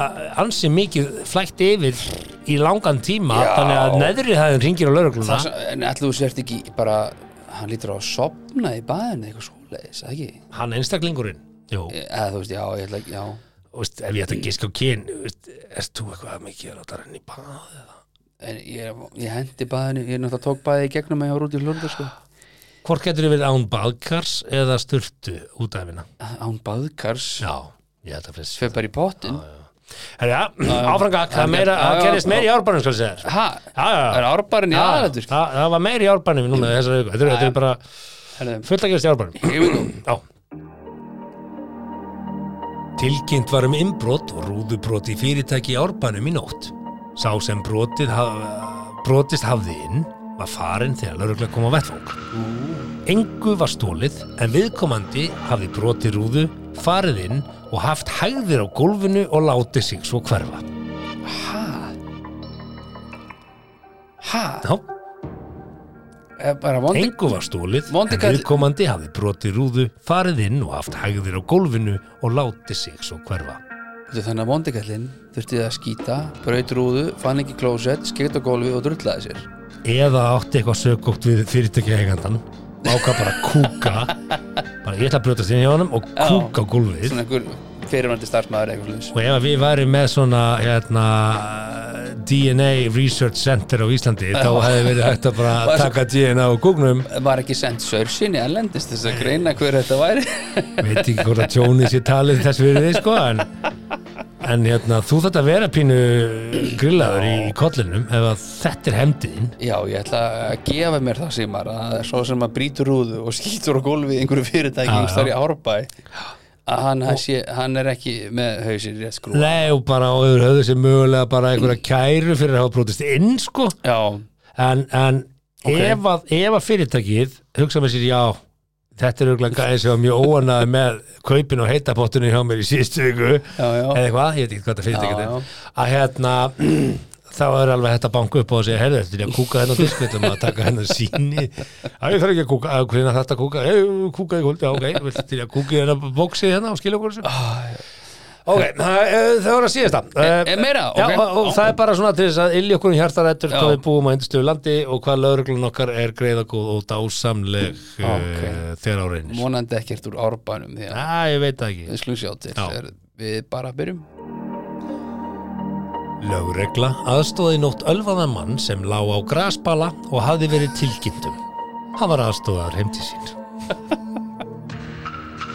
Speaker 4: ansi mikið flækt yfir í langan tíma þannig að neðri hæðin ringir á laurugluna
Speaker 5: það, en ætlum þú sért ekki bara hann lítur á að sopna í baðinu eitthvað svoleiðis, eða ekki?
Speaker 4: hann einstaklingurinn Jú,
Speaker 5: Eða þú veist, já, ég ætla ekki, já
Speaker 4: þú veist, ef ég ætti að gíska á kyn þú veist, Ert þú eitthvað mikið að láta renn í bað
Speaker 5: En ég, ég hendi baðinu, ég náttúrulega tók baði í gegnum að ég var út í hlunda sko
Speaker 4: Hvort getur þið verið án baðkars eða sturtu út af hérna?
Speaker 5: Án baðkars,
Speaker 4: Já, ég held að flest.
Speaker 5: fer bara í pottin
Speaker 4: Herja, áfrangak, það, er meira,
Speaker 5: já,
Speaker 4: það
Speaker 5: já,
Speaker 4: gerist
Speaker 5: já.
Speaker 4: meira í árbænum, skal ég segja þér.
Speaker 5: Ha,
Speaker 4: Já, já,
Speaker 5: er
Speaker 4: já.
Speaker 5: árbarinn í
Speaker 4: Já,
Speaker 5: aðrættur?
Speaker 4: Það það var meira í árbænum núna þessar auku. Þetta er- þetta er bara
Speaker 5: Herðu,
Speaker 4: fullt að gerast í árbænum.
Speaker 5: Here we go.
Speaker 4: Já. Tilkynnt var um innbrot og rúðubrot í fyrirtæki í árbænum í nótt. Sá sem brotið haf, brotist hafði inn var farinn þegar lauruglega kom á vettvang. Engu var stólið en viðkomandi hafði brotið rúðu, farið inn og haft hægðir á gólfinu og látið sig svo hverfa.
Speaker 5: Ha Ha,
Speaker 4: Já,
Speaker 5: er bara vondi
Speaker 4: engu var stólið
Speaker 5: Vondi
Speaker 4: en
Speaker 5: kall-
Speaker 4: viðkomandi hafði brotið rúðu, farið inn og haft hægðir á gólfinu og látið sig svo hverfa.
Speaker 5: Veitu, Þannig að vondikallinn þurfti að skýta, braut rúðu, fann ekki klósett, skeitt á gólfi og drullaði sér
Speaker 4: eða átti eitthvað sögótt við fyrirtækja eigandann ákvað bara að kúka bara ég ætla að brjótast inn hjá honum og kúka á gólfið
Speaker 5: Svona einhver fyrirvændi starfsmæður eitthvað leins
Speaker 4: og ef að við væri með svona hérna, DNA Research Center á Íslandi þá hefði verið hægt að bara taka DNA og kúknum
Speaker 5: Var ekki sendt sörsinni erlendist þess að greina hver þetta væri
Speaker 4: veit ekki hvort að tjónið sér talið þess verið þið sko en, en hérna, þú þetta vera pínu grillaður í, í kollinum ef að þetta er hefndiðin
Speaker 5: Já, ég ætla að gefa mér það símar að það er svo sem að brýtur rúðu og skýtur á gólfið í einhverju fyrirtæki
Speaker 4: Já,
Speaker 5: einhvers staðar í
Speaker 4: já.
Speaker 5: árbæ að hann, hann, sé, hann er ekki með hausinn rétt skrú
Speaker 4: Nei, og bara á öðru höfðu sem mögulega bara einhverja kæru fyrir að hafa brotist inn sko
Speaker 5: Já,
Speaker 4: en, en ef, að, ef að fyrirtækið hugsa með sér já þetta er auðvitað gæði sem var mjög óanað með kaupin og heitapottunni hjá mér í síðustu viku
Speaker 5: já,
Speaker 4: eða
Speaker 5: já
Speaker 4: eitthvað, ég veit ekki hvað þetta fyrirtækið
Speaker 5: Já, já.
Speaker 4: er að hérna þá er alveg hægt að banka upp á og segja herðu, þetta er að kúka hennar disk þetta maður að taka hennar síni að ég þarf ekki að kúka, að hvernig þetta kúka ég kúka í kvöld, já ok, þetta er að kúka hennar bóksið hennar hérna og skilja okkur þessu
Speaker 5: Ah,
Speaker 4: Ok, það eh, það var að síðasta Eh,
Speaker 5: er meira?
Speaker 4: Já,
Speaker 5: Ok.
Speaker 4: og, og það er bara svona til þess að ilja okkur um hjartarættur
Speaker 5: Já.
Speaker 4: hvað við búum á hindustu landi og hvað lögreglun okkar er greiðagóð og dásamleg
Speaker 5: Ok.
Speaker 4: okay. þegar á reynir
Speaker 5: Mónandi ekkert úr árbænum því að
Speaker 4: Já, ég veit það ekki
Speaker 5: við skulum sjá til
Speaker 4: Já.
Speaker 5: þegar við bara byrjum
Speaker 4: Lögregla aðstóði nótt ölvaðan mann sem lá á grasbala og hafði verið tilkynntum. Hann var aðstóðaður heim til sín.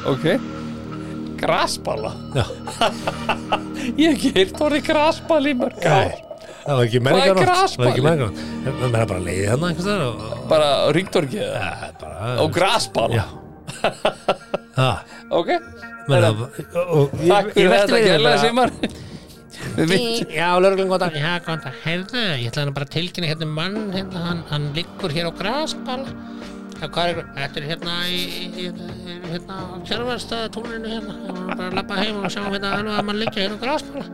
Speaker 5: Ok
Speaker 7: Grasballa
Speaker 4: Já,
Speaker 7: Ég hef ekki heyrt orðið grasballa í mörg ár
Speaker 4: Nei. það var ekki
Speaker 5: Hvað er
Speaker 4: menningar það var
Speaker 5: grasbalinn?
Speaker 4: ekki menningar nótt menn er bara leiðið hann einhvers þar og og-
Speaker 5: bara á ringtorkið eða?
Speaker 4: það er bara
Speaker 5: á grasbala
Speaker 4: já það
Speaker 5: ok,
Speaker 4: menn það og- og
Speaker 5: takk fyrir þetta gæla simar við veit
Speaker 8: Já, lögreglum góðan dag. Já, góðan dag. Herðu, ég ætla hann bara að tilkynna hérna um mann, hérna, hann, hann liggur hér á grasbala. Já, hvað er ykkur? Þetta er hérna í, í, í hérna, sérvarstæða túninu hérna. Ég var bara að labba heim og sjá hérna alveg að mann liggja hér á grasbala.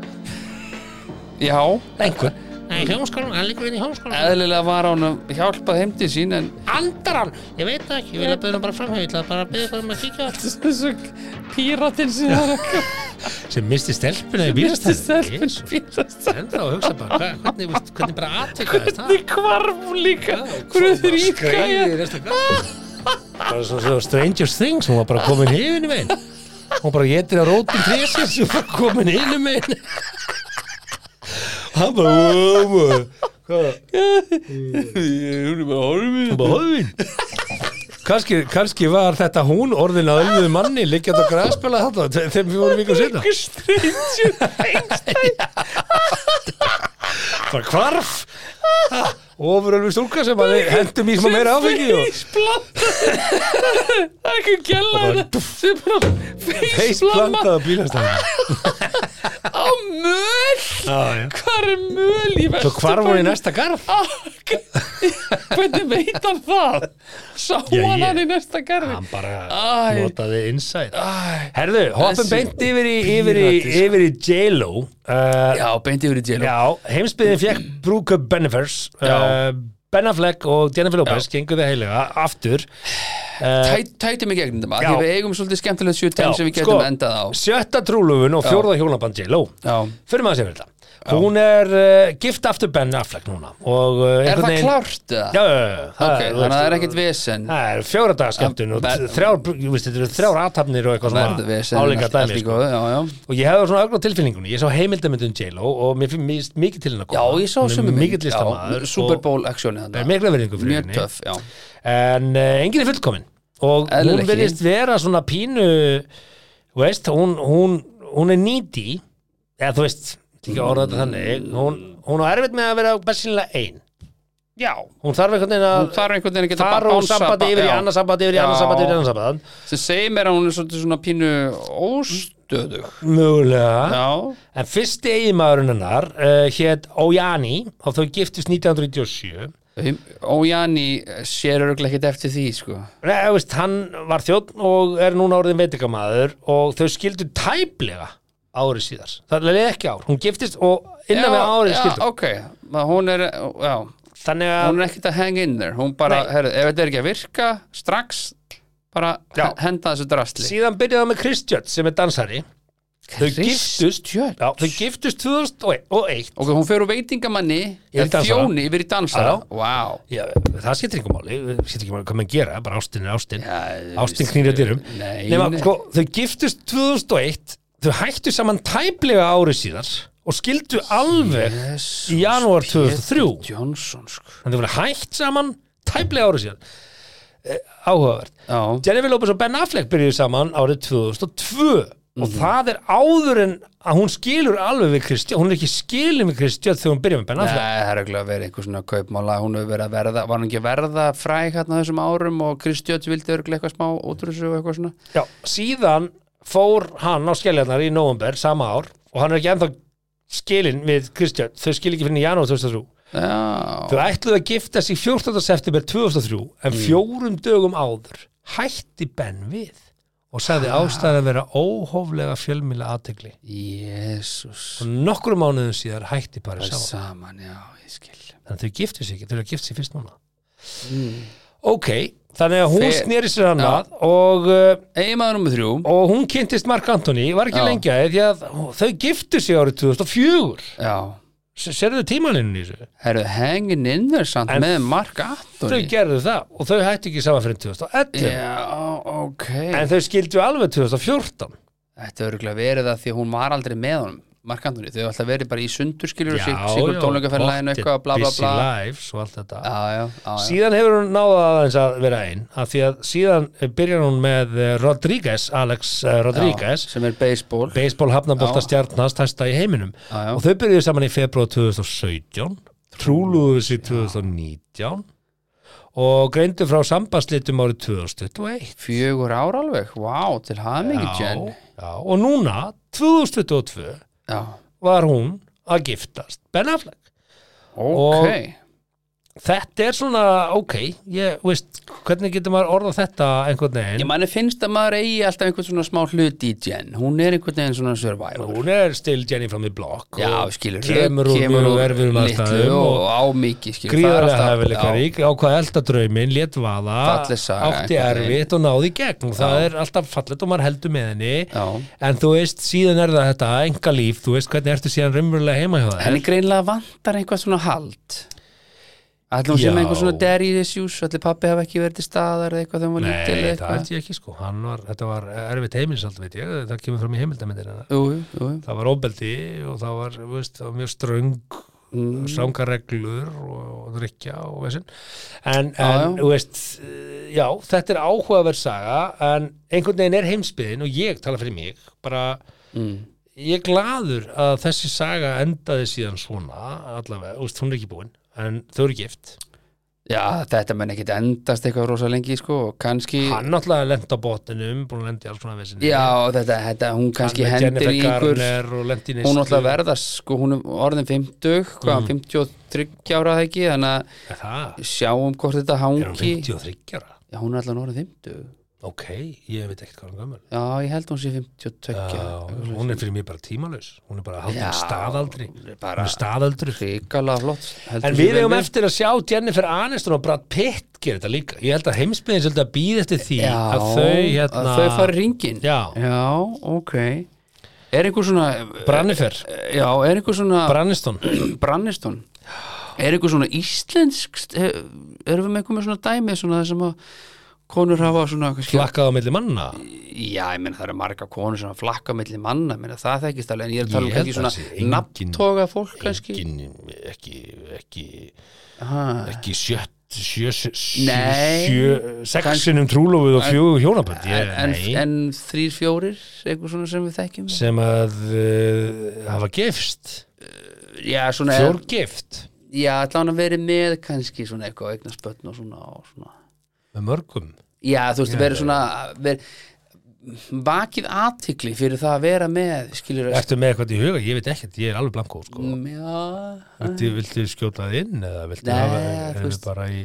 Speaker 5: já,
Speaker 4: einhver
Speaker 8: Nei, hjómskólan, hann liggur inn í hjómskólan.
Speaker 5: eðlilega var hann að hjálpa þeim til sín en
Speaker 8: Andar hann! Ég veit það ekki, ég vil að byrja hann bara framhau, ég ætla bara að byrja hann um að kíkja á allt.
Speaker 5: þessu píratinn sem það
Speaker 4: sem misti stelpuna í
Speaker 5: misti
Speaker 4: bílastæði
Speaker 5: stelpun píratinn
Speaker 4: en þá hugsa bara hva, hvernig, veist, hvernig bara aðtekaðist það
Speaker 5: í kvarf líka hvernig þeir íka
Speaker 4: skreiði resta gata bara svona svona Stranger Things hún var bara komin yfir í megin hún bara getur að rótum trésins hún var komin yfir í megin hann bara "Ó, maður, hvað
Speaker 5: hún er bara horfið
Speaker 4: er bara höfin kannski, kannski var þetta hún orðin að ölluðu manni liggjað á græspela þetta þe- þegar við vorum vikum setna bara kvarf ofurölvi stúlka sem að við hendum í smá meira áfengi og
Speaker 5: faceplanta það er ekki gæla sem bara faceplanta
Speaker 4: feisplantað á bílastæðinu
Speaker 5: á möl hvað er möl í
Speaker 4: Svo
Speaker 5: vestu Ah,
Speaker 4: hvarf hún í næsta garð
Speaker 5: hvernig veit hann það sá
Speaker 4: Já, ég-
Speaker 5: hann hann í næsta garði
Speaker 4: Hann bara
Speaker 5: Æ.
Speaker 4: notaði insight Herðu, hoppum
Speaker 5: Þessi
Speaker 4: beint yfir í, yfir í, yfir í J-Lo uh,
Speaker 5: já, beint yfir í djelo
Speaker 4: Já, heimsbyðin fekk Brúka Benefers uh,
Speaker 5: Já.
Speaker 4: Ben Affleck og Jennifer Lopez genguðu heilega aftur uh,
Speaker 5: Tæ- tætum í gegnum þetta, af
Speaker 4: Já.
Speaker 5: því við eigum svolítið skemmtilegt 7
Speaker 4: Já,
Speaker 5: sem við
Speaker 4: sko,
Speaker 5: getum endað á
Speaker 4: Sjötta trúlufun og fjórða hjónaband J-Lo
Speaker 5: Já.
Speaker 4: Fyrir maður sem fyrir þetta Hún er uh, gift aftur Ben Affleck núna og, uh,
Speaker 5: er
Speaker 4: einhvern
Speaker 5: það
Speaker 4: veginn-
Speaker 5: klárt eða?
Speaker 4: Já, já, já, já,
Speaker 5: ok,
Speaker 4: þú
Speaker 5: þannig að
Speaker 4: veist,
Speaker 5: það er ekkert vesen
Speaker 4: Það er fjóra daga skemmtun og
Speaker 5: Ver-
Speaker 4: þrjár, ég veist, þetta eru þrjár aðtapnir og
Speaker 5: verður
Speaker 4: eitthvað
Speaker 5: vesen
Speaker 4: svona áleika
Speaker 5: allt- allt
Speaker 4: dæmi
Speaker 5: í
Speaker 4: sko.
Speaker 5: góðu, já, já.
Speaker 4: og ég hefði svona ögn á tilfinningunni, ég sá heimildamöndum J-Lo og mér finnst mikið til hennar
Speaker 5: já, ég sá
Speaker 4: hún
Speaker 5: sem
Speaker 4: er mikið listamaður
Speaker 5: Super
Speaker 4: og
Speaker 5: Bowl action
Speaker 4: það er mikla verðingu fyrir
Speaker 5: mjög
Speaker 4: henni
Speaker 5: töff, já
Speaker 4: en uh, enginn er fullkomin og
Speaker 5: Eðlilega
Speaker 4: hún
Speaker 5: ekki.
Speaker 4: verðist vera svona pínu þú veist, hún, hún, hún er nýti eða þú veist, ekki að orða þetta þannig hún, hún á erfitt með að vera bæsynlega ein
Speaker 5: já,
Speaker 4: hún þarf einhvern veginn
Speaker 5: hún
Speaker 4: að
Speaker 5: þarf einhvern veginn að geta
Speaker 4: fara úr sambandi yfir í annað sambandi yfir í annað
Speaker 5: Já.
Speaker 4: sambandi yfir í annað sambandi
Speaker 5: sem segir mér að hún er svolítið svona pínu óstöðug
Speaker 4: mögulega
Speaker 5: já,
Speaker 4: En fyrsti eiginmaðurinn hennar uh, hétt Ójani og þau giftist 1997
Speaker 5: og Jani sér örgulega ekkert eftir því sko.
Speaker 4: Nei, þú veist, hann var þjónn og er núna orðin veitingamaður og þau skildu tæplega ári síðar. Það leði ekki ár. Hún giftist og innan við árið
Speaker 5: já,
Speaker 4: skildu.
Speaker 5: ok, það hún er já,
Speaker 4: Þannig að,
Speaker 5: hún er ekkert að hang in there hún bara,
Speaker 4: Nei.
Speaker 5: herru, ef þetta er ekki að virka strax, bara
Speaker 4: Já.
Speaker 5: henda þessu drastli
Speaker 4: síðan byrjaði það með Kristjörn sem er dansari. Þau giftust,
Speaker 5: Kristjörn?
Speaker 4: já, þau giftust 2001.
Speaker 5: ok, hún fer úr veitingamanni
Speaker 4: Yfir
Speaker 5: eða
Speaker 4: dansara.
Speaker 5: þjóni yfir í dansara
Speaker 4: Já.
Speaker 5: wow.
Speaker 4: Já, það skiptir ekki máli, skiptir ekki máli hvað maður gera, bara ástin er ástin,
Speaker 5: Já,
Speaker 4: ástin knýrja dyrum.
Speaker 5: Nei,
Speaker 4: Nefna,
Speaker 5: nei.
Speaker 4: sko, þau giftust 2001, þau hættu saman tæplega árið síðar og skildu alveg í janúar 2003.
Speaker 5: Johnson sko.
Speaker 4: En þau voru hætt saman tæplega árið síðar. E, áhugavert.
Speaker 5: já,
Speaker 4: Jennifer Lopez og Ben Affleck byrjuðu saman árið 2002 og
Speaker 5: Mhm.
Speaker 4: það er áður en að hún skilur alveg við Kristján, hún er ekki skilin við Kristján þegar hún byrjar með Ben
Speaker 5: Nei,
Speaker 4: Affleck.
Speaker 5: það er ekki að vera einhver svona kaupmála hún hefur verið að verða, var hún ekki að verða fræg hérna á þessum árum og Kristjóts vildi örglega eitthvað smá útrússu og eitthvað svona
Speaker 4: Já, síðan fór hann á skelljarnar í november sama ár og hann er ekki ennþá skilin við Kristján, þau skil ekki fyrir janúar 2003
Speaker 5: Já,
Speaker 4: þau ætluðu að gifta sig 14. september 2003 en fjórum dögum áður hætti Ben við og sagði ástæðan að vera óhóflega fjölmýla aðtegli
Speaker 5: jésús
Speaker 4: og nokkrum mánuðum síðar hætti bara saman
Speaker 5: Saman, já, ég skil
Speaker 4: þannig að þau giftu sig ekki, þau eru að gifta sig fyrst núna ok, þannig að hún
Speaker 5: Fer-
Speaker 4: sneri sér annað og uh,
Speaker 5: Eimaður nummer þrjú,
Speaker 4: og hún kynntist Mark Anthony var ekki
Speaker 5: Já.
Speaker 4: lengi að því að þau giftu sig árið 2004
Speaker 5: já
Speaker 4: S- sérðu tímaninu í þessu
Speaker 5: Herru, hangin in there samt
Speaker 4: En-
Speaker 5: með Mark
Speaker 4: þau
Speaker 5: Anthony
Speaker 4: gerðu það og þau hættu ekki saman fyrir 2011
Speaker 5: Já, ok
Speaker 4: en þau skildu alveg 2014
Speaker 5: Þetta er örglega verið að því að hún var aldrei með honum Mark Anthony, þau hefur alltaf verið bara í sundurskiljur og sig, sigur tónleikaferðlæðin eitthvað, bla bla bla
Speaker 4: síðan
Speaker 5: já, já, já, já.
Speaker 4: hefur hún náða aðeins að vera einn af því að síðan eh, byrjar hún með eh, Rodríguez, Alex eh, Rodríguez
Speaker 5: sem er baseball
Speaker 4: baseball hafnabolta stjarnast hæsta í heiminum
Speaker 5: Já, já.
Speaker 4: og þau byrjuðu saman í februar 2017 trúluðu sig 2019 og greindu frá sambaslitum árið 2021
Speaker 5: fjögur ár alveg, vá, til hafa mikið
Speaker 4: já,
Speaker 5: Jen
Speaker 4: já, og núna 2022
Speaker 5: já,
Speaker 4: var hún að giftast Ben Affleck
Speaker 5: ok
Speaker 4: þetta er svona ok ég, veist, hvernig getur maður orðað þetta einhvern
Speaker 5: ég
Speaker 4: veginn
Speaker 5: manni finnst að maður eigi alltaf einhvern svona smá hlut í Jen hún er einhvern veginn svona survivor
Speaker 4: hún er still Jenny from the block
Speaker 5: já,
Speaker 4: og
Speaker 5: skilur,
Speaker 4: kemur úr mjög erfiðum
Speaker 5: litlu
Speaker 4: aðstæðum
Speaker 5: og á mikið skilur, það er
Speaker 4: gríðarlega
Speaker 5: alltaf-
Speaker 4: hæfileika
Speaker 5: já.
Speaker 4: rík ákvað eldadraumin, lét vaða
Speaker 5: Falleg saga,
Speaker 4: átti
Speaker 5: einhvern veginn.
Speaker 4: erfitt og náði í gegn og það er alltaf fallet og maður heldur með henni
Speaker 5: Já.
Speaker 4: en þú veist, síðan er það þetta enga líf, þú veist hvernig ertu síðan raunverulega heima hjá það
Speaker 5: henni greinlega vantar einhvað svona hald ætli hún
Speaker 4: Já.
Speaker 5: sem einhver svona daddy issues ætli pappi hafa ekki verið til staðar eða eitthvað þegar hún var
Speaker 4: Nei,
Speaker 5: lítil eða
Speaker 4: það
Speaker 5: eitthvað
Speaker 4: held ég ekki sko Hann var, þetta var erfitt heimilisald veit ég, það kemur fram í heimildamindir
Speaker 5: jú, jú, jú, jú.
Speaker 4: það var óbeldi og það var, þú veist, það var mjög ströng mm. strangareglur og, og drikja og veisinn en, en
Speaker 5: Já, já.
Speaker 4: þú veist, já, þetta er áhugaverð saga en einhvern veginn er heimsbyðin og ég tala fyrir mig bara
Speaker 5: Mm.
Speaker 4: ég er gladur að þessi saga endaði síðan svona allavega, þú veist, hún er ekki búin en þau eru gift
Speaker 5: já, þetta menn ekkit endast eitthvað rosa lengi sko og kannski
Speaker 4: hann náttúrulega lent á botninum búin að lenda í alls svona vesinni
Speaker 5: Já, þetta, þetta, hún kannski hendir í einhver
Speaker 4: og lent í
Speaker 5: hún
Speaker 4: neyslu.
Speaker 5: náttúrulega verðast, sko, hún er orðin 50, hvað,
Speaker 4: Mhm.
Speaker 5: 53 ára það ekki, þannig
Speaker 4: Er það,
Speaker 5: að sjáum hvort þetta
Speaker 4: er hún
Speaker 5: hangi
Speaker 4: 53 ára
Speaker 5: Já, hún er allan orðin 50
Speaker 4: ok, ég veit ekkert hvað hann gömur
Speaker 5: Já, ég held hún sé 52
Speaker 4: Já, hún er fyrir mér bara tímalaus hún er bara haldin
Speaker 5: Já,
Speaker 4: staðaldri
Speaker 5: hún
Speaker 4: hún
Speaker 5: er
Speaker 4: er,
Speaker 5: bara-
Speaker 4: staðaldri
Speaker 5: Ríkala flott heldur
Speaker 4: en
Speaker 5: sér
Speaker 4: við
Speaker 5: vel
Speaker 4: eigum
Speaker 5: við.
Speaker 4: eftir að sjá Jennifer Aniston og Brad Pitt gera þetta líka ég held að heimsbyðin svolítið að býða eftir því
Speaker 5: Já,
Speaker 4: að þau hérna
Speaker 5: að þau fara ringin
Speaker 4: Já.
Speaker 5: ok Er einhver svona
Speaker 4: Brannifer,
Speaker 5: Já, er einhver svona
Speaker 4: Branniston
Speaker 5: Brannistón Er einhver svona íslensk st- eh, erum við með einhver með svona dæmi svona þar sem að konur hafa svona kannski-
Speaker 4: flakkað á milli manna
Speaker 5: Já, ég menn það eru marga konur sem flakka milli manna, menn það þekkist alveg en ég er að tala um
Speaker 4: Ég held
Speaker 5: kannski
Speaker 4: að
Speaker 5: svona
Speaker 4: sé engin-
Speaker 5: nafntoga fólk kannski
Speaker 4: Engin, ekki, ekki
Speaker 5: Ha,
Speaker 4: ekki sjött sjö, sjö,
Speaker 5: Nei.
Speaker 4: sjö sexinum trúlófið og fjögur hjónabönd
Speaker 5: en, en, en þrýr fjórir einhver svona sem við þekkjum
Speaker 4: sem að uh, hafa gefst
Speaker 5: Já, svona er,
Speaker 4: fjórgift
Speaker 5: já, allan að verið með kannski svona eitthvað eignar spötn og svona, og svona
Speaker 4: með mörgum
Speaker 5: Já, þú veist, verið svona verið, vakið athygli fyrir það að vera með skilur að
Speaker 4: Ertu með eitthvað í huga? Ég veit ekkert, ég er alveg blankó sko.
Speaker 5: Já,
Speaker 4: Ertu, viltu skjóta það inn eða viltu
Speaker 5: Mm, Nei,
Speaker 4: hafa,
Speaker 5: þú
Speaker 4: erum við
Speaker 5: veist.
Speaker 4: bara í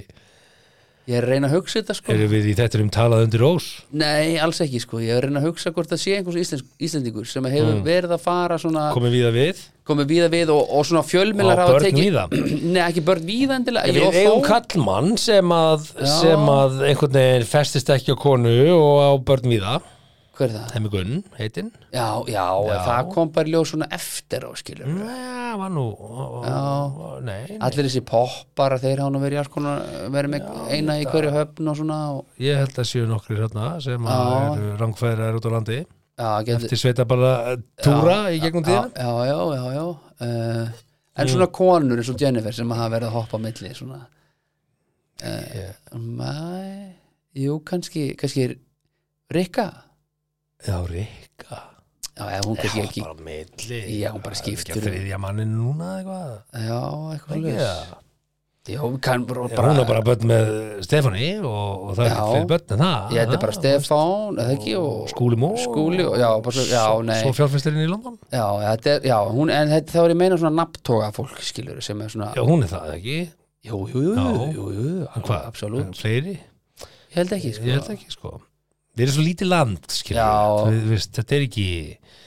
Speaker 5: ég er að reyna að hugsa þetta sko
Speaker 4: erum við í þetta um talað undir ós
Speaker 5: Nei, alls ekki sko, ég er að reyna að hugsa hvort það sé einhvers íslensk, íslendingur sem hefur
Speaker 4: Mm.
Speaker 5: verið að fara svona,
Speaker 4: komið við að við
Speaker 5: komið víða við og, og svona
Speaker 4: Og
Speaker 5: fjölmiðlar hafa
Speaker 4: börn
Speaker 5: tekið
Speaker 4: víða.
Speaker 5: Nei, ekki börn víða endilega
Speaker 4: Við
Speaker 5: Jó,
Speaker 4: eigum
Speaker 5: þó-
Speaker 4: kallmann sem að, sem að einhvern veginn festist ekki á konu og á börn við það
Speaker 5: Hver er það?
Speaker 4: Hemmi Gunn, heitinn
Speaker 5: Já, já, það kom bara í ljós svona eftir á skilur
Speaker 4: Mm. Já, var nú Já. Nei, nei.
Speaker 5: Allir þessi poppar að þeir hána verið í alls konar verið með eina í hverju höfn og svona og,
Speaker 4: ég held að séu nokkri hérna sem að
Speaker 5: Já.
Speaker 4: eru rangfæðrar út á landi
Speaker 5: já, getur,
Speaker 4: til sveita bara túra í gegnum
Speaker 5: já,
Speaker 4: tíðan
Speaker 5: já, já, já, já. Uh, En svona
Speaker 4: Mm.
Speaker 5: konur eins og Jennifer sem hafa verið að hoppa á milli svona uh, Mæ Jú, kannski, kannski er Rikka
Speaker 4: Já, Rikka
Speaker 5: Já, eða hún kannski ekki
Speaker 4: bara milli
Speaker 5: Já, hún bara
Speaker 4: Það er
Speaker 5: skiptir
Speaker 4: ekki að
Speaker 5: um.
Speaker 4: þriðja mannin núna eða eitthvað
Speaker 5: Já, eitthvað
Speaker 4: Ekki
Speaker 5: svoleiðis.
Speaker 4: það?
Speaker 5: Já, hún kann bara,
Speaker 4: Já, hún er bara börn með Stefani og, og það er
Speaker 5: Já.
Speaker 4: ekki fyrir börn en það Ah,
Speaker 5: Ég, þetta er bara Stefán, eða ekki og,
Speaker 4: Skúli Mó
Speaker 5: Skúli og- já, bara svo- já,
Speaker 4: Svo-
Speaker 5: nei.
Speaker 4: Svo fjárfestirinn í London
Speaker 5: Já, þetta er, já, hún, en þetta, þá er ég að meina svona nafntoga fólk, skilur, sem er svona
Speaker 4: Já, hún er það ekki
Speaker 5: Jú, jú, jú,
Speaker 4: Já.
Speaker 5: jú, jú,
Speaker 4: En hvað?
Speaker 5: absolutt
Speaker 4: Fleiri?
Speaker 5: Ég held ekki, sko
Speaker 4: Ég held ekki sko Við erum svo lítið land,
Speaker 5: Já.
Speaker 4: skiljum við, þetta er ekki,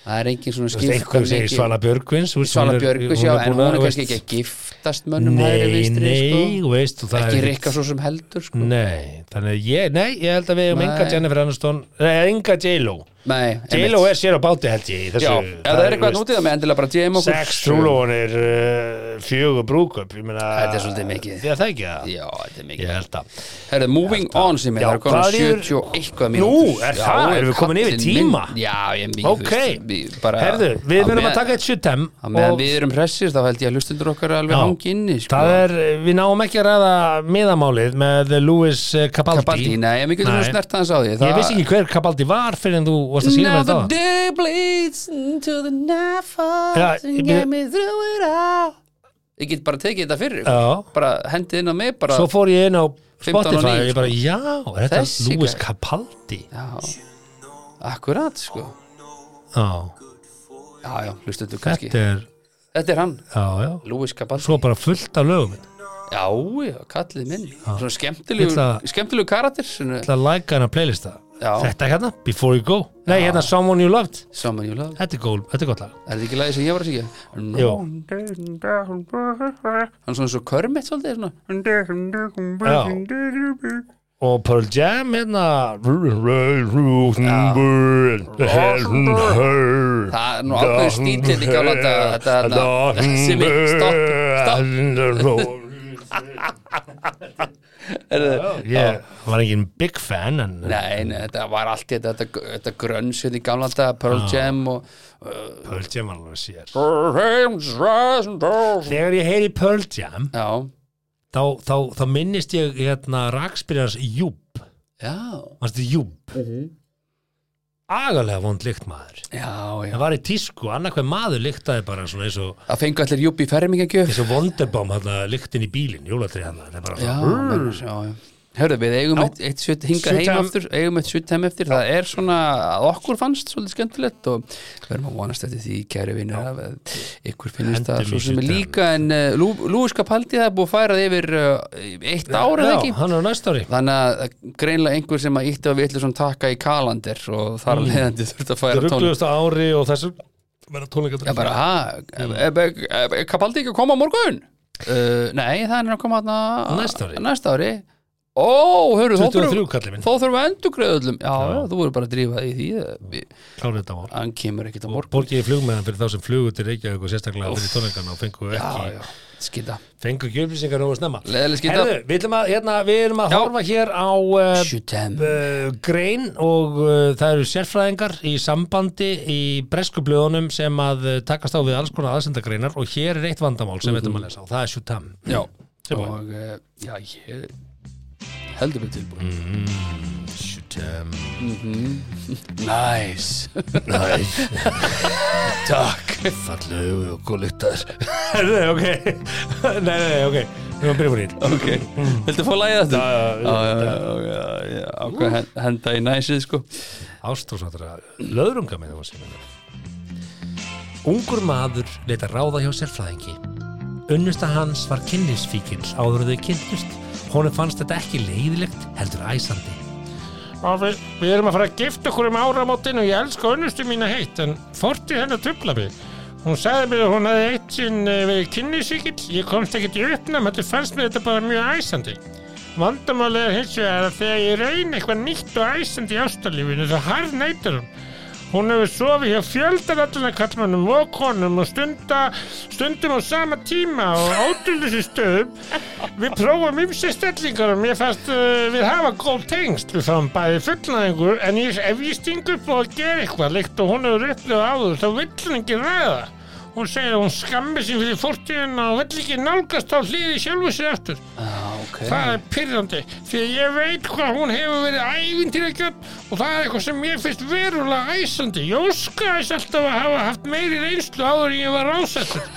Speaker 5: Það er engin
Speaker 4: þú
Speaker 5: svona
Speaker 4: veist, einhver segir Svala Björgvins, þú veist, hún
Speaker 5: Svala
Speaker 4: er-
Speaker 5: Björgus,
Speaker 4: hún
Speaker 5: já,
Speaker 4: er
Speaker 5: en
Speaker 4: búin að,
Speaker 5: hún er
Speaker 4: þú veist,
Speaker 5: kannski ekki að giftast mönnum hægri
Speaker 4: Nei,
Speaker 5: vinstri,
Speaker 4: nei,
Speaker 5: sko.
Speaker 4: þú veist, og það er
Speaker 5: Ekki
Speaker 4: Mm.
Speaker 5: Rikka svo sem heldur, sko
Speaker 4: Nei, þannig að ég, nei, ég held að við hefum enga
Speaker 5: Nei.
Speaker 4: Jennifer Aniston, nei, enga J-Lo
Speaker 5: Nei,
Speaker 4: J-Lo er sér á báti held ég í þessu,
Speaker 5: Já, ef það er eitthvað nútið með endilega bara DM okkur
Speaker 4: sex trúlónir uh, fjögur brúkup ég meina
Speaker 5: Þetta er svolítið mikið.
Speaker 4: Því að það ekki það
Speaker 5: Já, þetta er
Speaker 4: ég
Speaker 5: mikið
Speaker 4: held að
Speaker 5: Herðu, moving on sem er,
Speaker 4: Já,
Speaker 5: það er konar
Speaker 4: hvað er-
Speaker 5: 71
Speaker 4: Nú,
Speaker 5: mínútur
Speaker 4: er það? Erum við komin yfir tíma?
Speaker 5: Já, ég mjög
Speaker 4: Ok. herðu við verðum að taka eitt sjutem
Speaker 5: Á meðan
Speaker 4: og
Speaker 5: við erum hressir þá held ég að hlustundur okkar alveg
Speaker 4: Já.
Speaker 5: hangi inni sko.
Speaker 4: það er við náum ekki að ræða miðamálið með Louis eh, Capaldi,
Speaker 5: Capaldi, nei, en við getum
Speaker 4: Nei.
Speaker 5: nú snert aðeins á því
Speaker 4: ég vissi ekki hver Capaldi var fyrir en þú varst að sína með
Speaker 5: Now the
Speaker 4: þetta
Speaker 5: day bleeds into the
Speaker 4: Já,
Speaker 5: night falls
Speaker 4: ég-
Speaker 5: and get me through it all Ég get bara tekið þetta fyrir ykkur.
Speaker 4: já
Speaker 5: bara hendið inn á mig bara
Speaker 4: svo fór ég inn á
Speaker 5: 15 og
Speaker 4: Spotify og
Speaker 5: 9,
Speaker 4: ég bara, já, er þetta
Speaker 5: Þessi
Speaker 4: Louis
Speaker 5: gæ-
Speaker 4: Capaldi
Speaker 5: Já, akkurat sko
Speaker 4: já,
Speaker 5: Já, já, hlustundur kannski
Speaker 4: þetta er
Speaker 5: Þetta er hann,
Speaker 4: já, já,
Speaker 5: Louis Capaldi
Speaker 4: svo bara fullt af lögum
Speaker 5: Já, já, kallið minn Svona
Speaker 4: Ég
Speaker 5: skemmtilegu,
Speaker 4: ætla-
Speaker 5: skemmtilegu karatir svona,
Speaker 4: ætla að læka hana playlista
Speaker 5: Já.
Speaker 4: þetta hérna, Before You Go nei, hérna Someone You Loved,
Speaker 5: Saman ég laði
Speaker 4: þetta er, góð, þetta er gott lag
Speaker 5: Er þetta ekki lagið sem ég var að syngja?
Speaker 4: Jó.
Speaker 5: Hann er svona svo körmitt svolítið svona.
Speaker 4: já. og Pearl Jam hérna já
Speaker 5: Það er nú ákveður stílinn í gamla daga, þetta er þarna Simmi, stopp, stopp Heyrðu,
Speaker 4: ég var engin big fan en
Speaker 5: Nei, nei, þetta var allt í þetta, þetta, þetta grönns hérna í gamla daga, Pearl Jam og
Speaker 4: Pearl Jam var alveg sér
Speaker 5: Já,
Speaker 4: þegar ég heyri Pearl Jam þá, þá, þá minnist ég hérna rakspyrjans Júb
Speaker 5: já,
Speaker 4: Manstu Júb
Speaker 5: Mhm.
Speaker 4: Agalega vond lykt maður
Speaker 5: já, já
Speaker 4: Það var í tísku, annað hver maður lyktaði bara svona eins og,
Speaker 5: Það fengu allir júpi í fermingagjöf
Speaker 4: eins og Wonderbomb hérna, lyktin í bílinn, jólatrið hérna Það er bara
Speaker 5: Já,
Speaker 4: svona
Speaker 5: menn, já, já Hörðu, við eigum
Speaker 4: Já.
Speaker 5: eitt, eitt sjutt hingað
Speaker 4: Sjutt
Speaker 5: heim
Speaker 4: heim.
Speaker 5: aftur, eigum eitt sjutt heim eftir, það er svona að okkur fannst svolítið skemmtilegt og við erum að vonast eftir því, kæri vinnur, að að ykkur finnist
Speaker 4: Hendum
Speaker 5: það
Speaker 4: í
Speaker 5: svo sem er
Speaker 4: sjutt heim.
Speaker 5: líka en uh, Lú, Lúiska Paldi það er búið að færa það yfir uh, eitt ára eða ekki?
Speaker 4: Já, hann er á næsta ári
Speaker 5: Þannig að greinlega einhver sem að ítti á vitlu svona takka í kalandir og þar
Speaker 4: Hmm.
Speaker 5: mm. leðandi þurft að færa tónlist
Speaker 4: Ruggluðust ári og þessu verða tónleikatur
Speaker 5: Já bara, ha, e- e- e- e- Kapaldi ekki að koma á morgun? Uh, nei, það er að koma
Speaker 4: Á
Speaker 5: þarna
Speaker 4: næsta ári.
Speaker 5: Næsta ári Ó, hörru, þá
Speaker 4: 23
Speaker 5: þurfum
Speaker 4: kallið minn,
Speaker 5: þá þurfum við endurgreðullum Já, já, þú voru bara að drífa þig í því eh, Við-
Speaker 4: klárið þetta ár
Speaker 5: Hann kemur ekkert á morgun
Speaker 4: Borgið í flugmeðan fyrir þá sem flugu til Reykjavík og sérstaklega fyrir tónleikana og fengu
Speaker 5: Já, já,
Speaker 4: ekki,
Speaker 5: skita
Speaker 4: fengu ekki upplýsingar nógu snemma
Speaker 5: Leðileg skita
Speaker 4: Herðu, við ætlum að, hérna, við erum að
Speaker 5: Já.
Speaker 4: horfa hér á uh,
Speaker 5: Eh, Sjutem
Speaker 4: uh, grein og uh, það eru sérfræðingar í sambandi í bresku blöðunum sem að uh, takast á við alls konar aðsendagreinar og hér er eitt vandamál sem við ætlum að lesa og það er sjútam
Speaker 5: Já,
Speaker 4: Tilbúin.
Speaker 5: og eh, já, ég heldur við tilbúin
Speaker 4: Sjútam
Speaker 5: Nice
Speaker 4: Takk Fallegu og góð lyktar Nei, ok Nei, nei, nei, ok Við erum að byrja fyrir
Speaker 5: ok, viltu fá lægið þetta? Mm. Já, já, já, já, já, já, ákveð hen- henda í næsið sko
Speaker 4: Ástrósvatra löðrunga með hún sem hennar Ungur maður leita ráða hjá sérfræðingi Unnusta hans var kynlífsfíkil áður en þau kynntust Honum fannst þetta ekki leiðilegt heldur æsandi
Speaker 6: Og við, við erum að fara að gifta okkur um áramótin og ég elska unnustu mína heitt en fortið hennar trubla mig. Hún sagði mér að hún hefði eitt sinn eh, verið kynlífsvíkill, ég komst ekkert í uppnám, þetta fannst mér þetta bara mjög æsandi. Vandamálið er hins vegar að þegar ég reyni eitthvað nýtt og æsandi í ástarlífinu þá harð neytir hún. Hún hefur sofið hjá fjöldanallina kallmannum og konum og stunda, stundum á sama tíma og ótrúleysi stöðum. Við prófum ymsi stellingar og mér fannst uh, við hafa góð tengst. Við fáum bæði fullnæðingur en ég, ef ég sting upp og gera eitthvað líkt og hún hefur upplifað áður þá vill hún ekki ræða. Hún segir að hún skammi sín fyrir fórtíðina og vill ekki nálgast á hliði sjálfu sér eftir.
Speaker 5: ok,
Speaker 6: Það er pyrrandi því að ég veit hvað hún hefur verið ævintýragjörn og það er eitthvað sem mér finnst verulega æsandi. Ég óska þess alltaf að hafa haft meiri reynslu áður en ég var rásettur.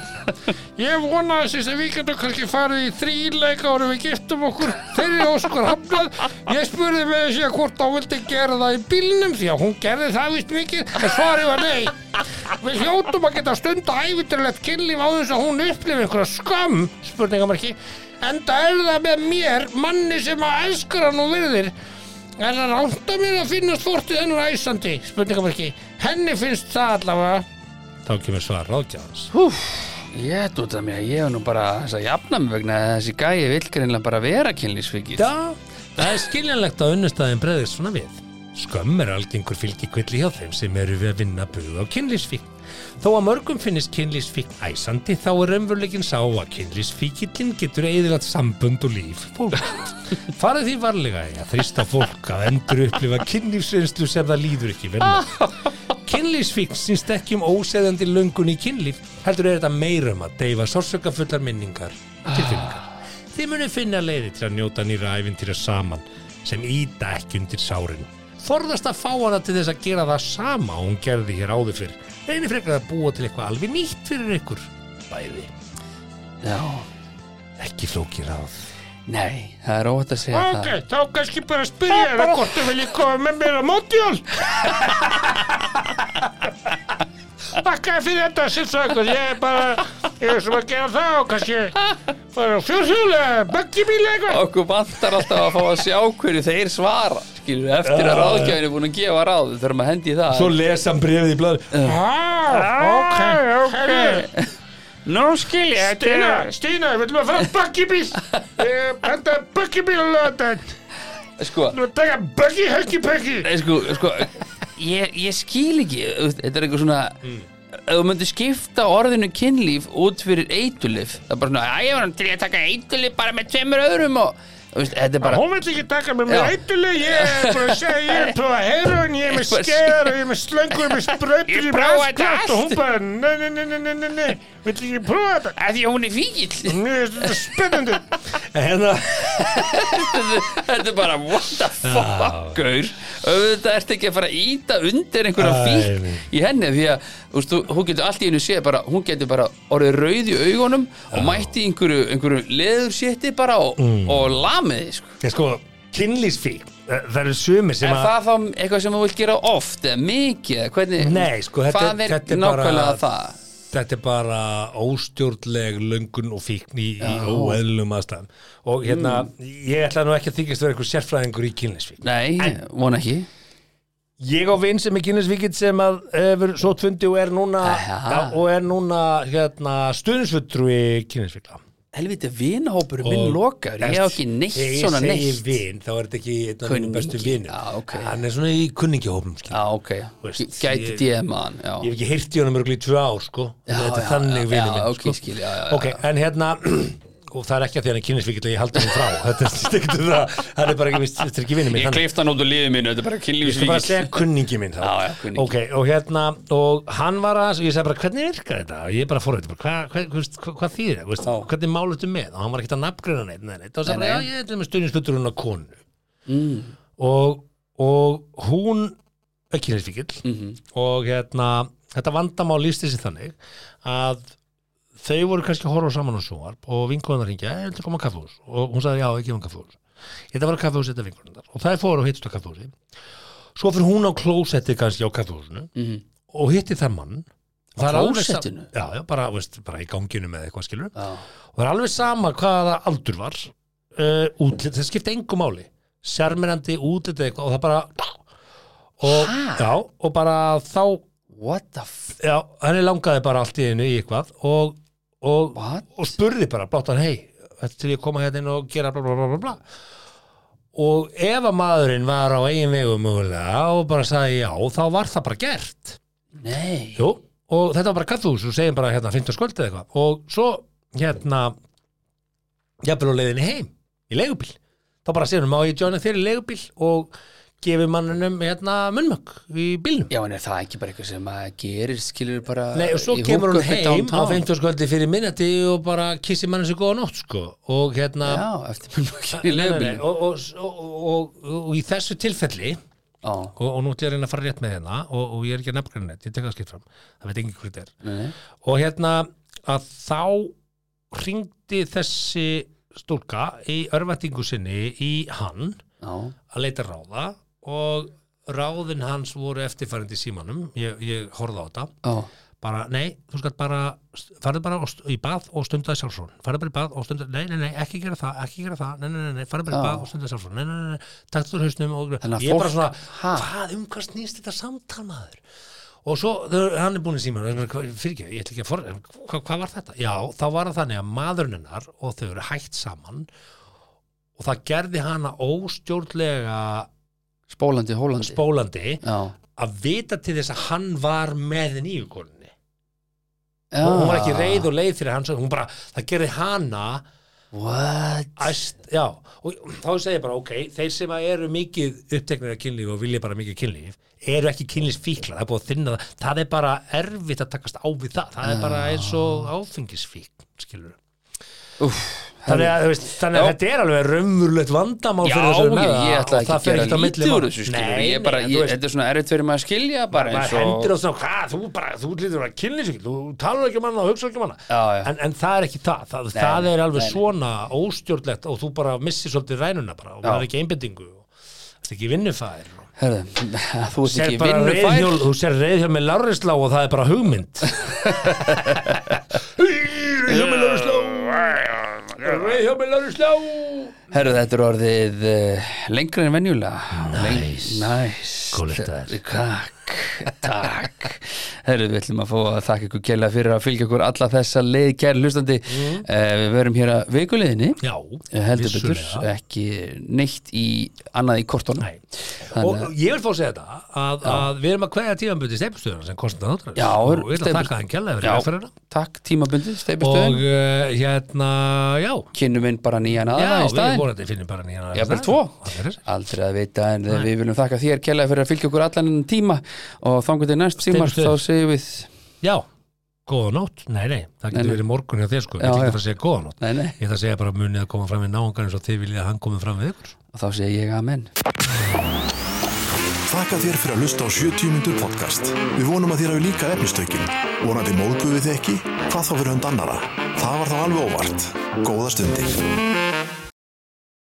Speaker 6: Ég vona að þess að við getum kannski farið í þrýleika árum við giftum okkur þeirri óskar hafnað. Ég spurði með þess að hvort hún vildi gera það í bílnum því að hún gerði það vist mikið en svarið var nei. Við hljótum að geta stunda ævindurlegt kynlíf á þess að hún upplifi einhverja skam, spurningamarki, enda er það með mér, manni sem að elskar hann og virðir. Er það rátt að mér að finnast fórtið hennar æsandi, spurningamarki. Henni finnst það allavega.
Speaker 4: Þá kemur svar ráðgjafans
Speaker 5: ég dúta mig að ég hef nú bara þess að jafna mig vegna að þessi gæi vill greinlega bara vera kynlísvikið
Speaker 4: Já, það er skiljanlegt að unnustæðin breyðist svona við Skömm er algengur fylgikvilli hjá þeim sem eru við að vinna buð á kynlísfíkn. Þó að mörgum finnist kynlísfíkn æsandi þá er raunveruleikin sá að kynlísfíkillin getur eðilat sambönd og líf fólk. Farið því varlega að þrista fólk að endur upplifa kynlífsreynslu sem það líður ekki vel með. Kynlífsfíkn sínst ekki um óseðandi löngun í kynlíf, heldur er þetta meira um að deyfa sársökafullar minningar og tilfinningar. Þið munið finna leiði til að njóta nýra æfintýra saman sem íta ekki undir sárin. Forðast að fá hana til þess að gera það sama og hún gerði hér áður fyrr. Reyni frekar að búa til eitthvað alveg nýtt fyrir ykkur. Bæði,
Speaker 3: Já,
Speaker 4: ekki flóki ráð.
Speaker 3: nei, það er óhætt að segja
Speaker 6: Ok, þá kannski bara spyrja það hvort þú viljið koma með mér á mótjól Þakkaði fyrir þetta sinnsökkur, ég er bara ég er sem að gera það og kannski bara fjórhjóla, Eh, buggy bíla eitthvað
Speaker 3: það Okkur vantar alltaf að fá að sjá hverju þeir svara Skilur, eftir að ráðgjafinu er búin að gefa ráð Við þurfum að hendi í það
Speaker 4: lesa hann brefið í blöður.
Speaker 6: ah, Ok, ok Nú skil ég Stina, Stina, við viljum að fara á buggy bíl Eh, Þetta er buggy bíl að löta
Speaker 3: Sko,
Speaker 6: Nú taka buggy, huggy, puggy
Speaker 3: nei, sko, sko ég, ég skil ekki þú veist, Þetta er eitthvað svona Ef þú myndir skipta orðinu kynlíf út fyrir eitulif Það er bara svona, að ég var hann til í að taka eitulif bara með tveimur öðrum og þú veist, Þetta er bara
Speaker 6: Hún vill ekki taka með mér
Speaker 3: Já.
Speaker 6: eitthuleg, ég er bara að segja, ég er að prófa heroin, ég er með
Speaker 3: Bara
Speaker 6: skeðar og ég er með slöngur, ég er með sprautur, ég er með
Speaker 3: prófaði
Speaker 6: allt gott
Speaker 3: þetta
Speaker 6: og hún bara, nei, nei, nei, nei, nei, nei, nei, vill ekki prófa þetta.
Speaker 3: að Því að hún er fíkill
Speaker 6: Mér finnst þetta spennandi.
Speaker 4: Hérna,
Speaker 3: Þetta er bara what the fuck gaur auðvitað ert ekki að fara að íta undir einhverja
Speaker 4: Æ,
Speaker 3: fík í henni því að úst, hún getur allt í einu séð bara, hún getur bara orðið rauð í augunum og mætti í einhverju, einhverju leðursétti bara og,
Speaker 4: Mm.
Speaker 3: og lamiði sko.
Speaker 4: ég sko, kynlísfík. Það eru sumir sem
Speaker 3: er
Speaker 4: að...
Speaker 3: það þá eitthvað sem þú vilt gera oft eða mikið, eða hvernig
Speaker 4: Nei, sko, þetta-
Speaker 3: hvað er
Speaker 4: þetta er bara-
Speaker 3: nákvæmlega það
Speaker 4: Þetta er bara óstjórnleg löngun og fíkn í, í óeðlum aðstæðum. Og hérna,
Speaker 3: Mm.
Speaker 4: ég ætla nú ekki að þykjast að vera einhver sérfræðingur í kynlísfík.
Speaker 3: Nei, vona ekki
Speaker 4: Ég á vinn sem er kynlisvíkitt sem að hefur svo tvundi og er núna
Speaker 3: Aha.
Speaker 4: ja, og er núna hérna, stuðnisfulltrúi kynlisvíkla
Speaker 3: Helviti, vinahópur er minn
Speaker 4: Og-
Speaker 3: lokaður Ég hef ekki neitt svona
Speaker 4: Þegar ég segi
Speaker 3: neitt
Speaker 4: vinn, þá er þetta ekki einn af mínum
Speaker 3: Kunningi,
Speaker 4: bestu vinnum
Speaker 3: já, ok.
Speaker 4: Hann er svona í kunningjahópum skil.
Speaker 3: Já,
Speaker 5: Ah,
Speaker 3: ok,
Speaker 4: veist,
Speaker 3: gæti
Speaker 4: ég-
Speaker 3: DM-an
Speaker 4: Ég hef ekki heyrt í honum örgulega í tvö ár sko.
Speaker 3: Já, já,
Speaker 4: Þetta er þannig
Speaker 3: já,
Speaker 4: vinnum
Speaker 3: já,
Speaker 4: minn
Speaker 3: ok,
Speaker 4: sko.
Speaker 3: skil, já, já, já.
Speaker 4: Ok, en hérna og það er ekki að því að hann er kynlisvíkitt að ég haldi hann frá Þetta er stikkt um það, hann er bara ekki, þetta er ekki vinnum minn
Speaker 5: Ég
Speaker 4: hann-
Speaker 5: kleifta hann út úr liðið mínu, þetta er bara
Speaker 4: Ég skal bara
Speaker 5: kynlífsvíkil
Speaker 4: segja kunningi minn þá
Speaker 5: Já, já, kunningi.
Speaker 4: Ok, og hérna, og hann var að ég segi bara, hvernig virkar þetta? Og ég bara fór þetta, bara, hvað, hvað, hvað, hvað, hvað þýðir þetta? Veist, Hvernig málu þetta með? Og hann var ekkert að nafngreina neitt, nei, neitt og sagði bara, já, ég ætlum með stundinslutturinn á konu mm. og, og hún er kynlífsvíkill og hérna, þetta vandamál lísti sér þannig að þau voru kannski að horfa saman á sjónvarp og vinkonar hringja, ég ætlum að koma á kaffús og hún sagði, já, ekki um kaffús ég ætla að fara á kaffús, þetta vinkonar og það er fóru og hittust á kaffúsi svo fyrir hún á klósetti kannski á kaffúsinu og hitti það mann Það er alveg sa-
Speaker 3: klósettinu?
Speaker 4: Já, já, bara, veist, bara í ganginum eða eitthvað skilur og það er alveg sama hvaða aldur var uh, útlit, það skipti engu máli sérmerandi útlit eða eitthvað og það bara og, já, og bara þá
Speaker 3: What the fuck
Speaker 4: já, henni langaði bara allt í einu í eitthvað og, og,
Speaker 3: What?
Speaker 4: og spurði bara bláttan hei, þetta er til ég að koma hérna inn og gera bla bla bla bla bla og ef að maðurinn var á eigin vegum mögulega og bara sagði já, þá var það bara gert
Speaker 3: Nei
Speaker 4: Jú, og þetta var bara kaffús og segjum bara hérna 15 skvöld eða eitthvað og svo hérna jafnvel á leiðinni heim í leigubíl þá bara segjum má ég joina þér í leigubíl og gefi mannunum hérna munnmögg í bílnum
Speaker 3: Já, en er það ekki bara eitthvað sem að gerir skilur bara
Speaker 4: Nei, og svo
Speaker 3: í
Speaker 4: kemur hún
Speaker 3: húkuppi
Speaker 4: heim á
Speaker 3: downtown?
Speaker 4: 50 skvöldi fyrir minnati og bara kissi mann sér góða nótt, sko. Og hérna...
Speaker 3: Já, eftir mjög mjög í
Speaker 4: Nei, nei, nei,
Speaker 3: lögbílum
Speaker 4: Og, og, og, og, og, og í þessu tilfelli,
Speaker 3: Já,
Speaker 4: og, og nú ætlum ég að reyna að fara rétt með hérna, og, og ég er ekki að nefngrænni neitt, ég tek að skipt fram, það veit engin hvað þetta er.
Speaker 3: nei, nei.
Speaker 4: Og hérna, að þá hringdi þessi stúlka í örvætingu sinni í hann
Speaker 3: já,
Speaker 4: að leita ráða og ráðin hans voru eftirfærandi í símanum, ég, ég horfði á þetta
Speaker 3: já
Speaker 4: bara, nei, þú skalt bara farðu bara og st- í bað og stundaði sjálfsvon farðu bara í bað og stundaði, nei, nei, nei, ekki gera það ekki gera það, nei, nei, nei, nei, farðu bara í
Speaker 3: Já.
Speaker 4: bað og stundaði sjálfsvon nei, nei, nei, nei, takk þú hausnum og
Speaker 3: Þannig að
Speaker 4: ég er bara
Speaker 3: fólk-
Speaker 4: svona,
Speaker 3: Ha?
Speaker 4: hvað, um hvað snýst þetta samtal maður og svo, þau, hann er búin í síman fyrir ekki, ég ætla ekki að for hvað, hvað var þetta? Já, þá var það þannig að maðurinn hennar og þau eru hægt saman og það gerði hana óstjórnlega
Speaker 5: Spólandi, Hólandi
Speaker 4: Spólandi
Speaker 5: Já,
Speaker 4: að vita til þess að hann var með nýju konunni
Speaker 5: já.
Speaker 4: og hún var ekki reið og leið fyrir hans hún bara, það gerði hana
Speaker 5: What?
Speaker 4: æst, já, og þá segi ég bara ok, þeir sem að eru mikið uppteknir af kynlíf og vilja bara mikið kynlíf eru ekki kynlífsfíklar, það er búið að þinna það það er bara erfitt að takast á við það það er bara eins og áfengisfík skilur
Speaker 5: Úff,
Speaker 4: Þannig að, þú veist, þannig að
Speaker 5: Já.
Speaker 4: þetta er alveg raumurlegt vandamál
Speaker 5: Já,
Speaker 4: fyrir
Speaker 5: ég,
Speaker 4: þessu með
Speaker 5: ég ætla ekki
Speaker 4: það
Speaker 5: að
Speaker 4: fer
Speaker 5: gera
Speaker 4: ekkert á milli
Speaker 5: lítið úr
Speaker 4: mála.
Speaker 5: þessu skilur
Speaker 4: Nei,
Speaker 5: ég bara,
Speaker 4: nei, en þú
Speaker 5: ég,
Speaker 4: veist,
Speaker 5: þetta er svona erfitt fyrir maður að skilja bara eins
Speaker 4: maður hendur
Speaker 5: og
Speaker 4: á svona, hvað, þú bara, þú lítur að kynlísvík, þú talar ekki um hana og hugsar ekki um hana
Speaker 5: Já, já.
Speaker 4: En, en það er ekki það, það, það er alveg
Speaker 5: nei, nei.
Speaker 4: svona óstjórnlegt og þú bara missir svolítið rænuna bara og maður er ekki einbendingu og það er ekki vinnufæðir
Speaker 5: Herðu, þú ert
Speaker 4: Sér
Speaker 5: ekki
Speaker 4: bara
Speaker 5: vinnufær
Speaker 4: reyðhjól, þú sér reyðhjól með Lárislá og það er bara hugmynd Reyðhjól með Lárislá Reyðhjól með Lárislá
Speaker 5: Herðu, þetta er orðið uh, lengra en venjulega Næs Næs
Speaker 4: Góðlegt
Speaker 5: Takk, takk Herðu, við ætlum að fá að þakka ykkur kjærlega fyrir að fylgja ykkur alla þessa leið kæri hlustandi mm. Við verum hér að veikuleiðinni
Speaker 4: Já,
Speaker 5: heldur betur,
Speaker 4: vissulega.
Speaker 5: ekki neitt í annað í kortónum
Speaker 4: Nei. og ég vil fá að segja þetta að, að við erum að kveðja tímanbundi steipustöðuna sem kostnaði þáttarins
Speaker 5: Já,
Speaker 4: og ég vil að
Speaker 5: Steypu-
Speaker 4: þakka hann kjærlega fyrir
Speaker 5: Já.
Speaker 4: aðferðina
Speaker 5: Takk, tímabundið,
Speaker 4: og
Speaker 5: steipustöðin
Speaker 4: uh, hérna, já
Speaker 5: Kynnum inn bara nýjan
Speaker 4: já,
Speaker 5: aðan í
Speaker 4: við
Speaker 5: staðinn
Speaker 4: vonandi finnum bara nýjan aðeins
Speaker 5: Jafnvel
Speaker 4: staðinn.
Speaker 5: tvo.
Speaker 4: Það er þessi.
Speaker 5: Aldrei að vita en við viljum þakka þér kjærlega fyrir að fylgja okkur allan en tíma og þangur til næst símar þá
Speaker 4: Steypustuð.
Speaker 5: segjum við
Speaker 4: já, góða nótt, nei, nei það
Speaker 5: Nei,
Speaker 4: getur
Speaker 5: nei.
Speaker 4: verið morgun hjá þér sko
Speaker 5: Já,
Speaker 4: ég ætla
Speaker 5: já.
Speaker 4: ekki að fara að segja góða nótt
Speaker 5: Nei, nei,
Speaker 4: ég ætla að segja bara munið að koma fram við náungar eins og þið viljið að hann komið fram við ykkur sko.
Speaker 5: og þá segi ég amen
Speaker 2: Þakka þér fyrir að hlusta á 70 mínútur podcast. Við vonum að þér hafi líka efnistökin. Vonandi móðguðu þið ekki? Hvað þá fyrir hund annara? Það var þá alveg óvart. Góða stundir.